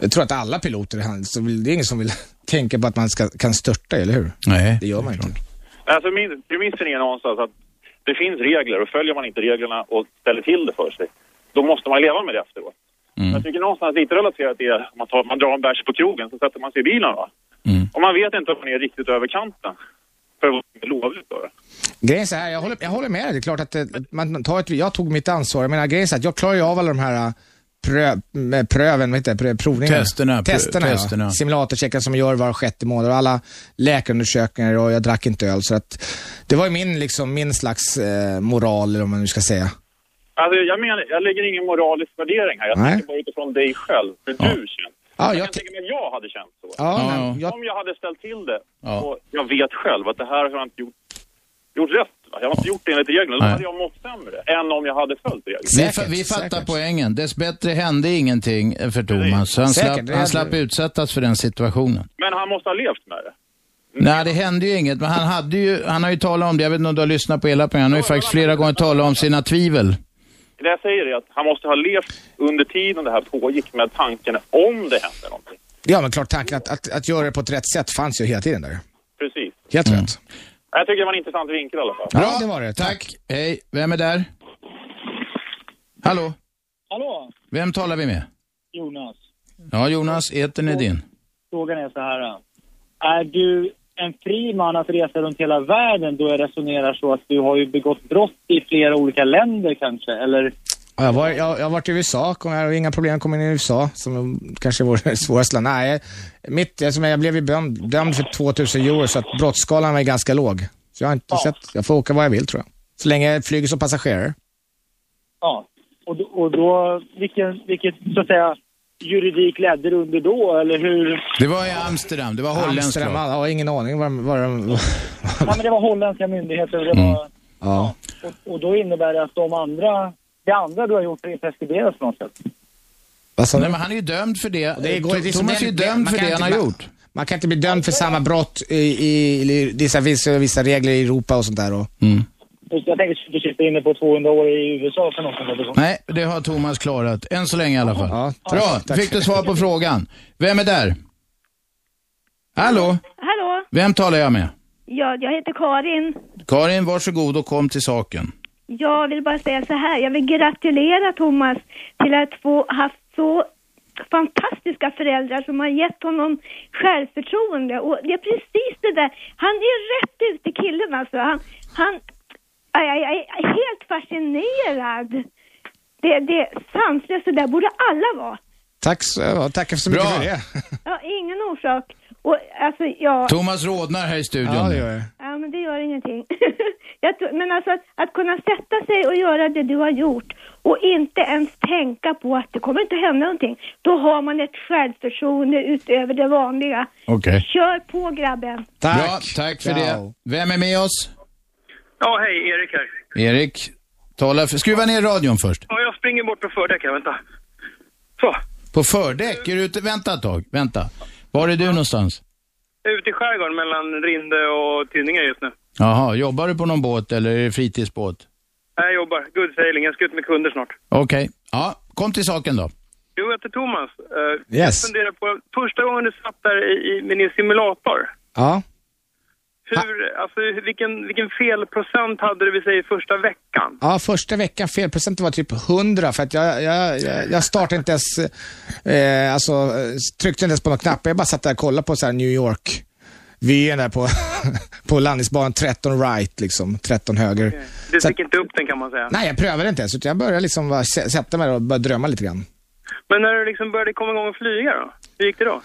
Speaker 3: jag tror att alla piloter, han- så vill- det är ingen som vill tänka på att man ska, kan störta, eller hur?
Speaker 2: Nej.
Speaker 3: Det gör man ju inte.
Speaker 25: Alltså min, premissen är någonstans att det finns regler och följer man inte reglerna och ställer till det för sig, då måste man leva med det efteråt.
Speaker 3: Mm.
Speaker 25: Jag tycker någonstans lite relaterat är att man, tar, man drar en bärs på krogen så sätter man sig i bilen va.
Speaker 3: Mm.
Speaker 25: Och man vet inte om man är riktigt över kanten för vad som är lovligt då.
Speaker 3: Grejen är så här, jag håller, jag håller med dig. Det är klart att eh, att man tar ett, jag tog mitt ansvar. Jag menar, grejen är så här att jag klarar ju av alla de här eh, prö, med pröven, vad heter det, prö- provningarna?
Speaker 2: Testerna, prö-
Speaker 3: Testerna,
Speaker 2: testerna.
Speaker 3: Ja. Simulatorcheckar som jag gör var sjätte månad och alla läkarundersökningar och jag drack inte öl. Så att det var ju min, liksom, min slags eh, moral, eller vad man nu ska säga.
Speaker 25: Alltså jag menar, jag lägger ingen moralisk värdering här. Jag
Speaker 3: Nej.
Speaker 25: tänker bara utifrån dig själv, hur
Speaker 3: Ja.
Speaker 25: du känner.
Speaker 3: Ja,
Speaker 25: jag
Speaker 3: jag
Speaker 25: kan tänka mig att jag hade känt så.
Speaker 3: Ja, Ja, men
Speaker 25: Om jag hade ställt till det
Speaker 2: Ja.
Speaker 25: och jag vet själv att det här har jag inte gjort, gjort rätt. va? Jag har inte gjort det enligt reglerna. Då
Speaker 2: Nej.
Speaker 25: hade jag mått sämre än om jag hade följt reglerna.
Speaker 2: Vi, fa- vi fattar poängen. Dessbättre hände ingenting eh, för Thomas. Han,
Speaker 25: Säkert,
Speaker 2: slapp,
Speaker 25: det
Speaker 2: han
Speaker 25: hade-
Speaker 2: slapp utsättas för den situationen.
Speaker 25: Men han måste ha levt med det.
Speaker 2: Nej, det hände ju inget, men han, hade ju, han har ju talat om det. Jag vet inte om du har lyssnat på hela programmet. Han har ju faktiskt flera gånger talat om sina tvivel.
Speaker 25: Det jag säger är att han måste ha levt under tiden det här pågick med tanken om det hände någonting.
Speaker 3: Ja, men klart tanken att, att, att göra det på ett rätt sätt fanns ju hela tiden där.
Speaker 25: Precis.
Speaker 3: Helt
Speaker 2: Mm.
Speaker 3: rätt.
Speaker 25: Jag tycker det var en intressant vinkel i alla fall.
Speaker 2: Bra, det var det. Tack. Hej, vem är där? Hallå,
Speaker 4: Hallå,
Speaker 2: vem talar vi med?
Speaker 4: Jonas.
Speaker 2: Ja, Jonas, etern är din.
Speaker 4: Frågan är så här. Är du en fri man att resa runt hela världen då jag resonerar så att du har ju begått brott i flera olika länder kanske? Eller
Speaker 3: Ja, Jag, var, jag, jag har varit i USA, kom, jag har inga problem kom in i USA, som kanske är vårt svåraste land. Nej, mitt, alltså, men jag blev ju dömd, dömd för 2000 euro, så att brottsskalan var ju ganska låg. Så jag har inte sett, jag får åka vad jag vill tror jag. Så länge jag flyger som passagerare.
Speaker 4: ja, och då, och då vilken, vilket så att säga juridik ledde du under då eller hur?
Speaker 2: Det var i Amsterdam, det var holländskt.
Speaker 3: Amsterdam, jag har ingen aning vad vad de...
Speaker 4: Nej men det var holländska myndigheter och, det var,
Speaker 3: Ja.
Speaker 4: och, och då innebär det att de andra, det andra du har gjort är preskriberat på något sätt?
Speaker 2: Nej, men han är ju dömd för det.
Speaker 3: Det går- det är så
Speaker 2: Thomas är ju
Speaker 3: den-
Speaker 2: dömd
Speaker 3: man
Speaker 2: för
Speaker 3: kan
Speaker 2: det han
Speaker 3: inte-
Speaker 2: har
Speaker 3: man-
Speaker 2: gjort.
Speaker 3: Man kan inte bli dömd för samma brott i, i, i vissa, vissa, vissa regler i Europa och sånt där. Och,
Speaker 2: Mm.
Speaker 4: Just, Jag tänker att du sitter inne på 200 år i USA för något sånt där.
Speaker 2: Nej, det har Thomas klarat. Än så länge i alla fall.
Speaker 4: tack.
Speaker 2: Bra,
Speaker 4: Tack.
Speaker 2: fick du svar på frågan. Vem är där? Hallå,
Speaker 10: Hallå,
Speaker 2: vem talar jag med?
Speaker 10: ja, jag heter Karin.
Speaker 2: Karin, varsågod och kom till saken.
Speaker 10: Jag vill bara säga så här, jag vill gratulera Thomas till att få haft så fantastiska föräldrar som har gett honom självförtroende. Och det är precis det där, han är rätt ute killen alltså. Han, han, jag, jag, jag är helt fascinerad. Det, det är sanslöst, så där borde alla vara.
Speaker 3: tack så, ja, tack så mycket
Speaker 2: Bra.
Speaker 3: för det.
Speaker 10: Ja, ingen orsak. Och alltså, jag...
Speaker 2: Thomas rodnar här i studion.
Speaker 3: Ja, det gör jag.
Speaker 10: Ja, men det gör ingenting. jag tror, men alltså att, att kunna sätta sig och göra det du har gjort och inte ens tänka på att det kommer inte hända någonting. Då har man ett självförtroende utöver det vanliga.
Speaker 2: Okej.
Speaker 10: Kör på grabben.
Speaker 2: Tack. Bra, tack för det. Vem är med oss?
Speaker 26: Ja, hej, Erik här.
Speaker 2: Erik, tala för... skruva ner radion först.
Speaker 26: Ja, jag springer bort på fördäcken, vänta. Så,
Speaker 2: På fördäck, är du ute? Vänta ett tag, vänta. Var är du någonstans?
Speaker 26: jag är ute i skärgården mellan Rinde och Tinninge just nu.
Speaker 2: Jaha, jobbar du på någon båt eller är det fritidsbåt?
Speaker 26: Nej, Jag jobbar, good sailing, jag ska ut med kunder snart.
Speaker 2: Okej, ja, kom till saken då.
Speaker 26: Jo, jag heter Thomas. Eh,
Speaker 2: Yes.
Speaker 26: Jag funderar på, första gången du satt där i, i, med din simulator,
Speaker 3: Ja.
Speaker 26: hur, alltså vilken, vilken felprocent hade du, vi säger, första veckan?
Speaker 3: Ja, första veckan felprocenten var typ 100 för att jag, jag, jag- jag startade inte ens, eh, alltså eh, tryckte inte ens på någon knapp. Jag bara satt där och kollade på så här New York. Vyn där på, på landningsbanan, 13 right liksom, 13 höger.
Speaker 26: Du
Speaker 3: Så att,
Speaker 26: fick inte upp den kan man säga.
Speaker 3: nej, jag prövade inte ens utan jag började liksom bara, sä- sätta mig där och börja drömma lite grann.
Speaker 26: Men när du liksom började komma igång och flyga då? Hur gick det då?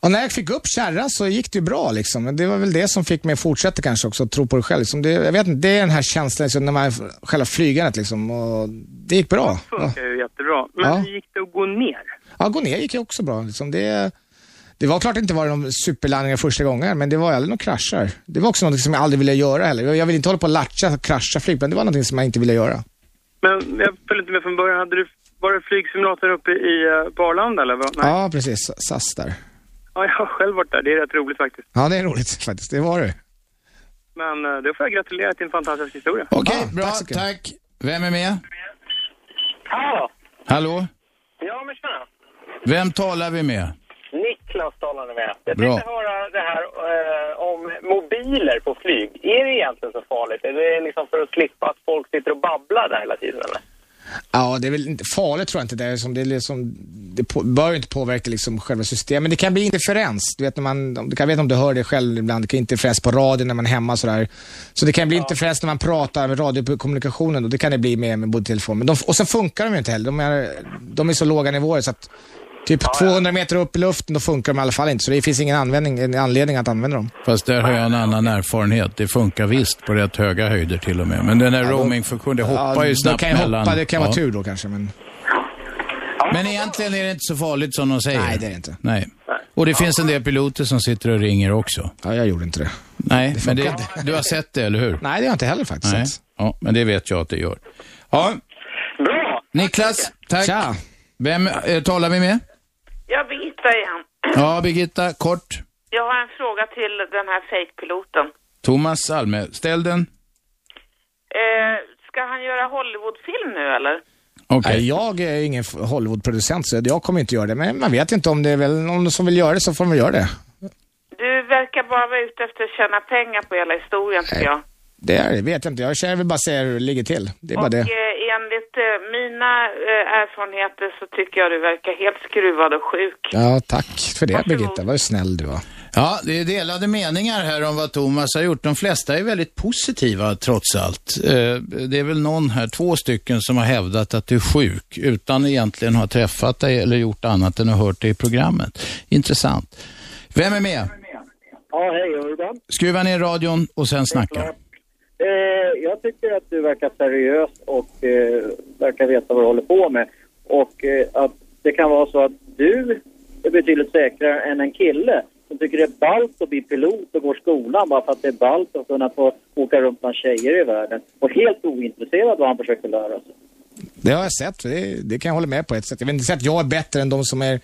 Speaker 3: Och när jag fick upp kärran så gick det ju bra liksom. Men Det var väl det som fick mig att fortsätta kanske också, att tro på det själv. Liksom. Det, jag vet inte, det är den här känslan, liksom, när man, själva flygandet liksom. Och det gick bra.
Speaker 26: Det funkar ju jättebra. Men
Speaker 3: Ja.
Speaker 26: hur gick det att gå ner?
Speaker 3: Ja, gå ner gick ju också bra. Liksom. Det, Det var klart det inte var de superlandningar första gången, men det var aldrig några kraschar. Det var också något som jag aldrig ville göra heller. Jag ville inte hålla på och latcha och krascha flygplan. Det var något som jag inte ville göra.
Speaker 26: Men jag följde inte med från början. Hade du, var det flygsimulator uppe i eh, på Arlanda eller? vad? Nej.
Speaker 3: Ja, precis. SAS där.
Speaker 26: Ja, jag har själv varit där. Det är rätt roligt faktiskt.
Speaker 3: Ja, det är roligt faktiskt. Det var det.
Speaker 26: Men eh, då får jag gratulera till en fantastisk historia.
Speaker 2: Okej, bra. Tack, Vem är med?
Speaker 27: Hallå!
Speaker 2: Hallå?
Speaker 27: Ja, men tjena.
Speaker 2: Vem talar vi med?
Speaker 27: Niklas talar ni med. Jag
Speaker 2: Bra.
Speaker 27: tänkte höra det här eh, om mobiler på flyg. Är det egentligen så farligt? Är det liksom för att slippa att folk sitter och babblar där hela tiden eller?
Speaker 3: Ja, det är väl inte farligt tror jag inte. Det, är som, det, är liksom, det på, bör ju inte påverka liksom själva systemet. Men det kan bli interferens. Du vet, när man, om- du kan, jag vet inte om du hör det själv ibland. Det kan interferens på radion när man är hemma sådär. Så det kan bli interferens när man pratar med radiokommunikationen och det kan det bli med, med mobiltelefonen. Men de, och sen funkar de ju inte heller. De är, de är så låga nivåer så att typ 200 meter upp i luften då funkar de i alla fall inte. Så det finns ingen användning, en anledning att använda dem.
Speaker 2: Fast där har jag en annan erfarenhet. Det funkar visst på rätt höga höjder till och med. Men den här roamingfunktionen, det hoppar ju
Speaker 3: Ja, då
Speaker 2: snabbt
Speaker 3: kan jag
Speaker 2: mellan.
Speaker 3: hoppa, det kan vara
Speaker 2: Ja.
Speaker 3: tur då kanske. Men...
Speaker 2: Men egentligen är det inte så farligt som de säger. Nej, det är
Speaker 3: det inte.
Speaker 2: Nej. Och det finns en del piloter som sitter och ringer också.
Speaker 3: Ja, jag gjorde inte det.
Speaker 2: Nej,
Speaker 3: Det
Speaker 2: men
Speaker 3: funkar
Speaker 2: det, du har sett det, eller hur?
Speaker 3: Nej, det har jag inte heller faktiskt
Speaker 2: Nej.
Speaker 3: sett.
Speaker 2: Ja, men det vet jag att det gör. Ja.
Speaker 4: Bra!
Speaker 2: Niklas, tack.
Speaker 3: Tja.
Speaker 2: Vem eh, talar vi med?
Speaker 4: Jag Birgitta igen.
Speaker 2: Ja, Birgitta, kort.
Speaker 4: Jag har en fråga till den här fejkpiloten.
Speaker 2: Thomas Alme, ställ den.
Speaker 4: Eh, ska han göra Hollywoodfilm nu eller?
Speaker 3: Nej, Jag är ingen f- Hollywoodproducent, så jag kommer inte göra det. Men man vet inte om det är väl någon som vill göra det, så får man göra det.
Speaker 4: Du verkar bara vara ute efter att tjäna pengar på hela historien tycker jag.
Speaker 3: Det är, det vet jag inte. Jag känner vill bara säga hur det ligger till. Det är bara
Speaker 4: Och
Speaker 3: det.
Speaker 4: eh, enligt eh, mina eh, erfarenheter så tycker jag du verkar helt skruvad och sjuk.
Speaker 3: Ja, tack för det Birgitta. Vad snäll du var.
Speaker 2: Ja, det är delade meningar här om vad Thomas har gjort. De flesta är väldigt positiva trots allt. Eh, Det är väl någon här, två stycken, som har hävdat att du är sjuk utan egentligen ha träffat dig eller gjort annat än att ha hört dig i programmet. Intressant. Vem är med?
Speaker 28: Ja, hej Urban.
Speaker 2: Skruva ner radion och sen snacka.
Speaker 28: Eh, jag tycker att du verkar seriös och eh, verkar veta vad du håller på med. Och eh, att det kan vara så att du är betydligt säkrare än en kille som tycker det är ballt att bli pilot och går skolan bara för att det är ballt att kunna få åka runt bland tjejer i världen. Och helt ointresserad av vad han försöker lära sig.
Speaker 3: Det har jag sett. Det, det kan jag hålla med på ett sätt. Jag vill inte säga att jag är bättre än de som är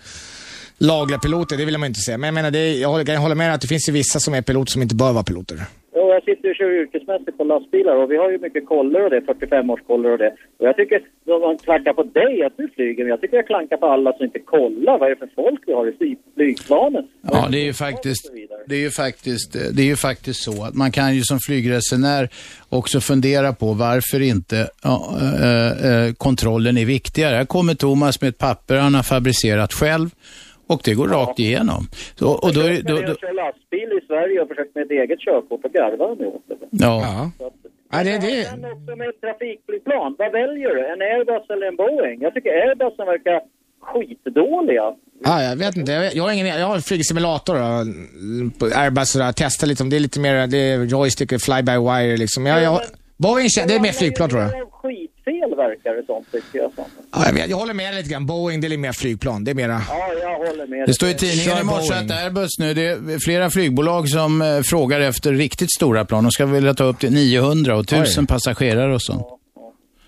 Speaker 3: lagliga piloter. Det vill man inte säga. Men jag menar, det, jag håller- kan jag hålla med dig att det finns ju vissa som är piloter som inte bör vara piloter.
Speaker 28: Jo, jag sitter och kör yrkesmässigt på lastbilar och vi har ju mycket koller och det, 45-årskoller och det. Och jag tycker, när man klankar på dig att du flyger, men jag tycker jag klankar på alla som inte kollar. Vad är det för folk vi har i fly- flygplanen?
Speaker 2: Ja, det är ju faktiskt, det är ju faktiskt, eh, det är ju faktiskt så att man kan ju som flygresenär också fundera på varför inte ja, eh, eh, kontrollen är viktigare. Här kommer Thomas med ett papper han har fabricerat själv och det går rakt igenom. Så, och då, är det-
Speaker 28: Jag
Speaker 2: då,
Speaker 28: har
Speaker 2: då,
Speaker 28: kört lastbil i Sverige och försökt med ett eget körkort och garvar nu åt det.
Speaker 2: ja.
Speaker 3: Ja, det,
Speaker 28: det... också med ett trafikflygplan. Vad väljer du? En Airbus eller en Boeing? Jag tycker Airbusen verkar skitdåliga.
Speaker 3: Ja, Ah, jag vet inte. Jag, vet- jag har ingen Jag har flygsimulator då, på Airbus och där. Testa lite om det är lite mer, det är joystick och fly-by-wire liksom. Jag, jag, Boeing, kän- det är mer flygplan tror jag.
Speaker 28: Skitfel verkar det som, tycker jag. Som.
Speaker 3: Ja, jag, vet, jag håller med lite grann. Boeing, det är mer flygplan. Det är mera...
Speaker 28: Ja, jag håller med.
Speaker 2: Det står i tidningen
Speaker 3: Kör
Speaker 2: i morse att
Speaker 3: Boeing.
Speaker 2: Airbus nu, det är flera flygbolag som eh, frågar efter riktigt stora plan. De ska vilja ta upp till 900 och 1000 passagerare och sånt.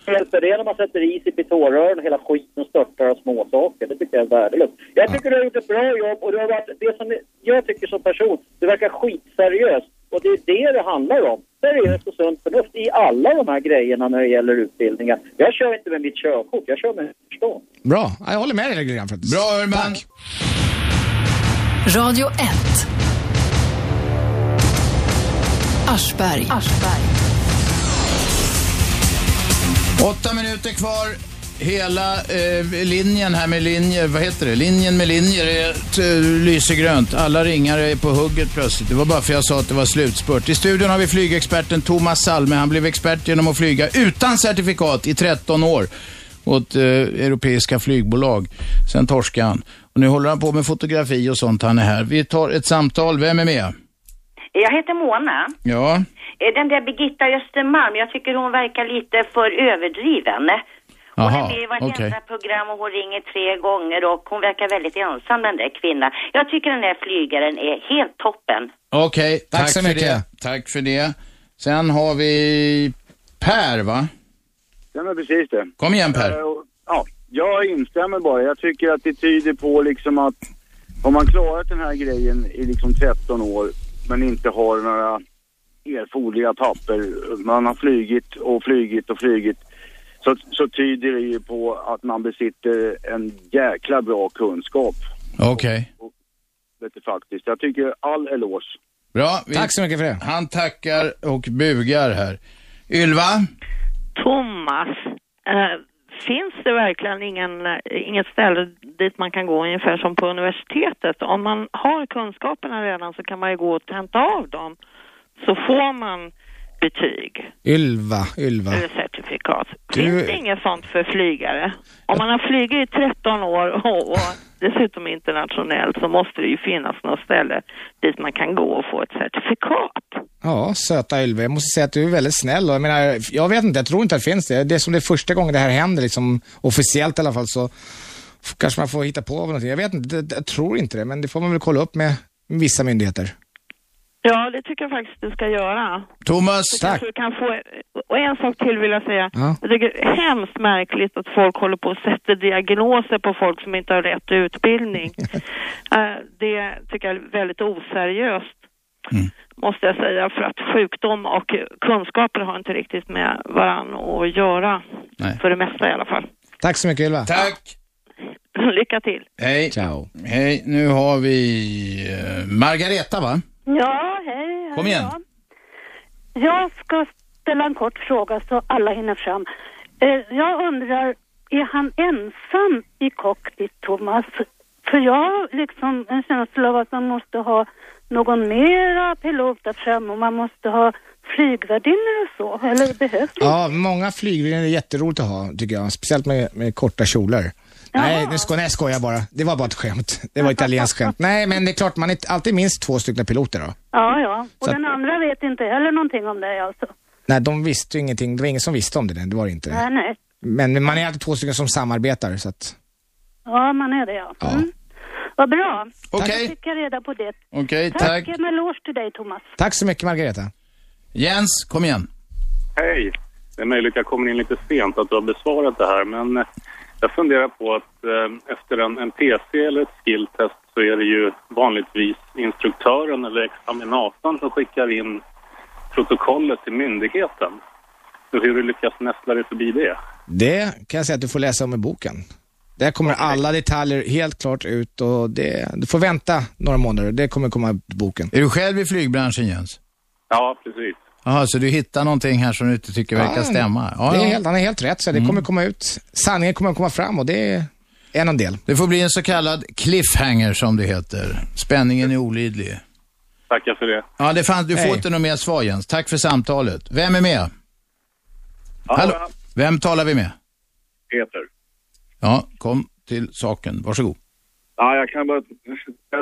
Speaker 28: Hjälper det när man sätter is i pitorrören och hela skiten störtar av småsaker? Det tycker jag är värdelöst. Jag tycker du har gjort ett bra jobb och du har varit det som jag tycker som person. Du verkar skitseriös och det är det det handlar om. Seriöst och sunt förnuft i alla de här grejerna när det gäller utbildningar. Jag kör inte med mitt körkort, jag kör med mitt förstånd.
Speaker 3: Bra. Ja, jag håller med dig lite grann faktiskt.
Speaker 2: Bra, Urban.
Speaker 1: Radio 1. Aschberg.
Speaker 2: Åtta minuter kvar. Hela eh, linjen här med linjer, vad heter det? Linjen med linjer är t- lyser grönt. Alla ringare är på hugget plötsligt. Det var bara för jag sa att det var slutspurt. I studion har vi flygexperten Thomas Salme. Han blev expert genom att flyga utan certifikat i 13 år åt eh, europeiska flygbolag. Sen torskade han. Och nu håller han på med fotografi och sånt. Han är här. Vi tar ett samtal. Vem är med?
Speaker 29: Jag heter Mona.
Speaker 2: Ja.
Speaker 29: Eh, Den där Birgitta Östermalm, jag tycker hon verkar lite för överdriven. Och
Speaker 2: Jaha,
Speaker 29: hon är med i vartenda
Speaker 2: okej.
Speaker 29: program och hon ringer tre gånger och hon verkar väldigt ensam den där kvinnan. Jag tycker den där flygaren är helt toppen.
Speaker 2: Okej, tack,
Speaker 29: så
Speaker 2: för
Speaker 29: mycket.
Speaker 2: det. Tack för det. Sen har vi Per, va?
Speaker 30: Ja, men precis det.
Speaker 2: Kom igen, Per.
Speaker 30: Eh, och- Ja, jag instämmer bara. Jag tycker att det tyder på liksom att om man klarat den här grejen i liksom 13 år men inte har några erforderliga papper, man har flygit och flygit och flygit, så, så tyder det ju på att man besitter en jäkla bra kunskap.
Speaker 2: Okej.
Speaker 30: Vet du, faktiskt. Jag tycker all eloge.
Speaker 2: Bra. Tack så mycket för det. Han tackar och bugar här. Ylva?
Speaker 5: Thomas, eh, finns det verkligen ingen, eh, inget ställe dit man kan gå ungefär som på universitetet? Om man har kunskaperna redan så kan man ju gå och tenta av dem. Så får man betyg
Speaker 3: Ylva, Ylva.
Speaker 5: eller certifikat.
Speaker 3: Du-
Speaker 5: Finns det inget sånt för flygare? Om man har flugit i 13 år och, och dessutom internationellt så måste det ju finnas något ställe dit man kan gå och få ett certifikat.
Speaker 3: Ja, söta Ylva. Jag måste säga att du är väldigt snäll. Och jag, menar, jag vet inte, jag tror inte att det finns det. Det är som det är första gången det här händer, liksom, officiellt i alla fall, så f- kanske man får hitta på någonting. Jag vet inte, det- jag tror inte det, men det får man väl kolla upp med vissa myndigheter.
Speaker 5: Ja, det tycker jag faktiskt du ska göra.
Speaker 2: Thomas,
Speaker 5: Så kanske Du kan få, och en sak till vill jag säga.
Speaker 3: Ja.
Speaker 5: Jag tycker det är hemskt märkligt att folk håller på och sätter diagnoser på folk som inte har rätt utbildning. Eh, det tycker jag är väldigt oseriöst. Måste jag säga, för att sjukdom och kunskaper har inte riktigt med varann att göra. För det mesta i alla fall.
Speaker 3: Tack så mycket Ylva.
Speaker 2: Tack.
Speaker 5: Lycka till.
Speaker 2: Hej. Ciao. Hej, nu har vi eh, Margareta, va?
Speaker 31: Ja, hej. här
Speaker 2: Kom
Speaker 31: är
Speaker 2: igen.
Speaker 31: jag. Jag ska ställa en kort fråga så alla hinner fram. Eh, jag undrar, är han ensam i cockpit, Thomas? För jag har liksom en känsla av att man måste ha någon mera pilot där framme och man måste ha flygvärdinnor och så. Eller behövs det?
Speaker 3: Ja, många flygvärdinnor är jätteroligt att ha, tycker jag. Speciellt med, med korta kjolar. Nej, nu sko- nej, jag skojar bara. Det var bara ett skämt. Det var ett italienskt skämt. Nej, men det är klart, man är alltid minst två stycken piloter då.
Speaker 31: Ja, ja. Och
Speaker 3: Så att-
Speaker 31: den andra vet inte heller någonting om det alltså.
Speaker 3: Nej, de visste ju ingenting. Det var ingen som visste om det, där. det var det inte.
Speaker 31: Nej, nej.
Speaker 3: Men man är alltid två stycken som samarbetar, så att...
Speaker 31: Ja, man är det ja. Mm. Vad bra.
Speaker 2: Okej.
Speaker 31: Då fick jag reda på det.
Speaker 2: Okej,
Speaker 31: Tack.
Speaker 2: tack.
Speaker 31: En eloge till dig, Thomas.
Speaker 3: Tack så mycket, Margareta.
Speaker 2: Jens, kom igen.
Speaker 25: Hej! Det är möjligt jag kommer in lite sent att du har besvarat det här, men eh, jag funderar på att eh, efter en, en PC eller ett skilltest så är det ju vanligtvis instruktören eller examinatorn som skickar in protokollet till myndigheten. Så hur du lyckas nästla dig förbi det?
Speaker 3: Det kan jag säga att du får läsa om i boken. Där kommer alla detaljer helt klart ut och det, du får vänta några månader. Det kommer komma upp i boken.
Speaker 2: Är du själv i flygbranschen, Jens?
Speaker 25: Ja, precis.
Speaker 2: Jaha, så du hittar någonting här som du inte tycker verkar stämma? Ja,
Speaker 3: Ah.
Speaker 2: Mm.
Speaker 3: det är
Speaker 2: ja.
Speaker 3: helt, han är helt rätt, så det kommer komma ut. Sanningen kommer komma fram och det är en av del.
Speaker 2: Det får bli en så kallad cliffhanger, som det heter. Spänningen är olidlig.
Speaker 25: Tackar för det.
Speaker 2: Ja, det fanns, du får
Speaker 25: Hej.
Speaker 2: inte något mer svar, Jens. Tack för samtalet. Vem är med? Hallå? Vem talar vi med?
Speaker 6: Peter.
Speaker 2: Ja, kom till saken. Varsågod.
Speaker 6: Ja, jag kan bara,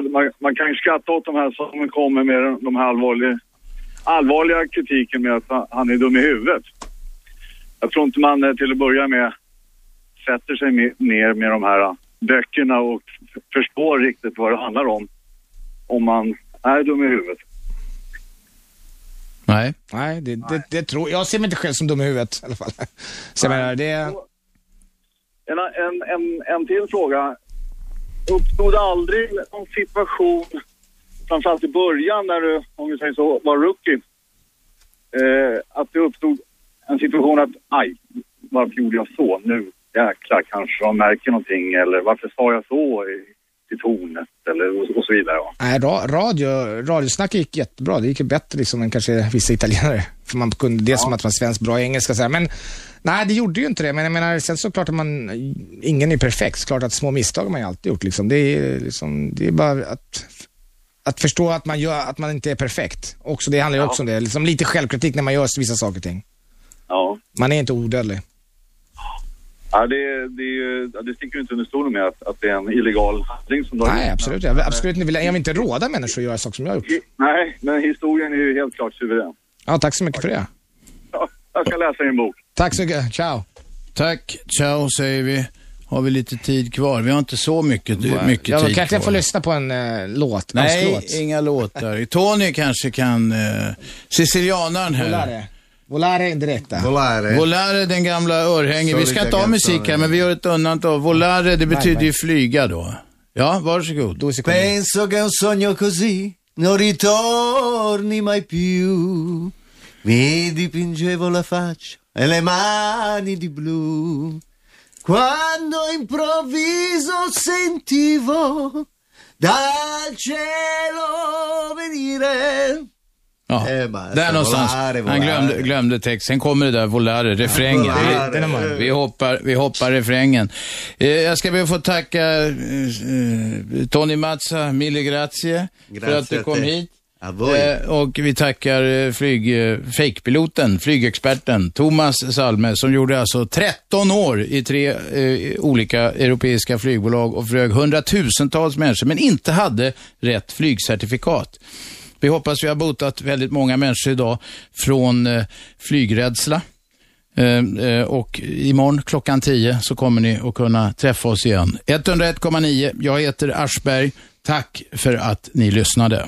Speaker 6: man, man kan ju skratta åt de här som kommer med de här allvarliga, allvarliga kritiken med att han- han är dum i huvudet. Jag tror inte man eh, till att börja med sätter sig med, ner med de här eh, böckerna och f- förstår riktigt vad det handlar om. Om man är dum i huvudet.
Speaker 2: Nej.
Speaker 3: Nej, det, det, det tror jag. ser mig inte själv som dum i huvudet i alla fall. Så jag menar, det...
Speaker 6: En, en, en, en till fråga. Uppstod aldrig någon situation, framförallt i början när du, om vi säger så, var rookie, eh, att det uppstod en situation att aj, varför gjorde jag så? Nu jäklar kanske de märker någonting eller varför sa jag så i, i tornet eller och, och så vidare. va?
Speaker 3: Nej, ra- radio, radiosnack gick jättebra. Det gick ju bättre liksom än kanske vissa italienare. För man kunde det som att man svensk bra engelska. Så här. Men nej, det gjorde ju inte det. Men jag menar, sen såklart att man, ingen är perfekt. Såklart att små misstag har man ju alltid gjort. Liksom. Det, är, liksom, det är bara att, att förstå att man, gör, att man inte är perfekt. Också, det handlar ju
Speaker 6: Ja.
Speaker 3: också om det. Liksom, lite självkritik när man gör vissa saker och ting.
Speaker 6: Ja.
Speaker 3: Man är inte odödlig.
Speaker 6: Ja, det, det, är ju- ja, det sticker ju inte under stolen med att, att det är en illegal handling som du har
Speaker 3: Nej,
Speaker 6: gjort.
Speaker 3: absolut. Jag vill absolut inte, vilja- jag vill inte råda människor att göra saker som jag har gjort.
Speaker 6: Nej, men historien är ju helt klart suverän.
Speaker 3: Ja, tack så mycket för det.
Speaker 6: Jag ska läsa din bok.
Speaker 3: Tack så mycket. Ciao.
Speaker 2: Tack, ciao säger vi. Har vi lite tid kvar? Vi har inte så mycket, mycket
Speaker 3: Jag
Speaker 2: tid
Speaker 3: kanske
Speaker 2: kvar.
Speaker 3: jag får lyssna på en eh, låt.
Speaker 2: Nej,
Speaker 3: Dansklåt.
Speaker 2: inga låtar. Tony kanske kan... Uh, Sicilianaren här.
Speaker 3: Volare. Volare indirekta.
Speaker 2: Volare. Volare, den gamla örhängen. Vi ska inte ha musik här, men vi gör ett undantag. Volare, det betyder ju flyga då. Ja, varsågod.
Speaker 24: Penso che un sogno così non ritorni mai più. Mi dipingevo la faccia e le mani di blu. Quando improvviso sentivo dal cielo venire.
Speaker 2: Ja. Där någonstans.
Speaker 24: volare,
Speaker 2: Han
Speaker 24: volare.
Speaker 2: glömde, glömde texten. Sen kommer det där volare, refrängen.
Speaker 24: Ja, volare. Den är
Speaker 2: Vi, vi, hoppar, vi hoppar refrängen. Eh, jag ska be att få tacka eh, eh, Tony Mazza, mille grazie, för
Speaker 24: Grazie
Speaker 2: att du
Speaker 24: a
Speaker 2: kom
Speaker 24: te.
Speaker 2: hit.
Speaker 24: A voi.
Speaker 2: Eh, och vi tackar eh, flyg, eh, fejkpiloten, flygexperten Thomas Salme som gjorde alltså 13 år i tre eh, olika europeiska flygbolag och flög hundratusentals människor men inte hade rätt flygcertifikat. Vi hoppas vi har botat väldigt många människor idag från eh, flygrädsla. Eh, eh, Och imorgon klockan 10 så kommer ni att kunna träffa oss igen. 101,9. Jag heter Aschberg. Tack för att ni lyssnade.